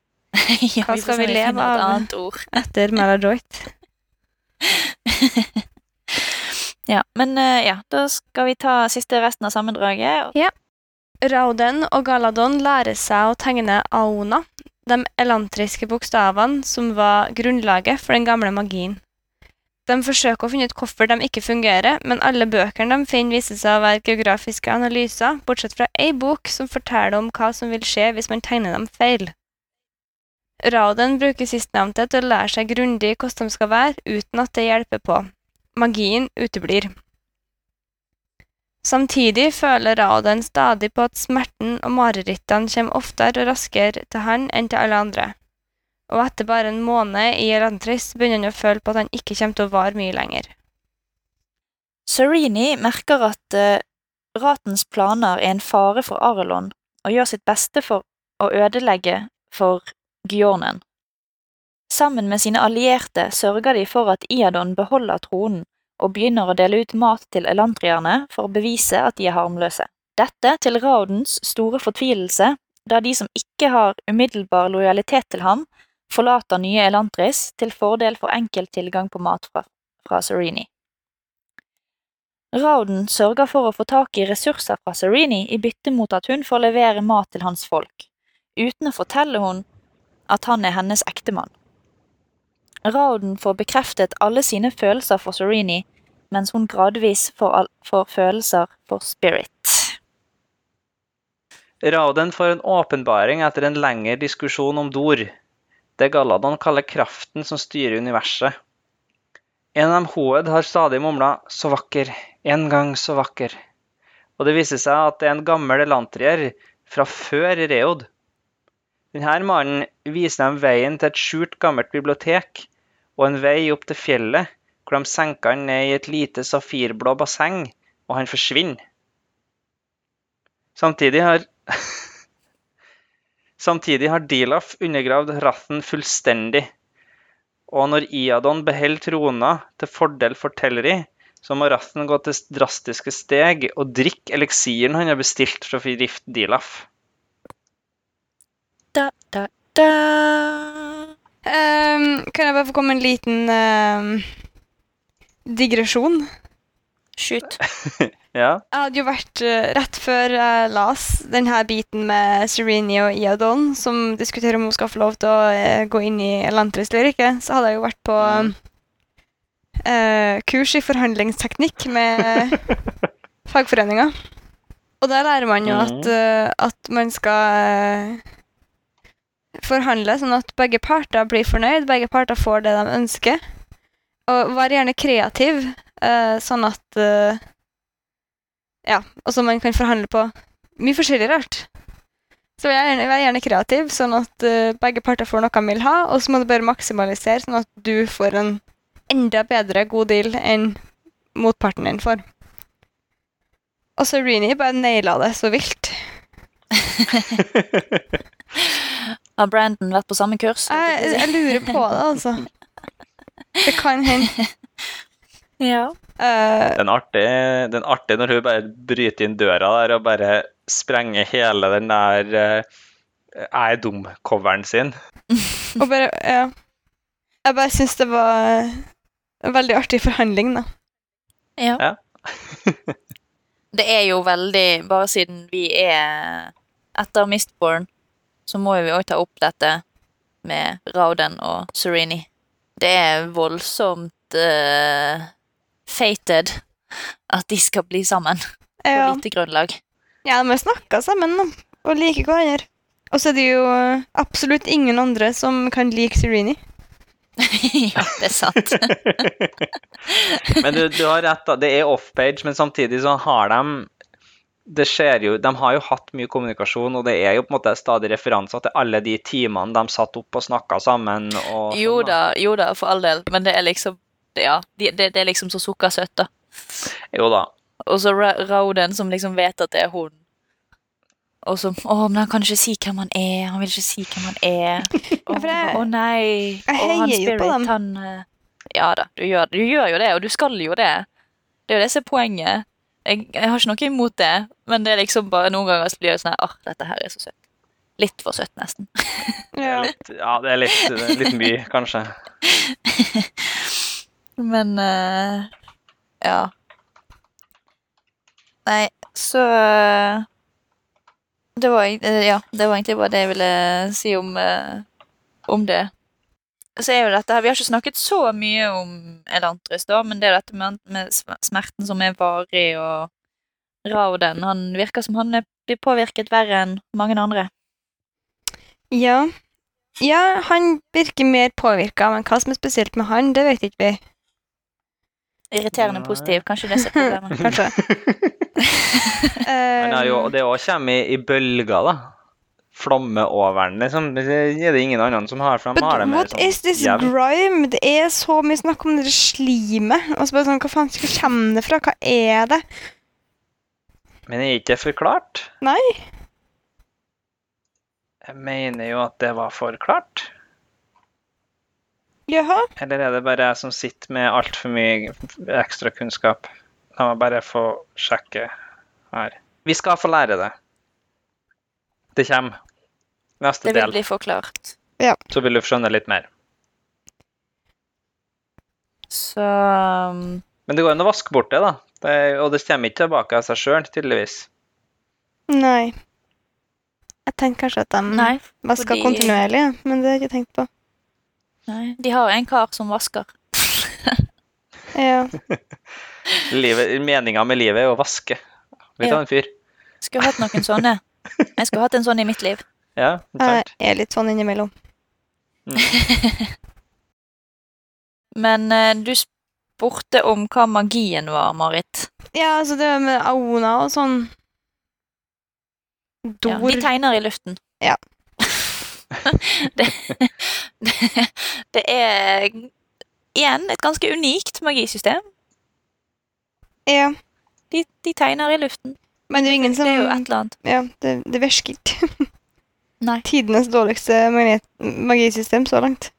[SPEAKER 1] ja
[SPEAKER 3] Hva
[SPEAKER 1] får
[SPEAKER 3] skal
[SPEAKER 1] se om
[SPEAKER 3] vi leve
[SPEAKER 1] finner et
[SPEAKER 3] av?
[SPEAKER 1] annet ord.
[SPEAKER 3] etter Mala Joyt?
[SPEAKER 1] Ja, Men eh, ja, da skal vi ta siste resten av sammendraget.
[SPEAKER 3] Rauden og Galadon lærer seg å tegne aona, de elantriske bokstavene som var grunnlaget for den gamle magien. De forsøker å finne ut hvorfor de ikke fungerer, men alle bøkene de finner, viser seg å være geografiske analyser, bortsett fra ei bok som forteller om hva som vil skje hvis man tegner dem feil. Rauden bruker sistnevnte til å lære seg grundig hvordan de skal være, uten at det hjelper på. Magien uteblir. Samtidig føler Raden stadig på at smerten og marerittene kommer oftere og raskere til han enn til alle andre. Og etter bare en måned i Elantris begynner han å føle på at han ikke kommer til å vare mye lenger.
[SPEAKER 1] Serini merker at eh, Ratens planer er en fare for Arelon, og gjør sitt beste for å ødelegge for Gjornen. Sammen med sine allierte sørger de for at Iadon beholder tronen, og begynner å dele ut mat til elantrierne for å bevise at de er harmløse. Dette til Raudens store fortvilelse, da de som ikke har umiddelbar lojalitet til ham, forlater nye Elantris til fordel for enkel tilgang på mat fra, fra Sereni. Rauden sørger for å få tak i ressurser fra Sereni i bytte mot at hun får levere mat til hans folk, uten å fortelle hun at han er hennes ektemann. Rauden får bekreftet alle sine følelser for Sereni, mens hun gradvis får, al- får følelser for Spirit.
[SPEAKER 2] Rauden får en åpenbaring etter en lengre diskusjon om Dor. Det Galadon kaller kraften som styrer universet. En av dem Hoed har stadig mumla 'så vakker', 'en gang så vakker'. Og det viser seg at det er en gammel elantrier fra før Reod. Denne mannen viser dem veien til et skjult, gammelt bibliotek og en vei opp til fjellet, hvor de senker han ned i et lite safirblå basseng, og han forsvinner. Samtidig har Samtidig har Dilaf undergravd Rathen fullstendig. Og når Iadon beholder trona til fordel for Telleri, så må Rathen gå til drastiske steg og drikke eliksiren han har bestilt fra Rift Dilaf.
[SPEAKER 1] Da, da, da.
[SPEAKER 3] Ehm, kan jeg bare få komme med en liten ehm, digresjon?
[SPEAKER 1] Skyt.
[SPEAKER 2] Ja,
[SPEAKER 3] Jeg hadde jo vært eh, rett før jeg las denne biten med Serenie og Iadon, som diskuterer om hun skal få lov til å eh, gå inn i Elantris eller ikke, så hadde jeg jo vært på eh, kurs i forhandlingsteknikk med fagforeninga. Og der lærer man jo at, eh, at man skal eh, forhandle sånn at begge parter blir fornøyd, begge parter får det de ønsker. Og vær gjerne kreativ, eh, sånn at eh, Ja, og så man kan forhandle på mye forskjellig rart. Så vær gjerne, vær gjerne kreativ, sånn at eh, begge parter får noe de vil ha, og så må du bare maksimalisere, sånn at du får en enda bedre god deal enn motparten din får. Og så Reenie Altså, bare naila det så vilt.
[SPEAKER 1] Har Brandon vært på samme kurs?
[SPEAKER 3] Jeg, jeg lurer på det, altså. Det kan hende.
[SPEAKER 1] Ja.
[SPEAKER 3] Eh,
[SPEAKER 2] den artige, den artige når hun bare bryter inn døra der og bare sprenger hele den der eh, 'Jeg er dum'-coveren sin.
[SPEAKER 3] og bare Ja. Jeg bare syns det var en veldig artig forhandling, da.
[SPEAKER 1] ja.
[SPEAKER 2] Ja.
[SPEAKER 1] det er jo veldig Bare siden vi er etter Mistborn, så må vi òg ta opp dette med Rauden og Sereni. Det er voldsomt eh, fated at de skal bli sammen på
[SPEAKER 3] Ja,
[SPEAKER 1] lite grunnlag.
[SPEAKER 3] ja de har snakka sammen da, og liker hverandre. Og så er det jo eh, absolutt ingen andre som kan like Serenie.
[SPEAKER 1] ja, det er sant.
[SPEAKER 2] Men du, du har rett, da. Det er offpage, men samtidig så har de det skjer jo, De har jo hatt mye kommunikasjon, og det er jo på en måte stadig referanser til alle de timene de satt opp og snakka sammen. Og sånn,
[SPEAKER 1] Jo da, jo da, for all del. Men det er liksom ja, det, det, det er liksom så sukkersøtt, da.
[SPEAKER 2] Jo da.
[SPEAKER 1] Og så Ra Rauden, som liksom vet at det er hun. Og som Å, men han kan ikke si hvem han er. Han vil ikke si hvem han er. Å
[SPEAKER 3] for jeg-
[SPEAKER 1] å nei.
[SPEAKER 3] jeg
[SPEAKER 1] og han
[SPEAKER 3] heier jo på
[SPEAKER 1] Spirit,
[SPEAKER 3] dem.
[SPEAKER 1] han eh, Ja da, du gjør, du gjør jo det, og du skal jo det. Det er jo det som er poenget. Jeg, jeg har ikke noe imot det, men det er liksom bare noen ganger så blir det sånn her, Åh, dette her er så søtt. Litt for søtt, nesten.
[SPEAKER 2] Det er litt, ja, det er litt, litt mye, kanskje.
[SPEAKER 1] Men eh, Ja. Nei, så eh, Det var, egent- eh, ja, det var egentlig bare det jeg ville si om, eh, om det. Så er jo dette her, Vi har ikke snakket så mye om Elantris, da, men det er dette med, med sm- smerten som er varig, og Rauden Han virker som han er- blir påvirket verre enn mange andre.
[SPEAKER 3] Ja. ja, han virker mer påvirka, men hva som er spesielt med han, det vet ikke vi.
[SPEAKER 1] Irriterende
[SPEAKER 2] Nei.
[SPEAKER 1] positiv. Kanskje det er problemet.
[SPEAKER 3] Kanskje.
[SPEAKER 2] Men det er jo,
[SPEAKER 3] Eh,
[SPEAKER 2] og det òg kommer i, i bølger, da. Flamme over den, liksom. Det er det ingen andre som har, for de har det
[SPEAKER 3] But
[SPEAKER 2] mer
[SPEAKER 3] what
[SPEAKER 2] sånn
[SPEAKER 3] is this
[SPEAKER 2] jevnt.
[SPEAKER 3] grime? Det er så mye snakk om det slimet. Og så bare sånn, Hva faen skal komme det fra? Hva er det?
[SPEAKER 2] Men er ikke det forklart?
[SPEAKER 3] Nei.
[SPEAKER 2] Jeg mener jo at det var forklart.
[SPEAKER 3] Jaha.
[SPEAKER 2] Eller er det bare jeg som sitter med altfor mye ekstra kunnskap? La meg bare få sjekke her. Vi skal få lære det. Det kommer. Neste
[SPEAKER 1] Det vil
[SPEAKER 2] del,
[SPEAKER 1] bli forklart.
[SPEAKER 2] så vil du skjønne litt mer.
[SPEAKER 1] Så um,
[SPEAKER 2] Men det går an å vaske bort det, da. Det, og det kommer ikke tilbake av seg sjøl, tydeligvis.
[SPEAKER 3] Nei. Jeg tenkte kanskje at de
[SPEAKER 1] Nei.
[SPEAKER 3] vaska
[SPEAKER 1] fordi-
[SPEAKER 3] kontinuerlig, ja, men det har jeg ikke tenkt på.
[SPEAKER 1] Nei. De har en kar som vasker.
[SPEAKER 3] Ja.
[SPEAKER 2] Livet, Meninga med livet er å vaske. Vi tar en fyr.
[SPEAKER 1] Skulle hatt noen sånne. Jeg skulle hatt en sånn i mitt liv.
[SPEAKER 2] Ja,
[SPEAKER 1] Eh,
[SPEAKER 2] ikke sant?
[SPEAKER 3] Jeg er litt sånn innimellom.
[SPEAKER 1] Men eh, du spurte om hva magien var, Marit.
[SPEAKER 3] Ja, altså det med aona og sånn
[SPEAKER 1] Ja,
[SPEAKER 3] Dor.
[SPEAKER 1] de tegner i luften.
[SPEAKER 3] Ja.
[SPEAKER 1] det, det, det er igjen et ganske unikt magisystem.
[SPEAKER 3] Ja,
[SPEAKER 1] De, de tegner i luften.
[SPEAKER 3] men det er jo ingen som
[SPEAKER 1] Det er jo et eller annet.
[SPEAKER 3] Ja, det, det virker ikke.
[SPEAKER 1] Nei.
[SPEAKER 3] Tidenes dårligste magne- magisystem så langt.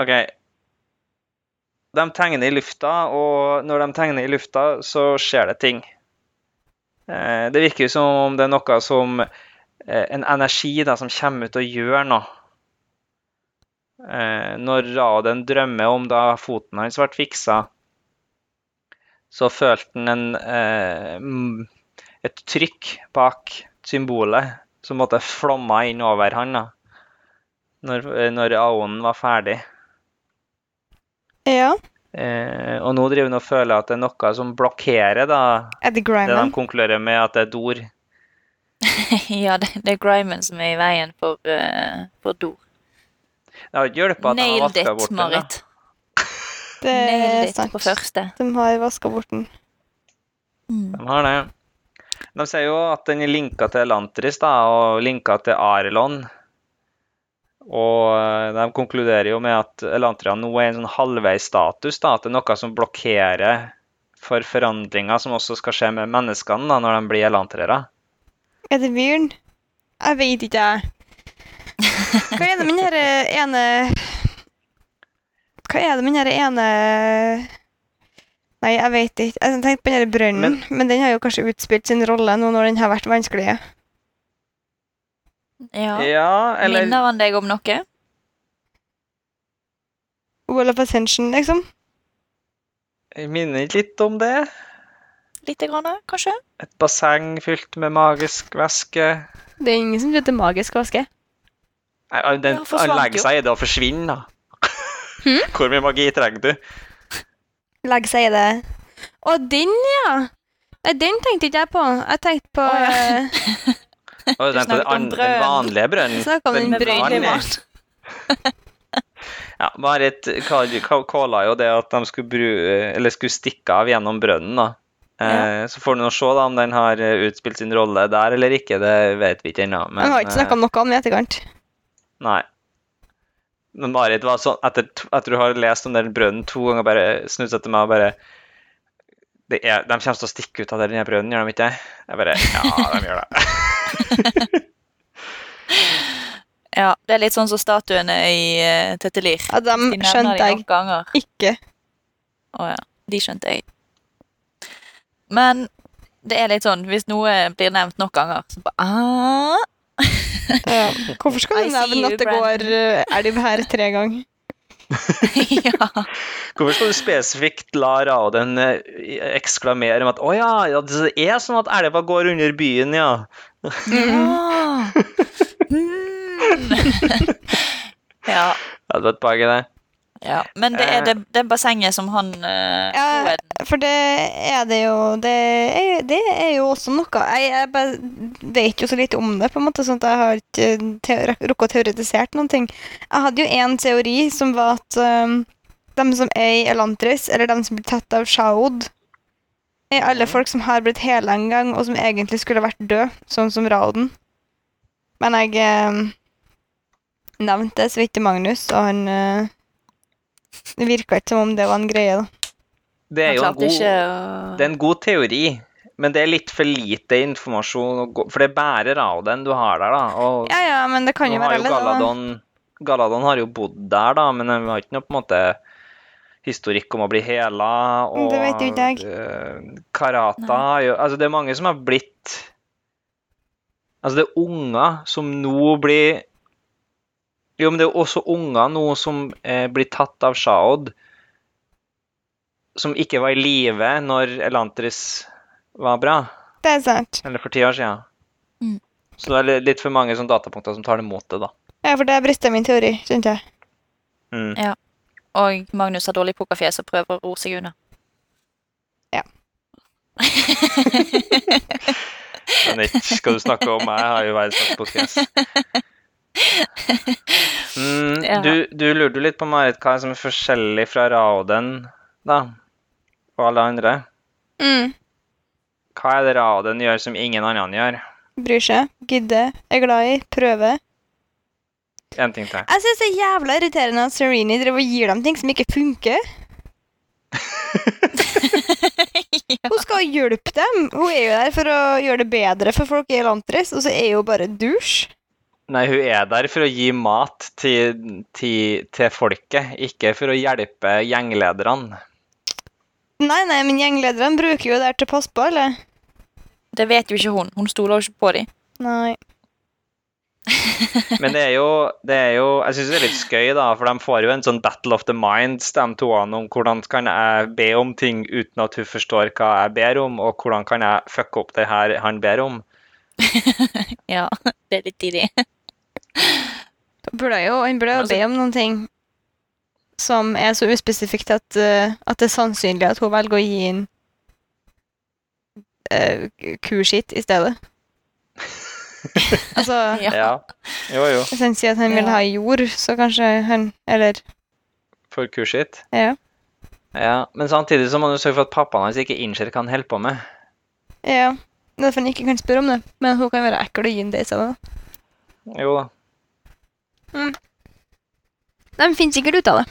[SPEAKER 2] OK. De tegner i lufta, og når de tegner i lufta, så skjer det ting. Eh, Det virker som om det er noe som eh, En energi da, som kommer ut og gjør noe. Eh, Når Raden drømmer om da foten hans ble fiksa, så følte han en, eh, mm, et trykk bak symbolet som måtte flomma inn over han da, når, eh, når aonen var ferdig.
[SPEAKER 3] Ja,
[SPEAKER 2] Eh, og nå driver hun og føler at det er noe som blokkerer da,
[SPEAKER 3] Eddie
[SPEAKER 2] det de
[SPEAKER 3] Griman.
[SPEAKER 2] konkluderer med at det er dor.
[SPEAKER 1] ja, det, det er Grimen som er i veien for, eh, for dor.
[SPEAKER 2] Det har ikke hjulpet at han har
[SPEAKER 1] Nailed
[SPEAKER 2] vaska
[SPEAKER 1] it,
[SPEAKER 2] bort den. da.
[SPEAKER 1] Marit.
[SPEAKER 3] Det er
[SPEAKER 1] Nailed it på
[SPEAKER 3] sant.
[SPEAKER 1] første.
[SPEAKER 3] De har vaska bort den.
[SPEAKER 1] Mm.
[SPEAKER 2] De har det. De sier jo at den er linka til Elantris da, og linka til Arelon. Og eh, de konkluderer jo med at Elantria nå er i en sånn halvveisstatus, da, at det er noe som blokkerer for forandringer som også skal skje med menneskene da, når de blir elantrere.
[SPEAKER 3] Er det myren? Jeg vet ikke, jeg. Hva er det med den her ene Hva er det med den her ene Nei, jeg vet ikke. Jeg tenkte på den her brønnen, men, den har jo kanskje utspilt sin rolle nå når den har vært vanskelig.
[SPEAKER 1] Ja.
[SPEAKER 2] Ja, eller
[SPEAKER 1] Minner han deg om noe?
[SPEAKER 3] Wall of Ascension, liksom.
[SPEAKER 2] Jeg minner ikke litt om det.
[SPEAKER 1] Lite grann, kanskje?
[SPEAKER 2] Et basseng fylt med magisk væske.
[SPEAKER 3] Det er ingen som tror det er magisk vaske.
[SPEAKER 2] Nei, han- den,
[SPEAKER 1] Ja, forsvant
[SPEAKER 2] han legger
[SPEAKER 1] jo.
[SPEAKER 2] seg i det og forsvinner, da.
[SPEAKER 3] Hm?
[SPEAKER 2] Hvor mye magi trenger du?
[SPEAKER 3] Legge seg i det. Å, den, ja! Nei, den tenkte ikke jeg på. Jeg tenkte på
[SPEAKER 1] Å, ja.
[SPEAKER 3] eh,
[SPEAKER 2] Og den,
[SPEAKER 1] snakket om
[SPEAKER 2] an- den
[SPEAKER 1] brønnen.
[SPEAKER 2] vanlige brønnen.
[SPEAKER 3] Snakket om den brønnen.
[SPEAKER 2] vanlige. Ja, Marit ka- ka- kåla jo det at de skulle, bru, eller skulle stikke av gjennom brønnen, da. Eh, Så får du nå se da, om den har eh, utspilt sin rolle der eller ikke. Det vet vi ikke ennå. men,
[SPEAKER 3] Jeg har ikke
[SPEAKER 2] eh,
[SPEAKER 3] snakka om noe om det i etterkant.
[SPEAKER 2] Nei. Men Marit var sånn Etter, t- etter du har lest om den brønnen to ganger, bare snudd seg til meg og bare det er, De kommer til å stikke ut av den her brønnen, gjør de ikke? Jeg bare Ja, de gjør det.
[SPEAKER 1] Ja, det er litt sånn som statuene i uh, Tetelir.
[SPEAKER 3] Ja,
[SPEAKER 1] De
[SPEAKER 3] dem
[SPEAKER 1] nevner
[SPEAKER 3] Mm, skjønte
[SPEAKER 1] de
[SPEAKER 3] jeg
[SPEAKER 1] noen ganger.
[SPEAKER 3] ikke.
[SPEAKER 1] Å ja. De skjønte jeg. Men det er litt sånn, hvis noe blir nevnt nok ganger, så bare ah,
[SPEAKER 3] Ja. Hvorfor skal
[SPEAKER 1] I
[SPEAKER 3] du
[SPEAKER 1] see you,
[SPEAKER 3] nevne at det går eh, elv her tre ganger?
[SPEAKER 1] ja.
[SPEAKER 2] Hvorfor skal du spesifikt la Raoden eh, eksklamere om at Å ja, ja, det er sånn at elva går under byen, ja.
[SPEAKER 1] Ah. Mm. ja.
[SPEAKER 2] Ja, Det var et poeng i det.
[SPEAKER 1] Ja, men det er det, det bassenget som han eh,
[SPEAKER 3] Ja.
[SPEAKER 1] Owen-
[SPEAKER 3] For det er det jo Det er, det er jo også noe Jeg, jeg bare vet jo så lite om det, på en måte, sånn at jeg har ikke teo- rukket å teoretisert noen ting. Jeg hadde jo en teori som var at um, de som er i Elantris, eller de som blir tatt av Shaod, er alle folk som har blitt hele en gang, og som egentlig skulle vært død, sånn som Raoden. Men jeg um, nevnte det så vidt til Magnus, og han eh, Det virka ikke som om det var en greie, da.
[SPEAKER 2] Det er
[SPEAKER 1] Han
[SPEAKER 2] jo en
[SPEAKER 1] klarte
[SPEAKER 2] god
[SPEAKER 1] ikke å
[SPEAKER 2] Det er en god teori, men det er litt for lite informasjon. å gå- For det er bare Raoden du har der, da. Og
[SPEAKER 3] Ja, ja, men det kan jo
[SPEAKER 2] Nå har
[SPEAKER 3] være
[SPEAKER 2] jo
[SPEAKER 3] alle, da.
[SPEAKER 2] Galadon, Galadon har jo bodd der, da, men han har ikke noe på en måte historikk om å bli hela. Og
[SPEAKER 3] Det vet jo ikke jeg.
[SPEAKER 2] eh, Karata har jo Altså, det er mange som har blitt Altså, det er unger som nå blir Jo, men det er jo også unger nå som eh, blir tatt av Shaod, som ikke var i live når Elantris var bra,
[SPEAKER 3] Det er sant.
[SPEAKER 2] eller for ti år siden.
[SPEAKER 1] Mm.
[SPEAKER 2] Så det er li- litt for mange sånne datapunkter som tar det mot det, da.
[SPEAKER 3] Ja, for det brista min teori, skjønte jeg.
[SPEAKER 2] Mm.
[SPEAKER 1] Og Magnus har dårlig pokerfjes og prøver å ro seg unna.
[SPEAKER 3] Ja.
[SPEAKER 2] Men ikke skal du snakke om meg, jeg har jo verdens på fjes. Mm,
[SPEAKER 1] Ja.
[SPEAKER 2] du, du lurte jo litt på Marit hva som er forskjellig fra Raoden, da, og alle andre.
[SPEAKER 3] Mm.
[SPEAKER 2] Hva er det Raoden gjør som ingen annen gjør?
[SPEAKER 3] Bryr seg, gidder, er glad i, prøver.
[SPEAKER 2] En ting til.
[SPEAKER 3] Jeg syns det er jævla irriterende at Serene driver og gir dem ting som ikke funker. Hun skal jo hjelpe dem. Hun er jo der for å gjøre det bedre for folk i Elantris, og så er hun bare dusj.
[SPEAKER 2] Nei, hun er der for å gi mat til, til, til folket, ikke for å hjelpe gjenglederne.
[SPEAKER 3] Nei, nei, men gjenglederne bruker jo det her til å passe på, eller?
[SPEAKER 1] Det vet jo ikke hun. Hun stoler jo ikke på dem.
[SPEAKER 3] Nei.
[SPEAKER 2] Men det er jo, det er jo Jeg syns det er litt skøy, da, for de får jo en sånn battle of the minds, de to an, om hvordan kan jeg be om ting uten at hun forstår hva jeg ber om, og hvordan kan jeg fucke opp det her han ber om.
[SPEAKER 1] Ja, det er litt tidlig.
[SPEAKER 3] Burde jo, han burde jo
[SPEAKER 1] Altså-
[SPEAKER 3] be om noen ting som er så uspesifikt at, eh, at det er sannsynlig at hun velger å gi inn uh, kuskitt i stedet. altså,
[SPEAKER 1] Ja.
[SPEAKER 2] Ja. Jo, jo.
[SPEAKER 3] hvis han sier at han vil
[SPEAKER 1] Ja.
[SPEAKER 3] ha jord, så kanskje han Eller
[SPEAKER 2] For kurset.
[SPEAKER 3] Ja.
[SPEAKER 2] Ja, Men samtidig så må du sørge for at pappaen hans ikke innser hva han holder på med.
[SPEAKER 3] Ja. Det er Derfor han ikke kan spørre om det. Men hun kan være ekkel og gi inn det i stedet.
[SPEAKER 2] Jo da.
[SPEAKER 3] De finner sikkert ut av det.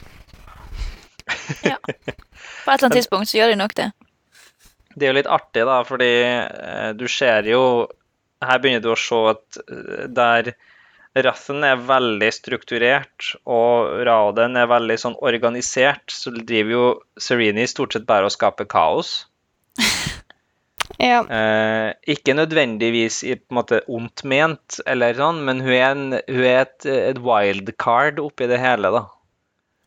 [SPEAKER 1] På et eller annet tidspunkt så gjør de nok det.
[SPEAKER 2] Det er jo litt artig, da, fordi eh, du ser jo Her begynner du å se at eh, der Rathen er veldig strukturert, og Raden er veldig sånn organisert, så driver jo Sereni stort sett bare og skaper kaos.
[SPEAKER 3] Ja.
[SPEAKER 2] Eh, ikke nødvendigvis i på en måte ondt ment, eller sånn, men hun er, en, hun er et, et wildcard oppi det hele, da.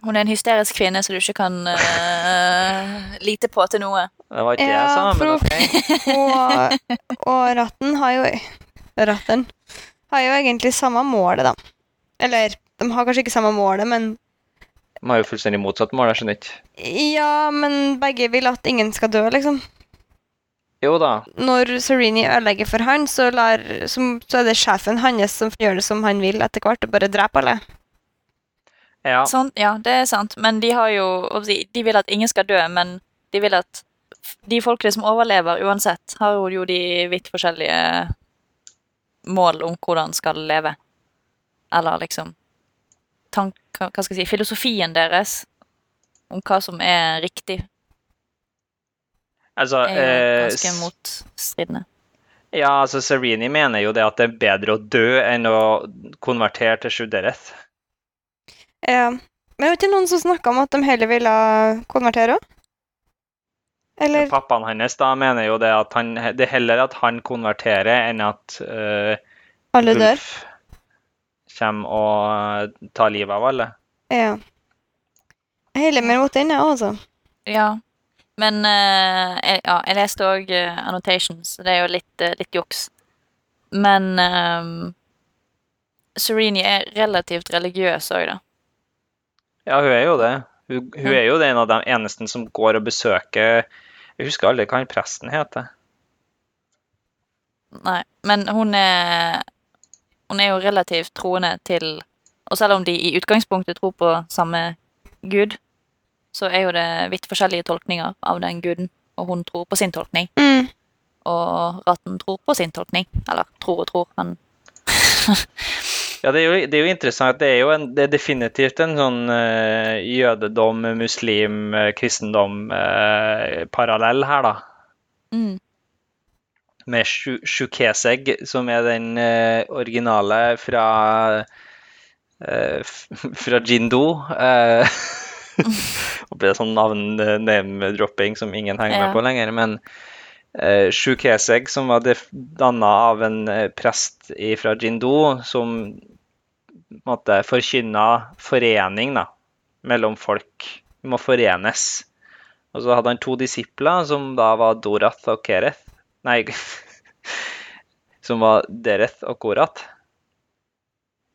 [SPEAKER 1] Hun er en hysterisk kvinne som du ikke kan eh, lite på til noe.
[SPEAKER 2] Det var ikke det jeg
[SPEAKER 3] Ja,
[SPEAKER 2] sa, men
[SPEAKER 3] for-
[SPEAKER 2] OK.
[SPEAKER 3] Og, og ratten har jo Ratten har jo egentlig samme målet, da. Eller de har kanskje ikke samme målet, men
[SPEAKER 2] De har jo fullstendig motsatt mål, jeg skjønner ikke.
[SPEAKER 3] Ja, men begge vil at ingen skal dø, liksom.
[SPEAKER 2] Jo da.
[SPEAKER 3] Når Sereni ødelegger for han, så, lar, som, så er det sjefen hans som gjør det som han vil etter hvert, og bare dreper alle.
[SPEAKER 2] Ja.
[SPEAKER 1] Sånn, ja, det er sant. Men de har jo hva skal jeg si, De vil at ingen skal dø, men de vil at f- de folkene som overlever uansett, har jo de vidt forskjellige mål om hvordan skal leve. Eller liksom tank, Hva hva skal jeg si Filosofien deres om hva som er riktig,
[SPEAKER 2] Altså
[SPEAKER 1] er jo
[SPEAKER 2] eh,
[SPEAKER 1] ganske
[SPEAKER 2] s-
[SPEAKER 1] motstridende.
[SPEAKER 2] Ja, altså Sereni mener jo det at det er bedre å dø enn å konvertere til Shudereth.
[SPEAKER 3] Ja. Men vet du noen som snakka om at de heller ville konvertere òg? Eller
[SPEAKER 2] Pappaen hans da mener jo det at han, det er heller at han konverterer enn at eh,
[SPEAKER 3] alle dør?
[SPEAKER 2] Ulf kommer og eh, tar livet av alle.
[SPEAKER 3] Ja. Jeg heller mer mot den, jeg, altså.
[SPEAKER 1] Ja. Men eh, jeg, ja, jeg leste òg annotations, så det er jo litt, eh, litt juks. Men um, Sereni er relativt religiøs òg, da.
[SPEAKER 2] Ja, hun er jo det. Hun, hun er jo det en av de eneste som går og besøker Jeg husker aldri hva han presten heter.
[SPEAKER 1] Nei. Men hun er Hun er jo relativt troende til Og selv om de i utgangspunktet tror på samme gud, så er jo det vidt forskjellige tolkninger av den guden, og hun tror på sin tolkning.
[SPEAKER 3] Mm.
[SPEAKER 1] Og Ratten tror på sin tolkning. Eller tror og tror, men
[SPEAKER 2] Ja, det er jo, det er jo interessant. Det er jo en, det er definitivt en sånn eh, jødedom, muslim, eh, kristendom eh, parallell her, da.
[SPEAKER 1] mm,
[SPEAKER 2] med Shu- Shukeseg, som er den eh, originale fra eh, f- fra Jindo. Eh, og ble sånn navn eh, name-dropping som ingen henger
[SPEAKER 1] Ja.
[SPEAKER 2] med på lenger. Men eh, Shu Keseg, som var def- danna av en eh, prest fra Jindo, som måtte forkynna forening da, mellom folk. Vi må forenes. Og så hadde han to disipler, som da var Dorath og Kereth. Nei, som var Dereth og Korath.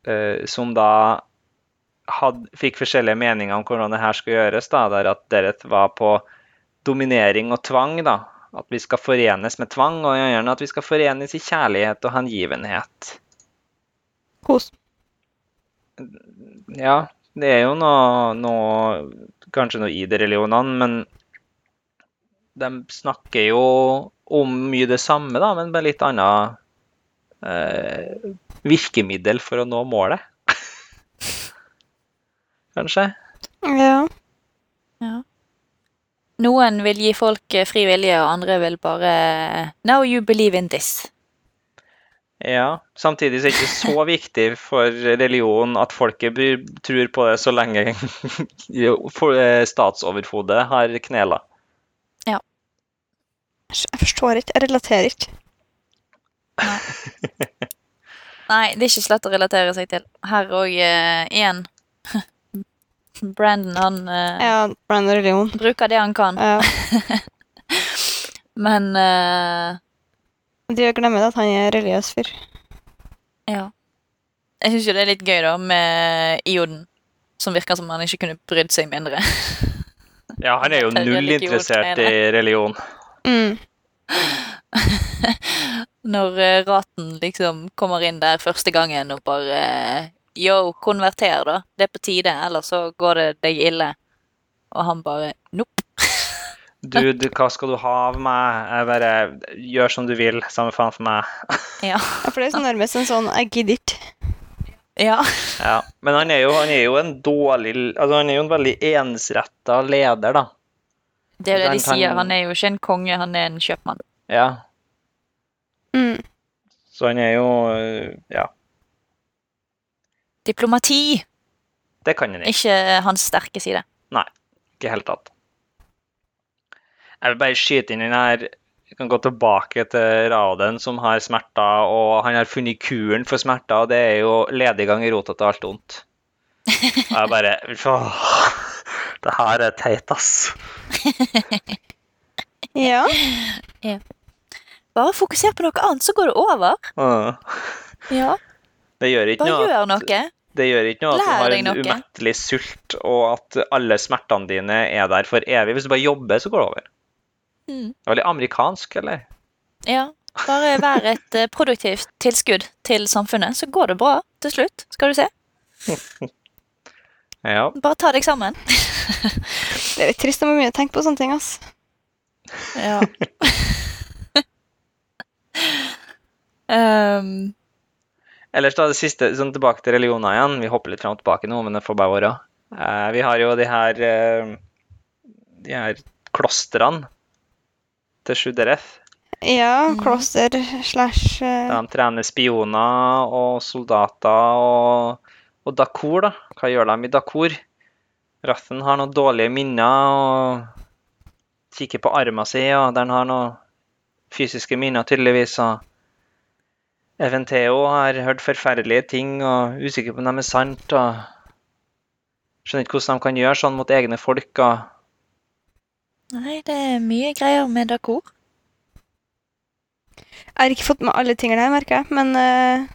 [SPEAKER 2] Eh, som da had, fikk forskjellige meninger om hvordan det her skulle gjøres. da, der At Dereth var på dominering og tvang. da, At vi skal forenes med tvang, og gjerne at vi skal forenes i kjærlighet og hengivenhet.
[SPEAKER 3] Kos.
[SPEAKER 2] Ja, det er jo noe, noe Kanskje noe i de religionene, men de snakker jo om mye det samme, da, men med litt annet eh, virkemiddel for å nå målet. kanskje.
[SPEAKER 3] Ja.
[SPEAKER 1] Noen vil gi folk eh, fri vilje, og andre vil bare eh, Now you believe in this.
[SPEAKER 2] Ja. Samtidig så er det ikke så viktig for religion at folket bryr, tror på det så lenge for- eh, statsoverhodet har knela.
[SPEAKER 3] Jeg forstår ikke. Jeg relaterer ikke.
[SPEAKER 1] Nei, det er ikke slett å relatere seg til. Her òg eh, igjen. Brandon, han eh,
[SPEAKER 3] Ja, brand og religion.
[SPEAKER 1] bruker det han kan,
[SPEAKER 3] Ja.
[SPEAKER 1] men eh,
[SPEAKER 3] De glemmer at han er religiøs fyr.
[SPEAKER 1] Ja. Jeg syns jo det er litt gøy, da, med Ioden. Som virker som han ikke kunne brydd seg mindre.
[SPEAKER 2] Ja, han er jo
[SPEAKER 1] Religion
[SPEAKER 2] null interessert i religion.
[SPEAKER 3] Mm.
[SPEAKER 1] Når eh, Raten liksom kommer inn der første gangen og bare eh, Yo, konverter, da. Det er på tide, ellers så går det deg ille. Og han bare Nope.
[SPEAKER 2] Dude, hva skal du ha av meg? Jeg bare gjør som du vil. Samme faen for meg.
[SPEAKER 3] Ja, for det er sånn nærmest en sånn Jeg gidder ikke.
[SPEAKER 1] Ja.
[SPEAKER 2] Ja. Men han er, jo, han er jo en dårlig Altså, han er jo en veldig ensretta leder, da.
[SPEAKER 1] Det er jo det de
[SPEAKER 2] Sant, han-
[SPEAKER 1] sier. Han er jo ikke en konge, han er en kjøpmann.
[SPEAKER 2] Ja.
[SPEAKER 3] Mm.
[SPEAKER 2] Så han er jo øh, Ja.
[SPEAKER 1] Diplomati!
[SPEAKER 2] Det kan han ikke.
[SPEAKER 1] Ikke hans sterke side.
[SPEAKER 2] Ikke i hele tatt. Jeg vil bare skyte inn den her Vi kan gå tilbake til Raden, som har smerter, og han har funnet kuren for smerter, og det er jo lediggang i rota til alt ondt. Og jeg bare Åh, det her er teit, ass.
[SPEAKER 3] Ja.
[SPEAKER 1] Bare fokuser på noe annet, så går det over.
[SPEAKER 2] Mm.
[SPEAKER 1] Ja.
[SPEAKER 2] Det gjør ikke
[SPEAKER 1] Bare
[SPEAKER 2] noe.
[SPEAKER 1] gjør
[SPEAKER 2] at-
[SPEAKER 1] noe.
[SPEAKER 2] Det gjør ikke noe at du
[SPEAKER 1] Lær
[SPEAKER 2] har
[SPEAKER 1] deg
[SPEAKER 2] en
[SPEAKER 1] noe.
[SPEAKER 2] umettelig sult, og at alle smertene dine er der for evig. Hvis du bare jobber, så går det over.
[SPEAKER 1] Mm.
[SPEAKER 2] Det er Veldig amerikansk, eller?
[SPEAKER 1] Ja, bare vær et eh, produktivt tilskudd til samfunnet, så går det bra til slutt. Skal du se.
[SPEAKER 2] Ja.
[SPEAKER 1] Bare ta deg sammen.
[SPEAKER 3] Det er litt trist å må begynne å tenke på sånne ting, ass.
[SPEAKER 1] Ja. um,
[SPEAKER 2] Ellers da, det siste, sånn tilbake til religioner igjen. Vi hopper litt fram og tilbake nå, men det får bare være. Eh, vi har jo de her, eh, de her klostrene til Shudereth.
[SPEAKER 3] Ja,
[SPEAKER 1] Mhm.
[SPEAKER 3] kloster slash eh,
[SPEAKER 2] Der de trener spioner og soldater og, og Dakor, da. Hva gjør de i Dakor? Rathen har noen dårlige minner og kikker på armen sin, og den har noen fysiske minner, tydeligvis. og Eventeo har hørt forferdelige ting og er usikker på om de er sant. og Skjønner ikke hvordan de kan gjøre sånn mot egne folk. og
[SPEAKER 1] nei, det er mye greier med Dakor.
[SPEAKER 3] Jeg har ikke fått med alle tingene her, merker jeg, men eh,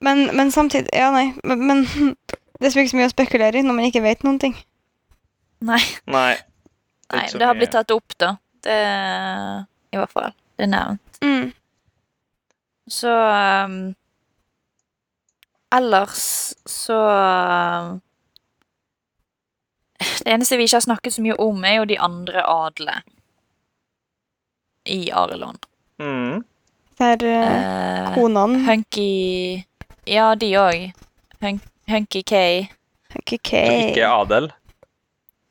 [SPEAKER 3] men, men samtidig Ja, nei, men, men det er så ikke så mye å spekulere i når man ikke vet noen ting.
[SPEAKER 1] Nei,
[SPEAKER 2] Nei.
[SPEAKER 1] nei, det har blitt tatt opp, da. Det I hvert fall. Det er nevnt.
[SPEAKER 3] Mm.
[SPEAKER 1] Så um, Ellers så um, Det eneste vi ikke har snakket så mye om, er jo de andre adlene i Areland.
[SPEAKER 2] Mm.
[SPEAKER 3] Der uh,
[SPEAKER 1] Eh,
[SPEAKER 3] konene
[SPEAKER 1] hunky Ja, de òg. Hun, hunky K.
[SPEAKER 3] KK
[SPEAKER 2] Ikke adel.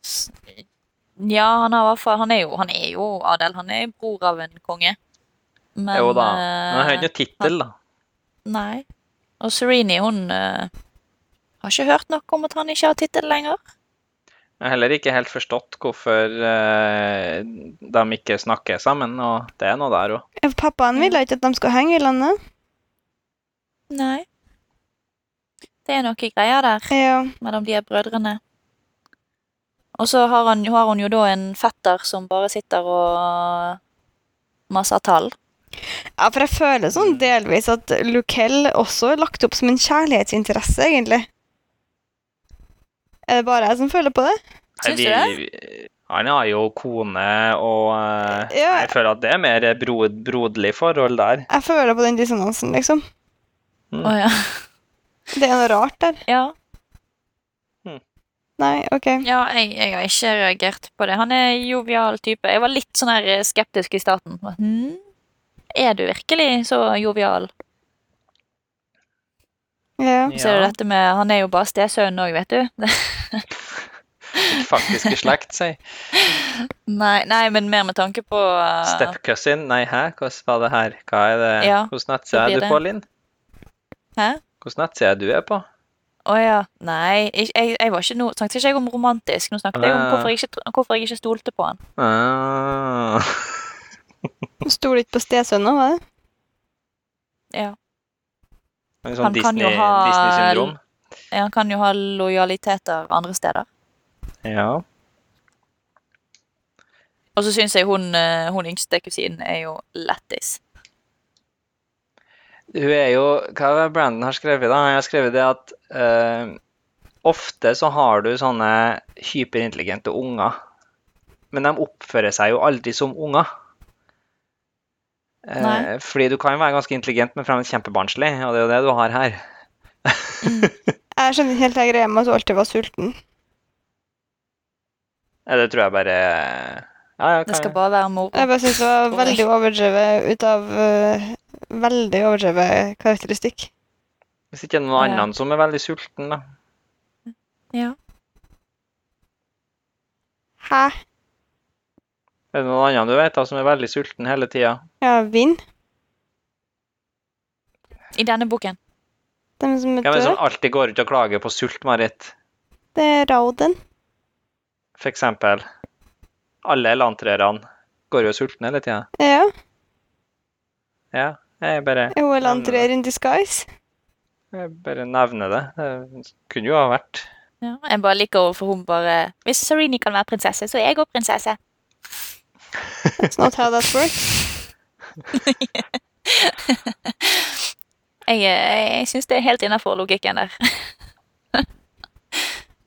[SPEAKER 1] S- Ja, han, har, i hvert fall- han, er jo, han er jo adel. Han er bror av en konge. Men,
[SPEAKER 2] Jo da.
[SPEAKER 1] eh,
[SPEAKER 2] Men han har ikke noe tittel, da.
[SPEAKER 1] Nei. Og Serenie, hun eh, har ikke hørt noe om at han ikke har tittel lenger.
[SPEAKER 2] Jeg har heller ikke helt forstått hvorfor eh, de ikke snakker sammen, og det er noe der òg.
[SPEAKER 3] Ja, for Pappaen ville ikke at de skulle henge i landet.
[SPEAKER 1] Nei. Det er noe greier der
[SPEAKER 3] Ja.
[SPEAKER 1] mellom de her brødrene. Og så har, han, har hun jo da en fetter som bare sitter og maser tall.
[SPEAKER 3] ja, for jeg føler sånn delvis at Lucell også er lagt opp som en kjærlighetsinteresse, egentlig. Er det bare jeg som føler på det?
[SPEAKER 1] Syns du
[SPEAKER 2] det? Han har jo kone, og eh,
[SPEAKER 3] Ja.
[SPEAKER 2] jeg føler at det er mer bro broderlig forhold der.
[SPEAKER 3] Jeg føler på den dissonansen, liksom.
[SPEAKER 1] Å ja.
[SPEAKER 3] Det er noe rart der.
[SPEAKER 1] ja.
[SPEAKER 3] Nei, OK.
[SPEAKER 1] Ja, jeg, jeg har ikke reagert på det. Han er en jovial type. Jeg var litt sånn her eh, skeptisk i starten. Hm? Er du virkelig så jovial?
[SPEAKER 3] Ja.
[SPEAKER 1] Så er det dette med, Han er jo bare stesønn òg, vet du.
[SPEAKER 2] Faktisk i slekt, sier
[SPEAKER 1] nei, nei, men mer med tanke på eh,
[SPEAKER 2] Stepcousin. Nei, hæ, hvordan var det her? Hva er det?
[SPEAKER 1] Ja,
[SPEAKER 2] Hvilken nettside
[SPEAKER 1] så blir
[SPEAKER 2] er du
[SPEAKER 1] det.
[SPEAKER 2] på, Linn?
[SPEAKER 1] Hæ?
[SPEAKER 2] Hvilken nettside er du er på?
[SPEAKER 1] Å ja. Nei, jeg, jeg, jeg var ikke no, snakket ikke jeg om romantisk. Nå snakket jeg om
[SPEAKER 2] Ah.
[SPEAKER 1] hvorfor jeg ikke, tro- hvorfor jeg ikke stolte på han.
[SPEAKER 2] Ah.
[SPEAKER 3] Stoler ikke på stesønna, var det?
[SPEAKER 1] Ja.
[SPEAKER 2] En
[SPEAKER 1] Han
[SPEAKER 2] sånn
[SPEAKER 1] kan jo
[SPEAKER 2] Disney-
[SPEAKER 1] ha-
[SPEAKER 2] Disney-syndrom.
[SPEAKER 1] Ja, Han kan jo ha lojaliteter andre steder.
[SPEAKER 2] ja.
[SPEAKER 1] Og så syns jeg hun, eh, hun yngste kusinen er jo lættis.
[SPEAKER 2] Hun er jo Hva er det Brandon har skrevet? da? Han har skrevet det at eh, ofte så har du sånne hyperintelligente unger, men de oppfører seg jo aldri som unger. Eh,
[SPEAKER 1] Nei.
[SPEAKER 2] fordi du kan være ganske intelligent, men fremdeles kjempebarnslig, og det er jo det du har her.
[SPEAKER 1] Mm.
[SPEAKER 3] Jeg skjønner ikke helt den greia med at hun alltid var sulten.
[SPEAKER 2] Eh, Det tror jeg bare Ja, ja,
[SPEAKER 1] Det skal
[SPEAKER 2] kan,
[SPEAKER 1] bare være moro.
[SPEAKER 3] Jeg bare synes det var
[SPEAKER 1] Oi.
[SPEAKER 3] veldig overdrevet ut av eh, Veldig overdrevet karakteristikk.
[SPEAKER 2] hvis ikke det er noen
[SPEAKER 1] Ja.
[SPEAKER 2] annen som er veldig sulten, da.
[SPEAKER 1] Ja.
[SPEAKER 3] Hæ?
[SPEAKER 2] Er det noen annen du vet da, som er veldig sulten hele tida?
[SPEAKER 3] Ja, Vind?
[SPEAKER 1] I denne boken.
[SPEAKER 3] De som er
[SPEAKER 2] Hvem er det
[SPEAKER 3] døde?
[SPEAKER 2] som alltid går ut og klager på sult, Marit?
[SPEAKER 3] Det er Rauden.
[SPEAKER 2] For eksempel, alle elantrerne går jo sultne hele tida.
[SPEAKER 3] Ja.
[SPEAKER 2] Ja, jeg bare,
[SPEAKER 3] Jo, Elantrer in disguise.
[SPEAKER 2] jeg bare nevner det. Det kunne jo ha vært
[SPEAKER 1] Ja, jeg bare liker hvorfor hun bare Hvis Serene kan være prinsesse, så er jeg òg prinsesse.
[SPEAKER 3] That's not how that works.
[SPEAKER 1] Jeg, eh, jeg syns det er helt innafor logikken der.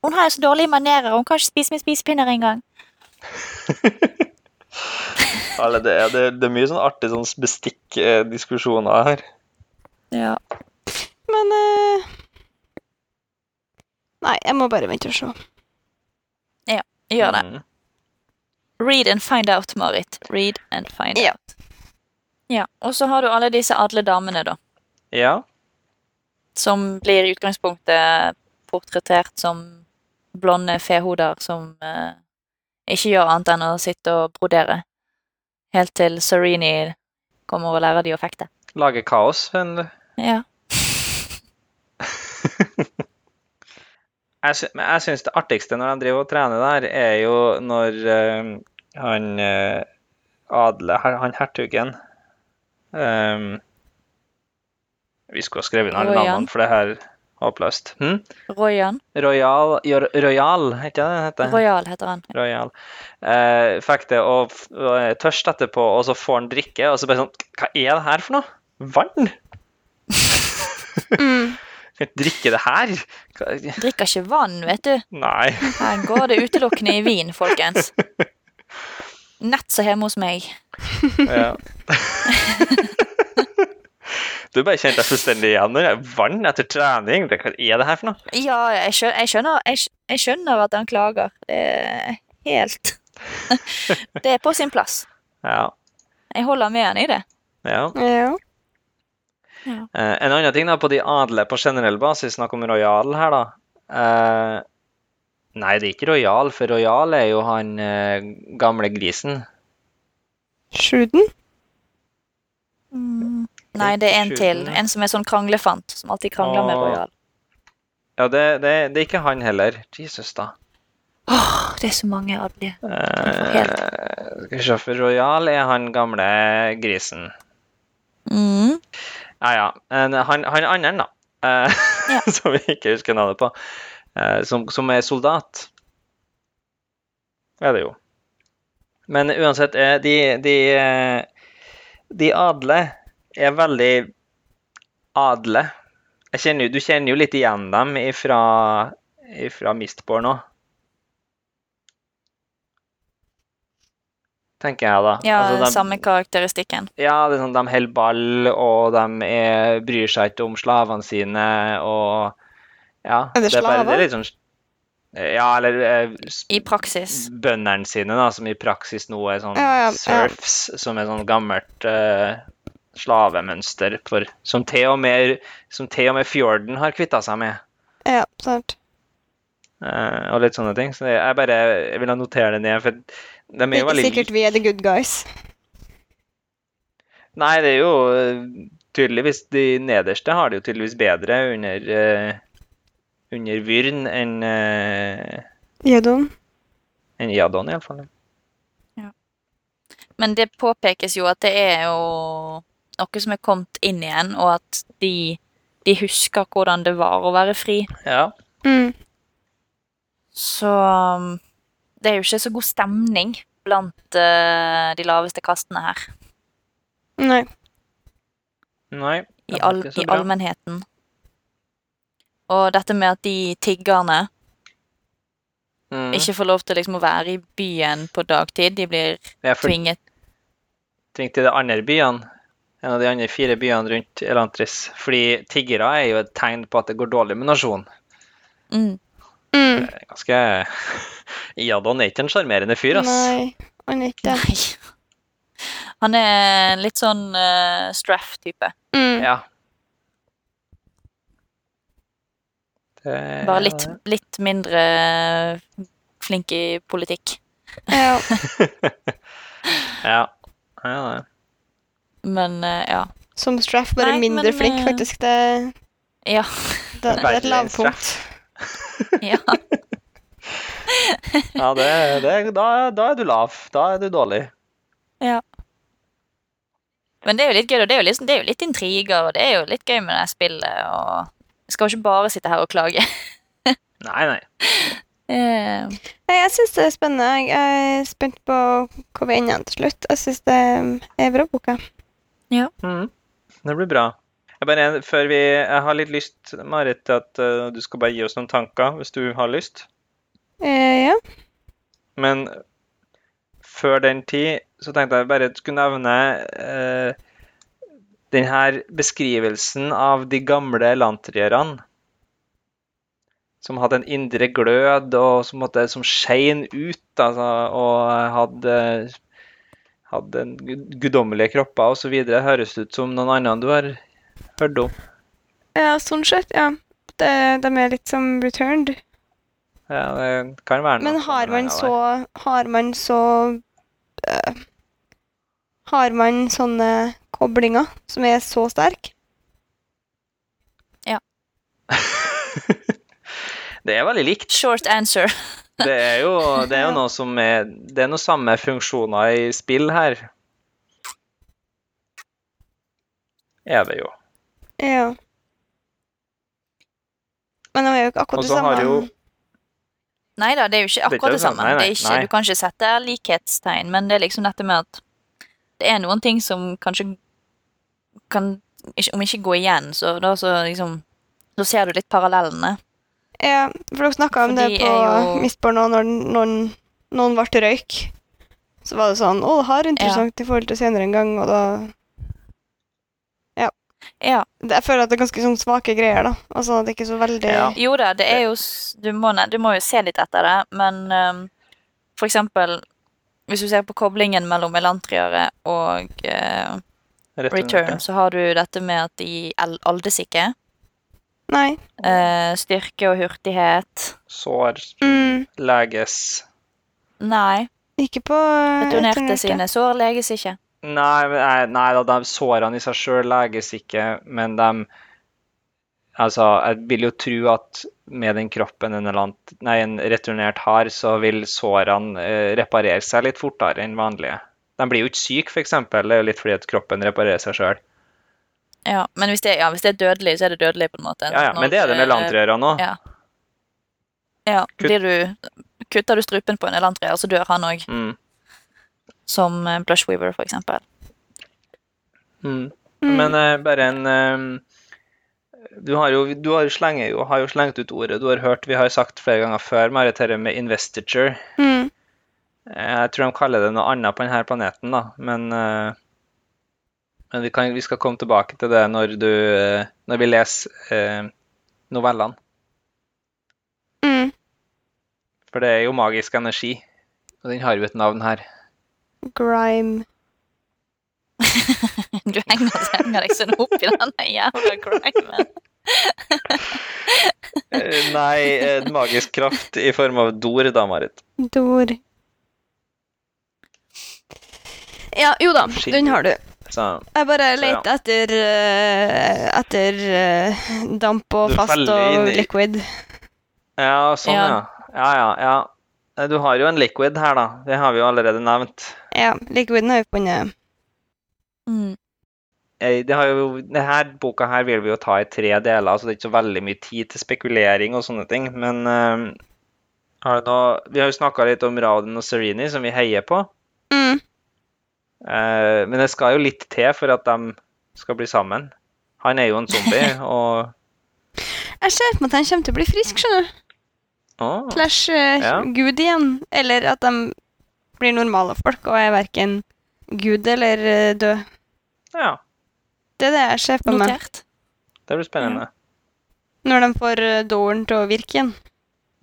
[SPEAKER 1] hun har jo så dårlige manerer. Hun kan ikke spise med spisepinner engang.
[SPEAKER 2] det, er, mye sånn artig sånn bestikkdiskusjoner her.
[SPEAKER 1] Ja.
[SPEAKER 3] Men eh, Nei, jeg må bare vente og se.
[SPEAKER 1] Gjør det.
[SPEAKER 2] Mm.
[SPEAKER 1] Read and find out, Marit. Read and find
[SPEAKER 3] Ja.
[SPEAKER 1] out. Ja, Og så har du alle disse adle damene, da.
[SPEAKER 2] Ja.
[SPEAKER 1] Som blir i utgangspunktet portrettert som blonde fehoder som eh, ikke gjør annet enn å sitte og brodere. Helt til Serene kommer og lærer de å fekte.
[SPEAKER 2] Lage kaos. Men
[SPEAKER 1] Ja.
[SPEAKER 2] jeg, sy- men jeg syns det artigste når de driver og trener der, er jo når eh, han eh, adle, her- han hertugen eh, Vi skulle ha skrevet ned alle
[SPEAKER 1] Royan.
[SPEAKER 2] navnene, for det her er håpløst. Hm?
[SPEAKER 1] Royan.
[SPEAKER 2] Royal, jo- Royal, er ikke det det heter?
[SPEAKER 1] Royal heter han.
[SPEAKER 2] Royal. Eh, fikk det og f- og er tørst etterpå, og så får han drikke, og så bare sånn Hva er det her for noe? Vann?
[SPEAKER 3] Mm.
[SPEAKER 2] Kan ikke drikke det her? Hva?
[SPEAKER 1] Drikker ikke vann, vet du.
[SPEAKER 2] Nei.
[SPEAKER 1] Her går det utelukkende i vin, folkens. Nett som hjemme hos meg.
[SPEAKER 2] Ja. du bare kjente deg fullstendig igjen når det er vann etter trening. Det, hva er det her for noe?
[SPEAKER 1] Ja, jeg skjønner, jeg skjønner, jeg, skj- jeg skjønner at han klager. Det er helt Det er på sin plass.
[SPEAKER 2] Ja.
[SPEAKER 1] Jeg holder med han i det.
[SPEAKER 2] ja.
[SPEAKER 3] Ja.
[SPEAKER 2] Eh, en annen ting da, på de adle på generell basis, snakk om Royal her, da. Eh, nei, det er ikke Royal, for Royal er jo han eh, gamle grisen.
[SPEAKER 3] Shooden?
[SPEAKER 1] Nei, det er en til.
[SPEAKER 2] Skjuten, ja.
[SPEAKER 1] En som er sånn kranglefant, som alltid krangler med
[SPEAKER 2] Åh.
[SPEAKER 1] Royal.
[SPEAKER 2] Ja, det, det, det er ikke han heller. Jesus, da.
[SPEAKER 1] Åh, det er så mange adelige. får
[SPEAKER 2] Eh, Christopher Royal er han gamle grisen.
[SPEAKER 1] Mm.
[SPEAKER 2] Ja, ja. En- Han, han andre, da. Eh,
[SPEAKER 1] Ja.
[SPEAKER 2] Som vi ikke husker navnet på. Eh, som, som er soldat. Er det jo. Men uansett, eh, de, de, eh, de adle er veldig adle. Jeg kjenner, jo- du kjenner jo litt igjen dem ifra, ifra Mistborn òg. Tenker jeg, da.
[SPEAKER 1] Ja,
[SPEAKER 2] Altså, dem-
[SPEAKER 1] samme karakteristikken.
[SPEAKER 2] ja, det er sånn, de holder ball, og de er, bryr seg ikke om slavene sine, og ja.
[SPEAKER 3] Er det
[SPEAKER 2] er bare-
[SPEAKER 3] slaver?
[SPEAKER 2] Det er litt sånn, ja, eller eh, s-
[SPEAKER 1] I praksis.
[SPEAKER 2] bøndene sine, da, som i praksis nå er sånn
[SPEAKER 3] Ja, ja, ja.
[SPEAKER 2] serfs, som er sånn gammelt eh, slavemønster, for, som, til og med, som til og med fjorden har kvittet seg med.
[SPEAKER 3] Ja, sant.
[SPEAKER 2] eh, og litt sånne ting. Så jeg bare jeg vil notere det ned. For de er
[SPEAKER 3] Det
[SPEAKER 2] jo
[SPEAKER 3] er
[SPEAKER 2] veldig
[SPEAKER 3] ikke sikkert vi er the good guys.
[SPEAKER 2] Nei, det er jo eh, tydeligvis De nederste har det jo tydeligvis bedre under eh, under Vyrn enn uh,
[SPEAKER 3] Jødom.
[SPEAKER 2] enn Jadon, iallfall.
[SPEAKER 1] Men det påpekes jo at det er jo noe som er kommet inn igjen, og at de, de husker hvordan det var å være fri.
[SPEAKER 2] Ja.
[SPEAKER 3] Mm.
[SPEAKER 1] Så um, det er jo ikke så god stemning blant eh, de laveste kastene her.
[SPEAKER 3] Nei.
[SPEAKER 2] Nei.
[SPEAKER 1] I,
[SPEAKER 2] det var
[SPEAKER 1] all,
[SPEAKER 2] ikke så
[SPEAKER 1] i
[SPEAKER 2] bra.
[SPEAKER 1] allmennheten. Og dette med at de tiggerne
[SPEAKER 2] Mm.
[SPEAKER 1] ikke får lov til liksom å være i byen på dagtid. De blir
[SPEAKER 2] Jeg er
[SPEAKER 1] tvinget
[SPEAKER 2] fortrengt til de andre byene. En av de andre fire byene rundt Elantris. Fordi tiggere er jo et tegn på at det går dårlig med nasjonen.
[SPEAKER 1] mm.
[SPEAKER 3] Mm.
[SPEAKER 2] Det er Ganske Jadon er ikke en sjarmerende fyr, ass.
[SPEAKER 3] Nei. Han er ikke det.
[SPEAKER 1] Nei. Han er en litt sånn eh, straff-type.
[SPEAKER 3] Mm.
[SPEAKER 2] Ja. Det-
[SPEAKER 1] Bare litt, litt mindre flink i politikk.
[SPEAKER 3] Ja.
[SPEAKER 2] Ja. ja, ja.
[SPEAKER 1] Men eh, ja.
[SPEAKER 3] Som straff, bare
[SPEAKER 1] Nei,
[SPEAKER 3] mindre
[SPEAKER 1] men,
[SPEAKER 3] flink,
[SPEAKER 1] eh,
[SPEAKER 3] faktisk. Det,
[SPEAKER 1] Ja.
[SPEAKER 3] det, det er et
[SPEAKER 2] Verre enn
[SPEAKER 3] lavpunkt.
[SPEAKER 2] straff.
[SPEAKER 1] ja.
[SPEAKER 2] Ja, det, det, da, da er du lav. Da er du dårlig.
[SPEAKER 1] Men det er jo litt gøy, og det er jo, liksom, det er jo litt intriger, og det er jo litt gøy med det her spillet. og jeg skal jo ikke bare sitte her og klage.
[SPEAKER 2] Nei, nei.
[SPEAKER 1] Eh,
[SPEAKER 3] Nei, jeg syns det er spennende. Jeg er spent på hva vi ender til slutt. Jeg syns det er bra boka.
[SPEAKER 2] Mhm. Det blir bra. Jeg, bare, før vi, jeg har litt lyst, Marit, til at eh, du skal bare gi oss noen tanker, hvis du har lyst.
[SPEAKER 3] Eh, ja.
[SPEAKER 2] Men før den tid så tenkte jeg bare at jeg skulle nevne eh, den her beskrivelsen av de gamle lantrierne. Som hadde en indre glød, og som, måtte, som skein ut, altså, og hadde, hadde en gud- guddommelige kropper osv. Høres ut som noen andre du har hørt om.
[SPEAKER 3] ja, sånn sett, ja. Det, de er litt som returned.
[SPEAKER 2] Ja, det kan være noe
[SPEAKER 3] Men
[SPEAKER 2] sånn
[SPEAKER 3] har man
[SPEAKER 2] der.
[SPEAKER 3] så Har man så eh, Har man sånne koblinger som er så sterke?
[SPEAKER 2] Det er veldig likt.
[SPEAKER 1] short answer.
[SPEAKER 2] Det er jo, det er jo noe som er Det er noe samme funksjoner i spill her. Er det jo.
[SPEAKER 3] Ja. Men de er jo ikke
[SPEAKER 2] Og
[SPEAKER 3] akkurat det
[SPEAKER 2] så har
[SPEAKER 3] samme.
[SPEAKER 2] jo-
[SPEAKER 1] Nei da, det er jo ikke
[SPEAKER 2] er ikke
[SPEAKER 1] akkurat det
[SPEAKER 2] det
[SPEAKER 1] samme.
[SPEAKER 2] samme. Nei, nei,
[SPEAKER 1] det er ikke,
[SPEAKER 2] nei.
[SPEAKER 1] Du kan ikke sette likhetstegn, men det er liksom dette med at det er noen ting som kanskje kan ikke- Om ikke gå igjen, så da så liksom Da ser du litt parallellene.
[SPEAKER 3] Ja, for dere snakka om
[SPEAKER 1] For
[SPEAKER 3] det
[SPEAKER 1] de
[SPEAKER 3] på
[SPEAKER 1] er jo-
[SPEAKER 3] Mistborn nå, når noen, noen ble røyk. Så var det sånn Å, det her er interessant i forhold til senere en gang, og da
[SPEAKER 1] Ja.
[SPEAKER 3] det- Jeg føler at det er ganske sånn svake greier, da. Altså, det er ikke så veldig
[SPEAKER 2] Ja.
[SPEAKER 1] Jo da, det er jo s- Du må, ne- du må jo se litt etter det, men ehm, for eksempel hvis du ser på koblingen mellom elantriere og eh,
[SPEAKER 2] Rett og slett.
[SPEAKER 1] return, så har du dette med at de el- aldesyke.
[SPEAKER 3] Nei.
[SPEAKER 1] eh, styrke og hurtighet.
[SPEAKER 2] Sår,
[SPEAKER 3] Mm,
[SPEAKER 2] leges
[SPEAKER 1] Nei.
[SPEAKER 3] ikke på eh,
[SPEAKER 1] Returnerte
[SPEAKER 3] returnerte.
[SPEAKER 1] sine sår leges ikke.
[SPEAKER 2] Nei, men- nei, nei da, de sårene i seg sjøl leges ikke, men de Altså, jeg vil jo tro at med den kroppen en, eller annen, nei, en returnert har, så vil sårene eh, reparere seg litt fortere enn vanlige. De blir jo ikke syke, f.eks. Det er jo litt fordi at kroppen reparerer seg sjøl.
[SPEAKER 1] Ja, men hvis det, ja, hvis det er dødelig, så er det dødelig, på en måte.
[SPEAKER 2] Ja, ja, men det er det med lantrøra nå.
[SPEAKER 1] eh, Ja. Ja, blir du, kutter du strupen på en elantrea, så dør han òg,
[SPEAKER 2] Mm.
[SPEAKER 1] som eh, Blushweaver, for eksempel.
[SPEAKER 2] Mm.
[SPEAKER 3] Mm.
[SPEAKER 2] Men eh, bare en eh, Du har jo, du har jo, slenger jo, har jo slengt ut ordet. Du har hørt vi har sagt flere ganger før Marit, dette med investiture.
[SPEAKER 3] Mm.
[SPEAKER 2] Eh, Jeg tror de kaller det noe annet på denne planeten, da. Men, eh, men vi, kan, vi skal komme tilbake til det når, du, eh, når vi leser eh, novellene.
[SPEAKER 3] Mm.
[SPEAKER 2] For det er jo magisk energi. Og den har jo et navn her.
[SPEAKER 3] Grime.
[SPEAKER 1] Du henger, henger deg sånn opp i den jævla grimen.
[SPEAKER 2] Eh, Nei, en magisk kraft i form av dor, da, Marit.
[SPEAKER 3] Dor. Ja, jo da, den har du.
[SPEAKER 2] Så
[SPEAKER 3] Jeg bare
[SPEAKER 2] Så, ja.
[SPEAKER 3] leter etter eh, etter eh, damp og
[SPEAKER 2] Du
[SPEAKER 3] fast
[SPEAKER 2] feller
[SPEAKER 3] og
[SPEAKER 2] inn i-
[SPEAKER 3] liquid.
[SPEAKER 2] Ja, sånn, ja.
[SPEAKER 1] Ja.
[SPEAKER 2] Ja, ja, ja. Eh, Du har jo en liquid her, da. Det har vi jo allerede nevnt.
[SPEAKER 3] Ja, liquiden har vi funnet.
[SPEAKER 1] Mm.
[SPEAKER 2] Eh, Det har jo, det her, boka her vil vi jo ta i tre deler, så det er ikke så veldig mye tid til spekulering og sånne ting. Men eh, har du noe, vi har jo snakka litt om Raden og Serini, som vi heier på.
[SPEAKER 3] Mm.
[SPEAKER 2] Eh, men det skal jo litt til for at de skal bli sammen. Han er jo en zombie, og
[SPEAKER 3] Jeg ser for meg at han kommer til å bli frisk, skjønner du.
[SPEAKER 2] Å,
[SPEAKER 3] Slash eh,
[SPEAKER 2] Ja.
[SPEAKER 3] gud igjen. Eller at de blir normale folk og er verken gud eller eh, død.
[SPEAKER 2] Ja.
[SPEAKER 3] Det er det jeg ser for meg.
[SPEAKER 1] Notert.
[SPEAKER 2] Det blir spennende.
[SPEAKER 3] Når de får eh, doren til å virke igjen.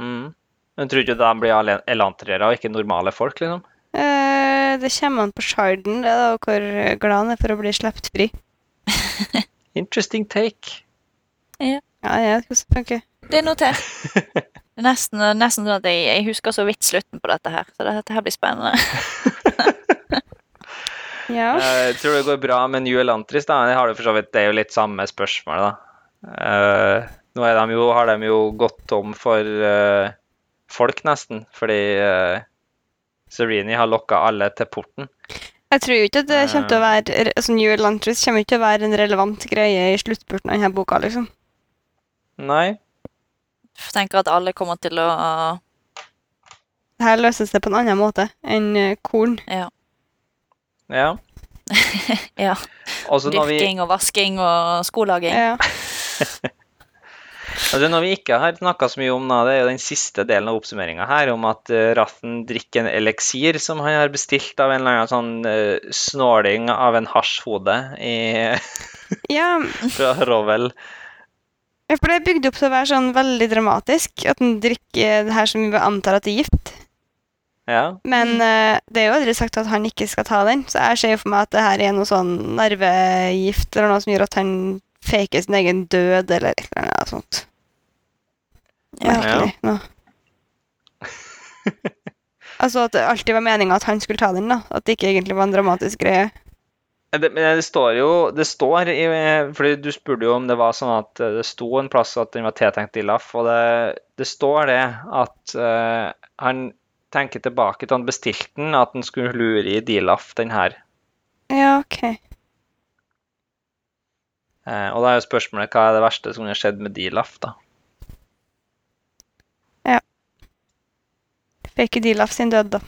[SPEAKER 2] Mm. Men tror du ikke de blir ale- elantrere og ikke normale folk, liksom?
[SPEAKER 3] Eh, det kommer an på sharden, det da, og hvor glad han er for å bli sluppet fri.
[SPEAKER 2] Interesting take.
[SPEAKER 3] Ja, jeg vet hvordan det funker.
[SPEAKER 1] Det er notert. Det er nesten, nesten sånn at jeg, jeg husker så vidt slutten på dette her, så dette her blir spennende.
[SPEAKER 3] Ja.
[SPEAKER 2] Eh, Jeg tror det går bra med New Elantris, da. Det, har du for så vidt, det er jo litt samme spørsmål, da. Eh, nå er de jo, har de jo gått tom for eh, folk, nesten, fordi uh, Serini har lokka alle til porten.
[SPEAKER 3] Jeg tror jo ikke at det kommer til å
[SPEAKER 2] Eh.
[SPEAKER 3] være altså New Atlantis kommer jo ikke til å være en relevant greie i sluttspurten av denne boka, liksom.
[SPEAKER 2] Nei.
[SPEAKER 1] Jeg tenker at alle kommer til å
[SPEAKER 3] Det her løses det på en annen måte enn eh, korn.
[SPEAKER 2] Ja.
[SPEAKER 1] Ja.
[SPEAKER 2] Også når vi,
[SPEAKER 1] Dyrking og vasking og skolaging.
[SPEAKER 3] Ja.
[SPEAKER 2] altså når vi ikke har snakka så mye om da, det, er jo den siste delen av oppsummeringa her, om at uh, Rathen drikker en eliksir som han har bestilt av en eller annen sånn eh, snåling av en hasjhode i-
[SPEAKER 3] ja,
[SPEAKER 2] fra Rovel.
[SPEAKER 3] ja, for det er bygd opp til å være sånn veldig dramatisk, at en drikker det her som vi antar at er gift.
[SPEAKER 2] Ja.
[SPEAKER 1] Mm.
[SPEAKER 3] Men eh, det er jo aldri sagt at han ikke skal ta den, så jeg ser jo for meg at det her er noe sånn nervegift eller noe som gjør at han faker sin egen død eller et eller annet sånt.
[SPEAKER 1] Ja.
[SPEAKER 3] Merkelig, nå. altså at det alltid var meninga at han skulle ta den, da. At det ikke egentlig var en dramatisk greie.
[SPEAKER 2] Ja, Eh, Det, men det står jo Det står i eh, Fordi du spurte jo om det var sånn at eh, det sto en plass at den var tiltenkt Illaf, og det, det står det at eh, han tenker tilbake til han bestilte den, at han skulle lure i Dilaf, den her.
[SPEAKER 3] Ja, ok.
[SPEAKER 2] Eh, og da er jo spørsmålet hva er det verste som kunne skjedd med Dilaf, da?
[SPEAKER 3] Fake Dilaf sin død, da.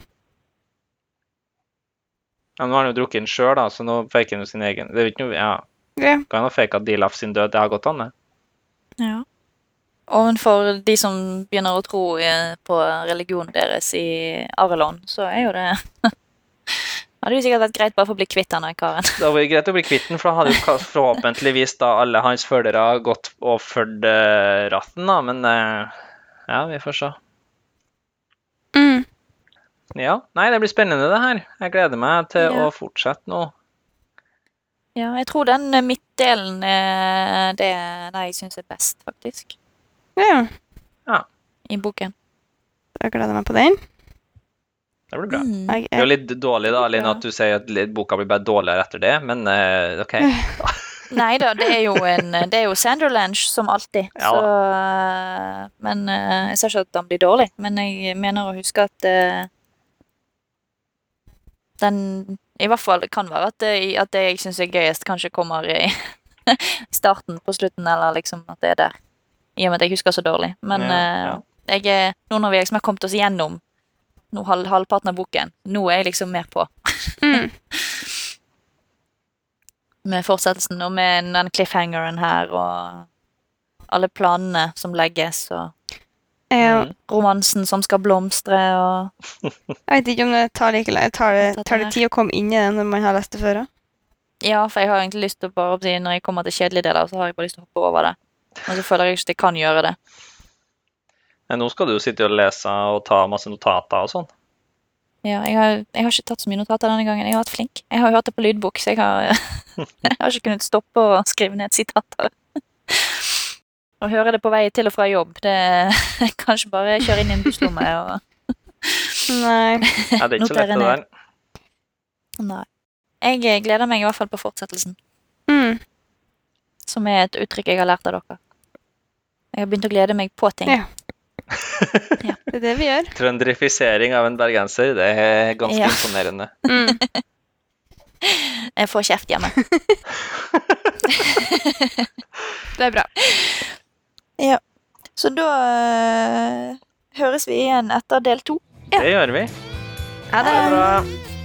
[SPEAKER 2] Ja, nå har han jo drukket den sjøl, da, så nå faker han jo sin egen Det er jo ikke noe Ja,
[SPEAKER 3] Ja.
[SPEAKER 2] kan han ha faka Dilaf sin død? Det har gått an, det.
[SPEAKER 1] Ja. Ovenfor de som begynner å tro eh, på religionen deres i Arelon, så er jo det Hadde jo sikkert vært greit bare for å bli kvitt denne karen.
[SPEAKER 2] Det hadde vært greit å bli kvitt den, for da hadde jo ka- forhåpentligvis da alle hans følgere gått og fulgt eh, ratten, da, men eh, ja, vi får se.
[SPEAKER 3] Mm.
[SPEAKER 2] Ja, nei, det blir spennende det her. Jeg gleder meg til
[SPEAKER 1] Ja.
[SPEAKER 2] å fortsette nå.
[SPEAKER 1] Ja, jeg tror den eh, midtdelen er det er den jeg syns er best, faktisk,
[SPEAKER 3] ja.
[SPEAKER 1] i boken.
[SPEAKER 3] Jeg gleder meg på den.
[SPEAKER 2] Det blir bra.
[SPEAKER 1] Mm.
[SPEAKER 3] Jeg
[SPEAKER 2] Det er
[SPEAKER 3] er
[SPEAKER 2] jo litt dårlig da, Aline,
[SPEAKER 1] bra.
[SPEAKER 2] at du sier at li- boka blir bare dårligere etter det, men eh, OK.
[SPEAKER 1] Nei da, det er jo, en, eh, det er jo Sanderlange som alltid.
[SPEAKER 2] Ja
[SPEAKER 1] så, eh, men eh, Jeg sa ikke at han blir dårlig, men jeg mener å huske at eh, den I hvert fall det kan være at det, at det jeg syns er gøyest, kanskje kommer i starten, på slutten, eller liksom at det er der. I og med at jeg husker så dårlig. Men
[SPEAKER 2] Ja,
[SPEAKER 1] eh,
[SPEAKER 2] ja.
[SPEAKER 1] jeg er, nå når vi liksom har kommet oss igjennom nå, halv, halvparten av boken, nå er jeg liksom mer på
[SPEAKER 3] Mm.
[SPEAKER 1] med fortsettelsen og med den cliffhangeren her og alle planene som legges og
[SPEAKER 3] Ja,
[SPEAKER 4] Mm.
[SPEAKER 1] romansen som skal blomstre og
[SPEAKER 3] jeg vet ikke om det tar like lang- Tar, det- tar det tid å komme inn i det når man har lest det før? da?
[SPEAKER 1] Ja, for jeg har egentlig lyst til å bare si når jeg kommer til kjedelige deler, så har jeg bare lyst til å hoppe over det. Men så føler jeg ikke at jeg kan gjøre det.
[SPEAKER 4] Men nå skal du jo sitte og lese og ta masse notater og sånn.
[SPEAKER 1] Ja, jeg har, jeg har ikke tatt så mye notater denne gangen. Jeg har vært flink. Jeg har hørt det på lydbok, så jeg har, jeg har ikke kunnet stoppe å skrive ned sitater. Å høre det på vei til og fra jobb, det jeg kan ikke bare kjøre inn i en busslomme og
[SPEAKER 4] Nei,
[SPEAKER 3] Nei.
[SPEAKER 4] det er ikke så lett,
[SPEAKER 1] Noterer
[SPEAKER 4] det
[SPEAKER 1] ned.
[SPEAKER 4] der.
[SPEAKER 1] Nei. Jeg eh, gleder meg i hvert fall på fortsettelsen,
[SPEAKER 3] Mm.
[SPEAKER 1] som er et uttrykk jeg har lært av dere. Jeg har begynt å glede meg på ting.
[SPEAKER 3] Ja. Det er det vi gjør.
[SPEAKER 4] Trønderifisering av en bergenser, det er ganske
[SPEAKER 1] Ja.
[SPEAKER 4] imponerende.
[SPEAKER 3] Mm.
[SPEAKER 1] Jeg får kjeft hjemme.
[SPEAKER 3] Det er bra.
[SPEAKER 1] Så da øh, høres vi igjen etter del to.
[SPEAKER 4] Det gjør vi.
[SPEAKER 1] Ha
[SPEAKER 4] Ha det bra.